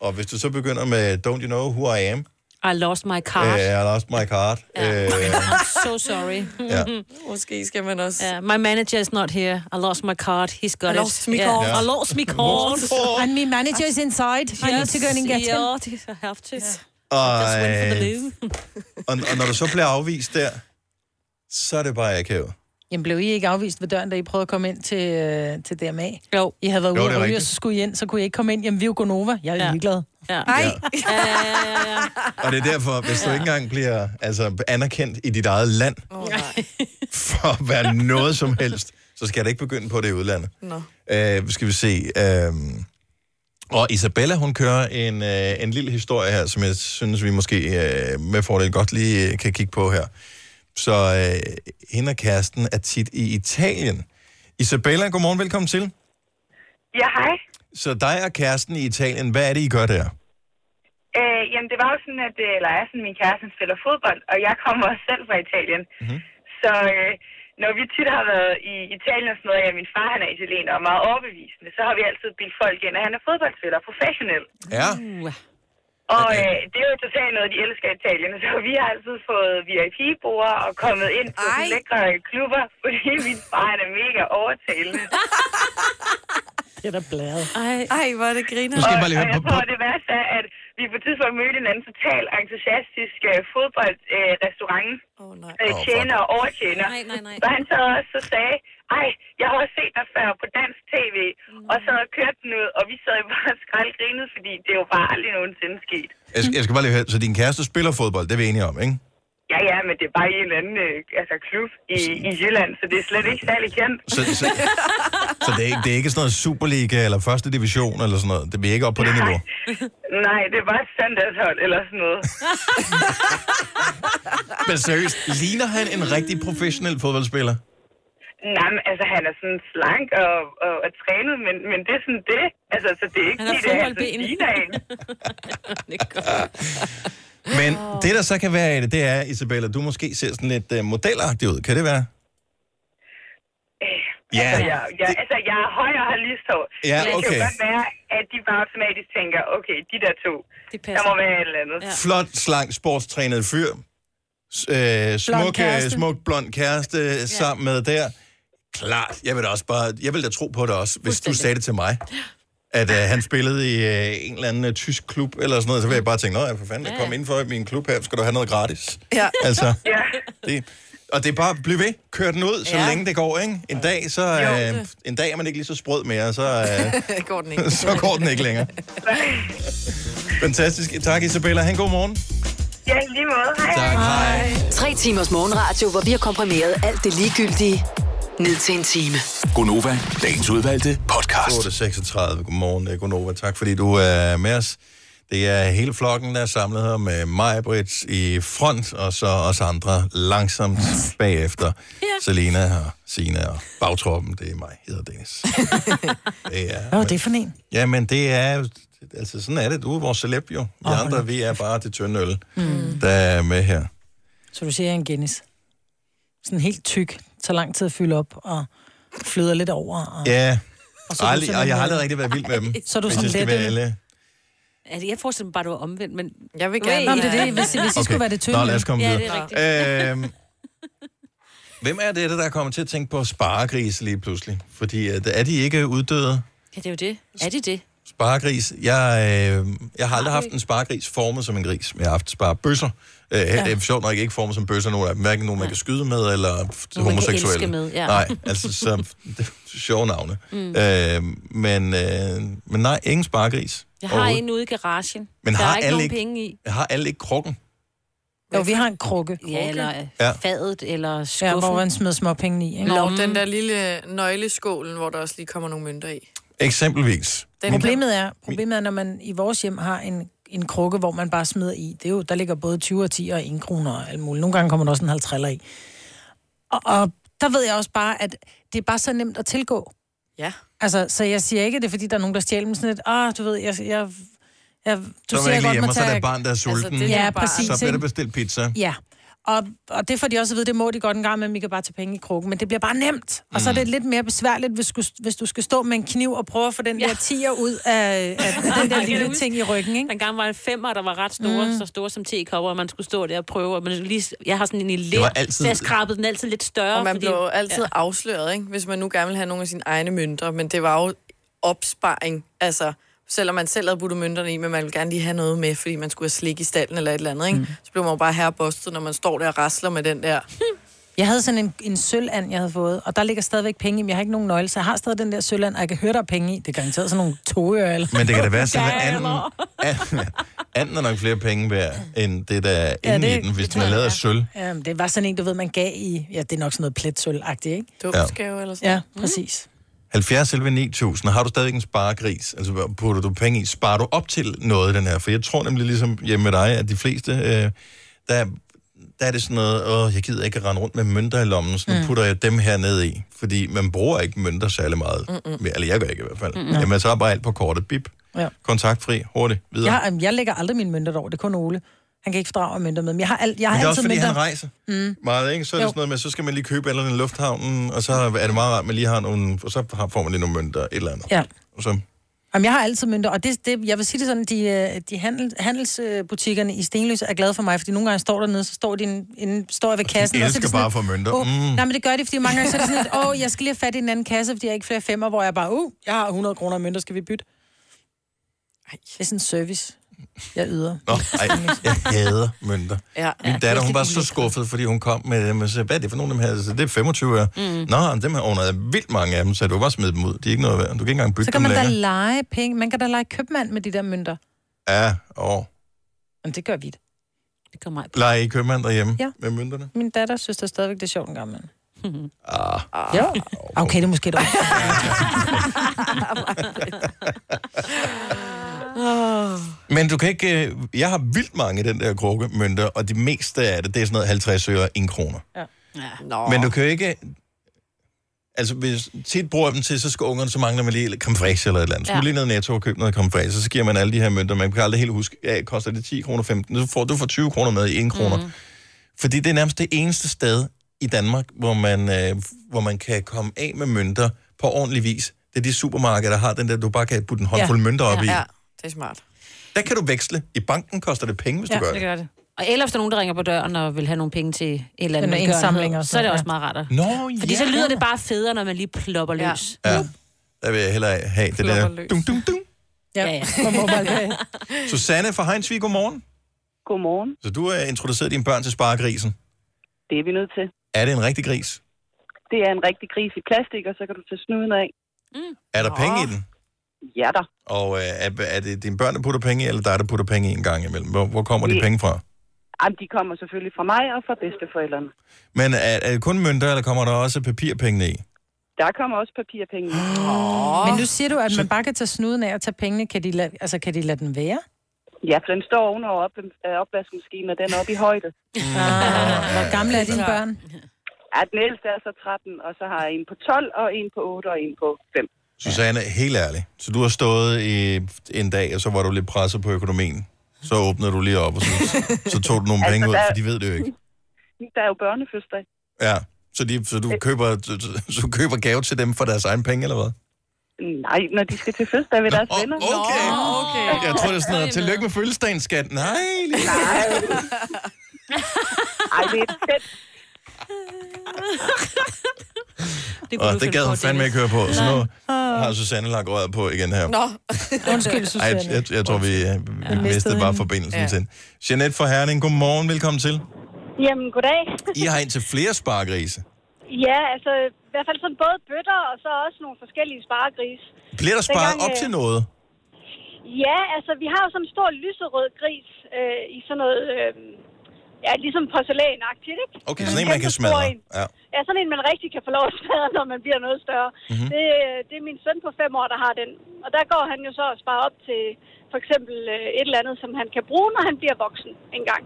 Speaker 1: Og hvis du så begynder med, don't you know who I am?
Speaker 2: I lost my
Speaker 1: Uh,
Speaker 2: card.
Speaker 1: I lost my card. Ja. Uh,
Speaker 2: I'm so sorry.
Speaker 1: Ja.
Speaker 4: Måske skal man også...
Speaker 2: Yeah, my manager is not here. I lost my card. He's got
Speaker 4: I
Speaker 2: it.
Speaker 4: lost my
Speaker 2: Yeah.
Speaker 4: card.
Speaker 2: I lost my card.
Speaker 3: And my manager is inside. I need to go in and get him.
Speaker 2: Yeah, I have to.
Speaker 1: og, øh, og, og når du så bliver afvist der, så er det bare akavet.
Speaker 3: Jamen blev I ikke afvist ved døren, da I prøvede at komme ind til, øh, til DMA?
Speaker 2: Jo.
Speaker 3: I havde været
Speaker 1: Jo,
Speaker 3: ude at
Speaker 1: det
Speaker 3: ryge,
Speaker 1: er
Speaker 3: og
Speaker 1: rigtigt.
Speaker 3: så skulle I ind, så kunne I ikke komme ind. Jamen vi er jo Gonova. Jeg er ja. ligeglad.
Speaker 2: Ja.
Speaker 1: Ej.
Speaker 2: Ja, ja, ja, ja.
Speaker 1: Og det er derfor, hvis du ikke engang bliver altså, anerkendt i dit eget land,
Speaker 4: Oh, nej.
Speaker 1: for at være noget som helst, så skal jeg da ikke begynde på det i udlandet.
Speaker 4: Nå.
Speaker 1: Øh, skal vi se. Øh, og Isabella, hun kører en, øh, en lille historie her, som jeg synes, vi måske øh, med fordel godt lige øh, kan kigge på her. Så øh, hende og kæresten er tit i Italien. Isabella, godmorgen, velkommen til.
Speaker 6: Ja, hej.
Speaker 1: Så dig og kæresten i Italien, hvad er det, I gør der?
Speaker 6: Øh, jamen, det var jo sådan, at øh, eller er sådan, min kæreste han spiller fodbold, og jeg kommer også selv fra Italien. Mm-hmm. Så øh, når vi tit har været i Italien og sådan noget, ja, min far han er italiener og meget overbevisende, så har vi altid bildt folk ind, at han er fodboldspiller, professionel.
Speaker 1: Ja.
Speaker 6: Og øh, det er jo totalt noget, de elsker i Italien, så vi har altid fået VIP-bord og kommet ind på sådan lækre klubber, fordi min far han er mega overtalende.
Speaker 3: Det er da blæret.
Speaker 2: Ej,
Speaker 4: Ej hvor er det griner.
Speaker 6: Og, og jeg tror, det værste er, at vi på et tidspunkt mødte en anden totalt entusiastisk øh, fodboldrestaurant. Øh, oh, øh, tjener og overtjener.
Speaker 2: Nej, nej, nej.
Speaker 6: Så han så også så sagde, ej, jeg har også set dig før på dansk tv. Mm. Og så kørte den ud, og vi sad jo bare og skraldgrinede, fordi det er jo bare aldrig nogensinde sket.
Speaker 1: Jeg skal, jeg skal bare lige høre, så din kæreste spiller fodbold, det er vi enige om, ikke?
Speaker 6: Ja, ja, men det er bare i en eller anden øh, altså, klub i, i Jylland, så det er slet ikke særlig kendt.
Speaker 1: Så, så, så det, er ikke, det er ikke sådan noget Superliga eller første division eller sådan noget. Det bliver ikke op på det niveau.
Speaker 6: Nej, det er bare et standardshold eller sådan noget.
Speaker 1: Men seriøst, ligner han en rigtig professionel fodboldspiller?
Speaker 6: Nej, men altså, han er sådan slank og, og, og trænet, men, men det er sådan det. Altså, så det er ikke
Speaker 2: Han har
Speaker 6: fordi, det, er sådan
Speaker 2: fodboldben.
Speaker 6: ligner en.
Speaker 1: Men det, der så kan være i det, det er, Isabella, du måske ser sådan lidt uh, modelagtig ud. Kan det være? Ja.
Speaker 6: Altså, jeg, jeg, altså, jeg er høj og har lystår.
Speaker 1: Ja,
Speaker 6: Så Det kan
Speaker 1: okay.
Speaker 6: jo godt være, at de bare automatisk tænker, okay, de der to, der
Speaker 2: Altså-
Speaker 6: må være et eller andet.
Speaker 1: Ja. Flot, slank, sportstrænet fyr. S- øh, smuk, blond
Speaker 6: kæreste.
Speaker 1: smuk, blond kæreste ja. sammen med der. Klart. Jeg vil da også bare, jeg vil da tro på det også, hvis du sagde det til mig. At øh, han spillede i øh, en eller anden øh, tysk klub eller sådan noget, så vil jeg bare tænke, nej, for fanden, jeg kom ind for min klub her, skal du have noget gratis.
Speaker 4: Ja.
Speaker 1: Altså,
Speaker 6: Ja.
Speaker 1: det, og det er bare, bliv ved, kør den ud, så
Speaker 4: Ja.
Speaker 1: længe det går, ikke? En dag, så,
Speaker 4: Jo.
Speaker 1: øh, en dag er man ikke lige så sprød mere, så, øh,
Speaker 4: går den ikke.
Speaker 1: så går den ikke længere. Fantastisk. Tak, Isabella. Han god morgen.
Speaker 6: Ja, i lige måde. Hej.
Speaker 1: Tak. Hej.
Speaker 19: Tre timers morgenradio, hvor vi har komprimeret alt det ligegyldige ned til en time.
Speaker 1: Gonova, dagens udvalgte podcast. 8.36. Godmorgen, øh, Gonova. Tak, fordi du er med os. Det er hele flokken, der er samlet her med mig, Brits i front, og så os andre langsomt bagefter. Ja. Selena og Sina og bagtroppen, det er mig, hedder Dennis. det er,
Speaker 3: Hvad var det for en?
Speaker 1: ja, men det er, altså sådan er det. Du er vores celeb jo. Vi andre, vi er bare det tynde øl,
Speaker 3: Mm.
Speaker 1: der er med her.
Speaker 3: Så du siger, jeg er en Guinness. Sådan helt tyk. Tager lang tid at fylde op og flyder lidt over. Og...
Speaker 1: Ja,
Speaker 3: Og
Speaker 1: og,
Speaker 3: så er du
Speaker 1: aldrig, og
Speaker 3: simpelthen-
Speaker 1: jeg har aldrig rigtig været vild med dem.
Speaker 3: Så er du
Speaker 1: hvis
Speaker 3: sådan
Speaker 1: jeg skal
Speaker 3: let,
Speaker 1: være
Speaker 3: eller?
Speaker 1: ærlig.
Speaker 2: Altså, jeg forestiller mig bare, at du var omvendt, men...
Speaker 4: Jeg vil
Speaker 3: gerne- Nå, men det
Speaker 4: øh,
Speaker 3: er det, hvis- hvis I Okay. skulle være det tynde
Speaker 1: Nå, lad os komme
Speaker 2: ja,
Speaker 1: videre.
Speaker 2: det er rigtigt.
Speaker 1: Øhm, hvem er det, der kommer til at tænke på sparegris lige pludselig? Fordi øh, er de ikke uddøde?
Speaker 2: Ja, det er jo det. Er det det?
Speaker 1: Sparegris. Jeg, øh, jeg har aldrig haft en sparegris formet som en gris, men jeg har haft sparebøsser. Øh, ja. Det er sjovt nok ikke formet som bøsser, nogen af dem. Hverken nogen, man kan skyde med, eller f-
Speaker 2: Nogen, man kan
Speaker 1: homoseksuelle.
Speaker 2: elske med, ja.
Speaker 1: Nej, altså så, det er sjove navne.
Speaker 2: Mm.
Speaker 1: Mm. Øh, men, øh, men nej, ingen sparegris.
Speaker 2: Jeg har en ude i garagen.
Speaker 1: Men
Speaker 2: der
Speaker 1: har
Speaker 2: er ikke
Speaker 1: alle
Speaker 2: nogen
Speaker 1: ikke-
Speaker 2: penge i.
Speaker 1: Jeg har alle ikke krukken.
Speaker 3: Jo, vi har en krukke.
Speaker 2: Ja, eller
Speaker 1: Ja.
Speaker 2: fadet, eller skuffen.
Speaker 3: Ja, hvor man smed småpenge i. Ikke?
Speaker 4: Nå, den der lille nøgleskålen, hvor der også lige kommer nogle mønter i.
Speaker 1: Eksempelvis.
Speaker 3: Den problemet, er, problemet er, når man i vores hjem har en, en krukke, hvor man bare smider i. Det er jo, der ligger både 20 og 10 og 1 kroner og alt muligt. Nogle gange kommer der også en 50 i. Og, og der ved jeg også bare, at det er bare så nemt at tilgå.
Speaker 4: Ja.
Speaker 3: Altså, så jeg siger ikke, at det er, fordi der er nogen, der stjæler dem sådan lidt. Ah, du ved, jeg... jeg, jeg du
Speaker 1: Så
Speaker 3: siger,
Speaker 1: er man
Speaker 3: jeg
Speaker 1: ikke
Speaker 3: godt
Speaker 1: hjemme,
Speaker 3: må
Speaker 1: og så er der
Speaker 3: tage-
Speaker 1: et barn, der er sulten.
Speaker 3: det er Ja, bare- præcis,
Speaker 1: Så bliver der
Speaker 3: ikke?
Speaker 1: bestilt pizza.
Speaker 3: Ja, og, og det får de også at vide, det må de godt en gang, men vi kan bare tage penge i krukken. Men det bliver bare nemt. Og så er det lidt mere besværligt, hvis, du- hvis du skal stå med en kniv og prøve at få den der tiger ud af, af den der lille ting i ryggen, ikke?
Speaker 2: Den gang var en femmer, der var ret store, mm. så store som tekopper, og man skulle stå der og prøve. Og man lige, jeg har sådan en i lær,
Speaker 4: var altid-
Speaker 2: så jeg skrabede den altid lidt større.
Speaker 4: Og man
Speaker 2: fordi-
Speaker 4: blev jo altid
Speaker 2: Ja.
Speaker 4: ja. afsløret, ikke? hvis man nu gerne ville have nogle af sine egne mønter, men det var jo opsparing, altså selvom man selv havde puttet mønterne i, men man ville gerne lige have noget med, fordi man skulle have slik i stallen eller et eller andet, ikke? Mm. så blev man jo bare herrebostet, når man står der og rasler med den der.
Speaker 3: Jeg havde sådan en, en sølvand, jeg havde fået, og der ligger stadigvæk penge i, men jeg har ikke nogen nøgle, så jeg har stadig den der sølvand, og jeg kan høre, der er penge i. Det er garanteret sådan nogle togeører eller...
Speaker 1: Men det kan da være sådan, at anden, anden, anden er nok flere penge værd, end det, der er
Speaker 3: Ja,
Speaker 1: inde
Speaker 3: det-
Speaker 1: i den, hvis
Speaker 3: det
Speaker 1: den er
Speaker 3: tror
Speaker 1: lavet
Speaker 3: jeg,
Speaker 1: af sølv.
Speaker 3: Ja, men Øhm, det var sådan en, du ved, man gav i... Ja, det er nok sådan noget pletsølv-agtigt, ikke? Mm.
Speaker 1: Dåbsgave
Speaker 4: eller
Speaker 3: sådan Ja, præcis.
Speaker 1: 70 11 9000. Har du stadig en sparegris? Altså, hvad putter du penge i? Sparer du op til noget i den her? For jeg tror nemlig ligesom hjemme med dig, at de fleste, øh, der, der er det sådan noget, åh, jeg gider ikke at rende rundt med mønter i lommen, så nu
Speaker 8: Mm.
Speaker 1: putter jeg dem her ned i. Fordi man bruger ikke mønter særlig meget.
Speaker 3: Mm-mm.
Speaker 1: Mm-mm. Eller jeg gør ikke i hvert fald.
Speaker 3: Mm-mm.
Speaker 1: Mm-mm. Jamen, så er bare alt på kortet. Bip.
Speaker 3: Ja.
Speaker 1: Kontaktfri. Hurtigt. Videre.
Speaker 3: Jeg, har- jeg lægger aldrig mine mønter over, det er kun Ole. Han kan ikke fordrage at mønter med, men jeg har, al, jeg
Speaker 1: Men
Speaker 3: har
Speaker 1: det
Speaker 3: altid
Speaker 1: er også, fordi
Speaker 3: mønter.
Speaker 1: han rejser.
Speaker 3: Mm.
Speaker 1: Meget, ikke? Så er det
Speaker 3: Jo.
Speaker 1: sådan noget med, så skal man lige købe et eller andet i lufthavnen, og så er det meget rart, at man lige har nogle, og så har- får man lige nogle mønter, et eller andet.
Speaker 3: Ja.
Speaker 1: Og så,
Speaker 3: Jamen, jeg har altid mønter, og det, det, jeg vil sige det sådan, de, øh, de handel, handelsbutikkerne i Stenløse er glade for mig, fordi nogle gange står dernede, så står, de en, en, står jeg ved kassen. og
Speaker 1: de
Speaker 3: så er
Speaker 1: elsker
Speaker 3: det sådan
Speaker 1: bare
Speaker 3: et,
Speaker 1: for mønter.
Speaker 3: Åh,
Speaker 1: Mm.
Speaker 3: Nej, men det gør det, fordi mange gange så er det sådan lidt, åh, jeg skal lige have fat i en anden kasse, fordi jeg har ikke flere femmer, hvor jeg bare, uh, jeg har 100 kroner i mønter, skal vi bytte? Ej. Det er sådan en service, jeg yder.
Speaker 1: Nå, ej, jeg hader mønter.
Speaker 3: Ja.
Speaker 1: Min datter, hun var så skuffet, fordi hun kom med dem, og sagde, hvad er det for nogle af dem her? Så det er 25 øre.
Speaker 3: Mm.
Speaker 1: Mm. Nå, men dem her under er vildt mange af dem, så du kan bare smide dem ud. De er ikke noget værd. Du kan ikke engang
Speaker 3: Så
Speaker 1: bytte
Speaker 3: kan
Speaker 1: dem
Speaker 3: man da
Speaker 1: længere.
Speaker 3: lege penge, man kan da lege købmand med de der mønter.
Speaker 1: Ja, og
Speaker 3: Men det gør vi da. Det gør mig.
Speaker 1: leger I købmand derhjemme
Speaker 3: Ja.
Speaker 1: ja. med mønterne?
Speaker 3: Min datter synes da stadigvæk, det er sjovt en gang imellem.
Speaker 1: Ah.
Speaker 3: Ja. Okay, det er måske et år.
Speaker 4: Oh.
Speaker 1: Men du kan ikke... øh, Jeg har vildt mange af den der krukke mønter, og det meste af det, det er sådan noget 50 øre, 1 kroner.
Speaker 3: Ja.
Speaker 4: Nå.
Speaker 1: Men du kan jo ikke... Altså, hvis tit bruger jeg dem til, så skal ungerne, så mangler man lige creme fraiche eller et eller andet. Så
Speaker 8: Ja.
Speaker 1: ja. lige ned i Netto og købe noget creme fraiche, så giver man alle de her mønter. Man kan aldrig helt huske, ja, koster det 10 kroner 15, så får du får 20 kroner med i 1 kroner. Mm. Fordi det er nærmest det eneste sted i Danmark, hvor man, øh, hvor man kan komme af med mønter på ordentlig vis. Det er de supermarkeder, der har den der, du bare kan putte en håndfuld ja. mønter op
Speaker 4: ja,
Speaker 1: i.
Speaker 4: Ja, det er smart.
Speaker 1: Der kan du veksle. I banken koster det penge, hvis ja, du gør det.
Speaker 4: gør det.
Speaker 2: Og eller hvis der er nogen, der ringer på døren og vil have nogle penge til et eller andet
Speaker 3: En indsamling
Speaker 2: velgørenhed,
Speaker 3: og
Speaker 2: så er det
Speaker 3: sådan,
Speaker 2: også
Speaker 3: ja.
Speaker 2: meget rart. at-
Speaker 1: Nå,
Speaker 2: Fordi
Speaker 1: ja.
Speaker 2: så lyder det bare federe, når man lige plopper løs.
Speaker 1: Ja, der vil jeg hellere have det der. Dum, dum, dum.
Speaker 2: Ja, ja.
Speaker 1: Susanne fra Heinsvig, godmorgen.
Speaker 8: Godmorgen.
Speaker 1: Så du har introduceret dine børn til sparegrisen.
Speaker 8: Det er vi nødt til.
Speaker 1: Er det en rigtig gris?
Speaker 8: Det er en rigtig gris i plastik, og så kan du tage snuden af.
Speaker 1: Er der penge i den?
Speaker 8: Ja da.
Speaker 1: Og øh, er, er det dine børn, der putter penge i, eller dig, der putter penge i en gang imellem? Hvor, hvor kommer de
Speaker 8: Det-
Speaker 1: penge fra?
Speaker 8: Jamen, de kommer selvfølgelig fra mig og fra bedsteforældrene.
Speaker 1: Men er, er det kun mønter, eller kommer der også papirpengene i?
Speaker 8: Der kommer også papirpenge.
Speaker 3: Men nu siger du, at man bare kan tage snuden af og tage pengene. Kan de lade, altså, kan de lade den være?
Speaker 8: Ja, for den står ovenover op, øh, opvaskemaskinen, og den er oppe i højde.
Speaker 20: Ah.
Speaker 3: Hvor gamle er dine børn?
Speaker 8: Ja, den ældste er så 13, og så har jeg en på 12, og en på 8, og en på 5.
Speaker 1: Susanne, helt ærligt. Så du har stået i en dag, og så var du lidt presset på økonomien. Så åbnede du lige op, og så, så tog du nogle
Speaker 8: Altså,
Speaker 1: penge ud,
Speaker 8: der-
Speaker 1: for de ved det jo ikke.
Speaker 8: Der er jo børnefødsdag.
Speaker 1: Ja, så, de, så du køber, så, så du køber gave til dem for deres egen penge, eller hvad?
Speaker 8: Nej, når de skal til fødsdag ved deres venner.
Speaker 1: okay.
Speaker 8: Nå,
Speaker 1: okay. Jeg tror, det er sådan noget, tillykke med fødselsdagen, skat. Nej, lige.
Speaker 8: Ej, det er fedt.
Speaker 1: Det, og det gad hun fandme ikke høre på, så nu har Susanne lagt røret på igen her.
Speaker 4: Nå.
Speaker 3: Undskyld,
Speaker 1: Ej, jeg, jeg, jeg tror, vi, øh, vi ja, mistede bare forbindelsen ja.
Speaker 8: Ja.
Speaker 1: til hende. Jeanette fra Herning, godmorgen, velkommen til.
Speaker 20: Jamen, goddag.
Speaker 1: I har ind til flere sparegrise.
Speaker 20: Ja, altså i hvert fald sådan både bøtter og så også nogle forskellige sparegris.
Speaker 1: Bliver der sparet
Speaker 20: Dengang,
Speaker 1: op
Speaker 20: øh,
Speaker 1: til noget?
Speaker 20: Ja, altså vi har jo sådan en stor lyserød gris øh, i sådan noget, øh, ja, ligesom porcelænagtigt, ikke?
Speaker 1: Okay, sådan en, man kan smadre. Ja.
Speaker 20: Ja, sådan en, man rigtig kan få lov at smadre, når man bliver noget større. Mm-hmm. Det, øh, det er min søn på fem år, der har den. Og der går han jo så og sparer op til for eksempel øh, et eller andet, som han kan bruge, når han bliver voksen engang.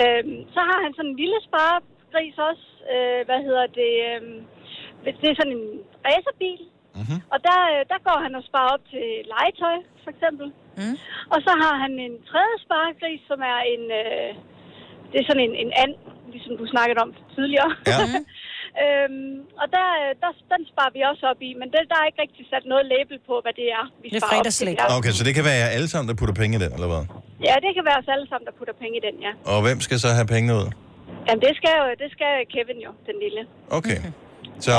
Speaker 20: Øhm, så har han sådan en lille sparegris også. Øh, hvad hedder det? Øhm, det er sådan en racerbil. Mm-hmm. Og der, øh, der går han og sparer op til legetøj, for eksempel.
Speaker 3: Mm.
Speaker 20: Og så har han en tredje sparegris, som er en... Øh, det er sådan en, en and, ligesom du snakkede om tidligere.
Speaker 1: Ja.
Speaker 20: øhm, og der, øh, der, den sparer vi også op i, men det, der er ikke rigtig sat noget label på, hvad det er, vi sparer op til. Det er-
Speaker 1: Okay, så det kan være jer alle sammen, der putter penge i den, eller hvad?
Speaker 20: Ja, det kan være os alle sammen, der putter penge i den, ja.
Speaker 1: Og hvem skal så have pengene ud?
Speaker 20: Jamen, det skal, jo, det skal Kevin jo, den lille.
Speaker 1: Okay.
Speaker 20: Mm-hmm.
Speaker 1: Så,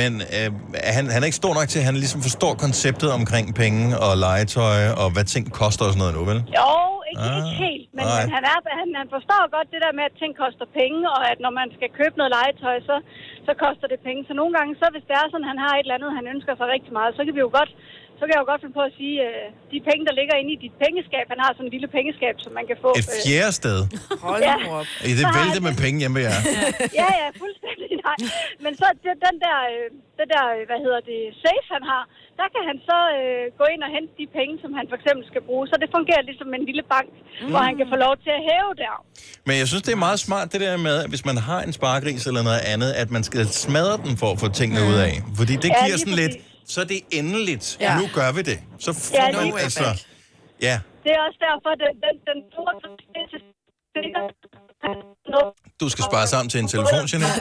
Speaker 1: men øh, er han, han er ikke stor nok til, at han ligesom forstår konceptet omkring penge og legetøj, og hvad ting koster og sådan noget nu, vel?
Speaker 20: Jo, ikke,
Speaker 1: Ah,
Speaker 20: ikke helt, men,
Speaker 1: nej.
Speaker 20: men han, er, han, han forstår godt det der med, at ting koster penge, og at når man skal købe noget legetøj, så, så koster det penge. Så nogle gange, så hvis det er sådan, han har et eller andet, han ønsker sig rigtig meget, så kan vi jo godt så kan jeg jo godt finde på at sige, øh, de penge, der ligger inde i dit pengeskab, han har sådan et lille pengeskab, som man kan få. øh,
Speaker 1: Et fjerde sted.
Speaker 20: Hold
Speaker 4: nu op.
Speaker 1: I det vælte med penge hjemme ved jer.
Speaker 20: ja, ja, fuldstændig nej. Men så det- den der, øh, det der, øh, hvad hedder det, safe, han har, der kan han så øh, gå ind og hente de penge, som han for eksempel skal bruge. Så det fungerer ligesom en lille bank, mm. hvor han kan få lov til at hæve der.
Speaker 1: Men jeg synes, det er meget smart det der med, at hvis man har en sparegris eller noget andet, at man skal smadre den for at få tingene ud af. Fordi det
Speaker 20: Mm. Ja,
Speaker 1: giver
Speaker 20: lige
Speaker 1: sådan lidt, så er det endeligt.
Speaker 20: Ja.
Speaker 1: Nu gør vi det. Så får
Speaker 20: Ja, lige
Speaker 1: man
Speaker 20: præcis.
Speaker 1: altså... Ja,
Speaker 20: Det er også derfor, at den, den, den store...
Speaker 1: du skal spare sammen til en telefon, Jeanette.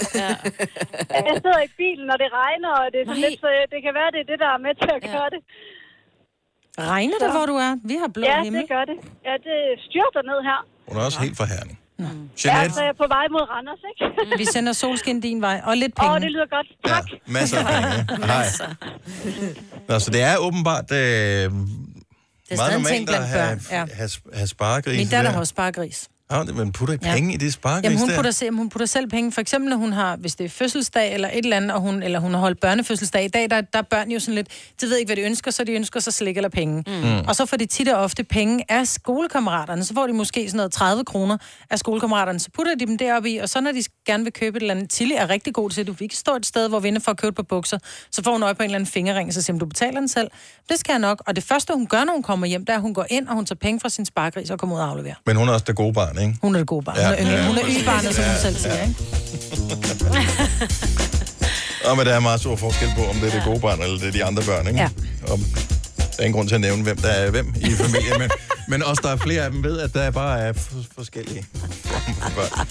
Speaker 20: Jeg sidder i bilen, når det regner, og det er sådan lidt, så øh, det kan være, det er det, der er med til at gøre det.
Speaker 3: Regner det, hvor du er? Vi har blå
Speaker 20: ja,
Speaker 3: himmel.
Speaker 20: det gør det. Ja, det styrter ned her.
Speaker 1: Hun er også helt fra Herning.
Speaker 20: Mm. Ja,
Speaker 1: Jeanette,
Speaker 20: så er jeg på vej mod Randers, ikke?
Speaker 3: Vi sender solskin din vej, og lidt
Speaker 20: Åh,
Speaker 3: penge.
Speaker 20: oh, det lyder godt. Tak. Ja.
Speaker 1: masser af penge. Hej. Nå, så det er åbenbart øh,
Speaker 3: stadig
Speaker 1: meget
Speaker 3: en
Speaker 1: normalt
Speaker 3: ting
Speaker 1: at
Speaker 3: blandt
Speaker 1: have,
Speaker 3: børn, ja.
Speaker 1: have, have sparegris.
Speaker 3: Min datter har også sparegris.
Speaker 1: Ja, men putter I
Speaker 3: Ja.
Speaker 1: penge ja. i det sparegris
Speaker 3: Jamen, hun
Speaker 1: der?
Speaker 3: putter, se, hun putter selv penge. For eksempel, når hun har, hvis det er fødselsdag eller et eller andet, og hun, eller hun har holdt børnefødselsdag i dag, der, der er børn jo sådan lidt, de ved ikke, hvad de ønsker, så de ønsker sig slik eller penge.
Speaker 21: Mm.
Speaker 3: Mm. Og så får de tit og ofte penge af skolekammeraterne. Så får de måske sådan noget 30 kroner af skolekammeraterne. Så putter de dem deroppe i, og så når de gerne vil købe et eller andet, Tilly er rigtig god til, at du vi kan stå et sted, hvor vi ender for at købe på bukser, så får hun øje på en eller anden fingerring, så siger hun, du betaler den selv. Det skal jeg nok. Og det første, hun gør, når hun kommer hjem, det er, at hun går ind, og hun tager penge fra sin sparkris og kommer ud og afleverer.
Speaker 1: Men hun er også det gode barn, ikke?
Speaker 3: Hun er det gode barn. Hun er yngling. Hun er
Speaker 1: præcis.
Speaker 3: yngbarnet, som hun
Speaker 1: Ja,
Speaker 3: selv siger,
Speaker 1: ja.
Speaker 3: ikke?
Speaker 1: Og men der er meget stor forskel på, om det er det gode barn, eller det er de andre børn, ikke?
Speaker 3: Ja.
Speaker 1: Og der er ingen grund til at nævne, hvem der er hvem i familien, men, men også der er flere af dem ved, at der bare er f- forskellige former for børn.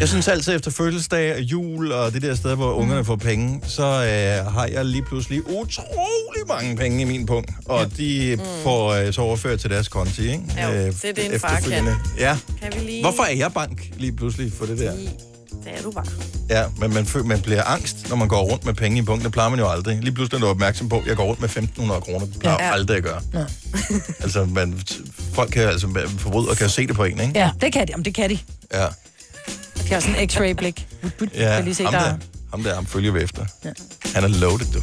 Speaker 1: Jeg synes altid efter fødselsdag og jul og det der sted, hvor
Speaker 4: Mm.
Speaker 1: ungerne får penge, så øh, har jeg lige pludselig utrolig mange penge i min punkt. Og de får øh, så overført til deres konti, ikke?
Speaker 4: Mm.
Speaker 1: Øh,
Speaker 4: Jo, det er det, en far kan.
Speaker 1: efterfølgende. Ja.
Speaker 4: Kan vi lige...
Speaker 1: Hvorfor er jeg bank lige pludselig for det der?
Speaker 4: Det er du bare.
Speaker 1: Ja, men man, føler, man bliver angst, når man går rundt med penge i bunken. Det plejer man jo aldrig. Lige pludselig er du opmærksom på, at jeg går rundt med 1.500 kroner. Det plejer
Speaker 3: Ja.
Speaker 1: ja. aldrig at gøre. altså, man, folk kan, altså, forbrydere kan jo se det på en, ikke?
Speaker 3: Ja, det kan de. Jamen, det kan de.
Speaker 1: Ja.
Speaker 3: De har sådan en x-ray-blik.
Speaker 1: ja.
Speaker 3: Kan lige se,
Speaker 1: ham
Speaker 3: der
Speaker 1: der,
Speaker 3: er-
Speaker 1: ham der, ham følger vi efter. Ja. Han er loaded, du.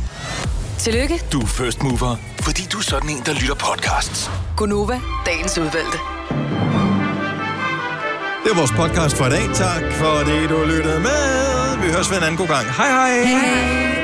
Speaker 19: Tillykke,
Speaker 5: Du er first mover, fordi du er sådan en, der lytter podcasts.
Speaker 19: Gunova, dagens udvalgte.
Speaker 1: Det er vores podcast for i dag. Tak fordi du lyttede med. Vi høres ved en anden god gang. Hej hej. hej, hej.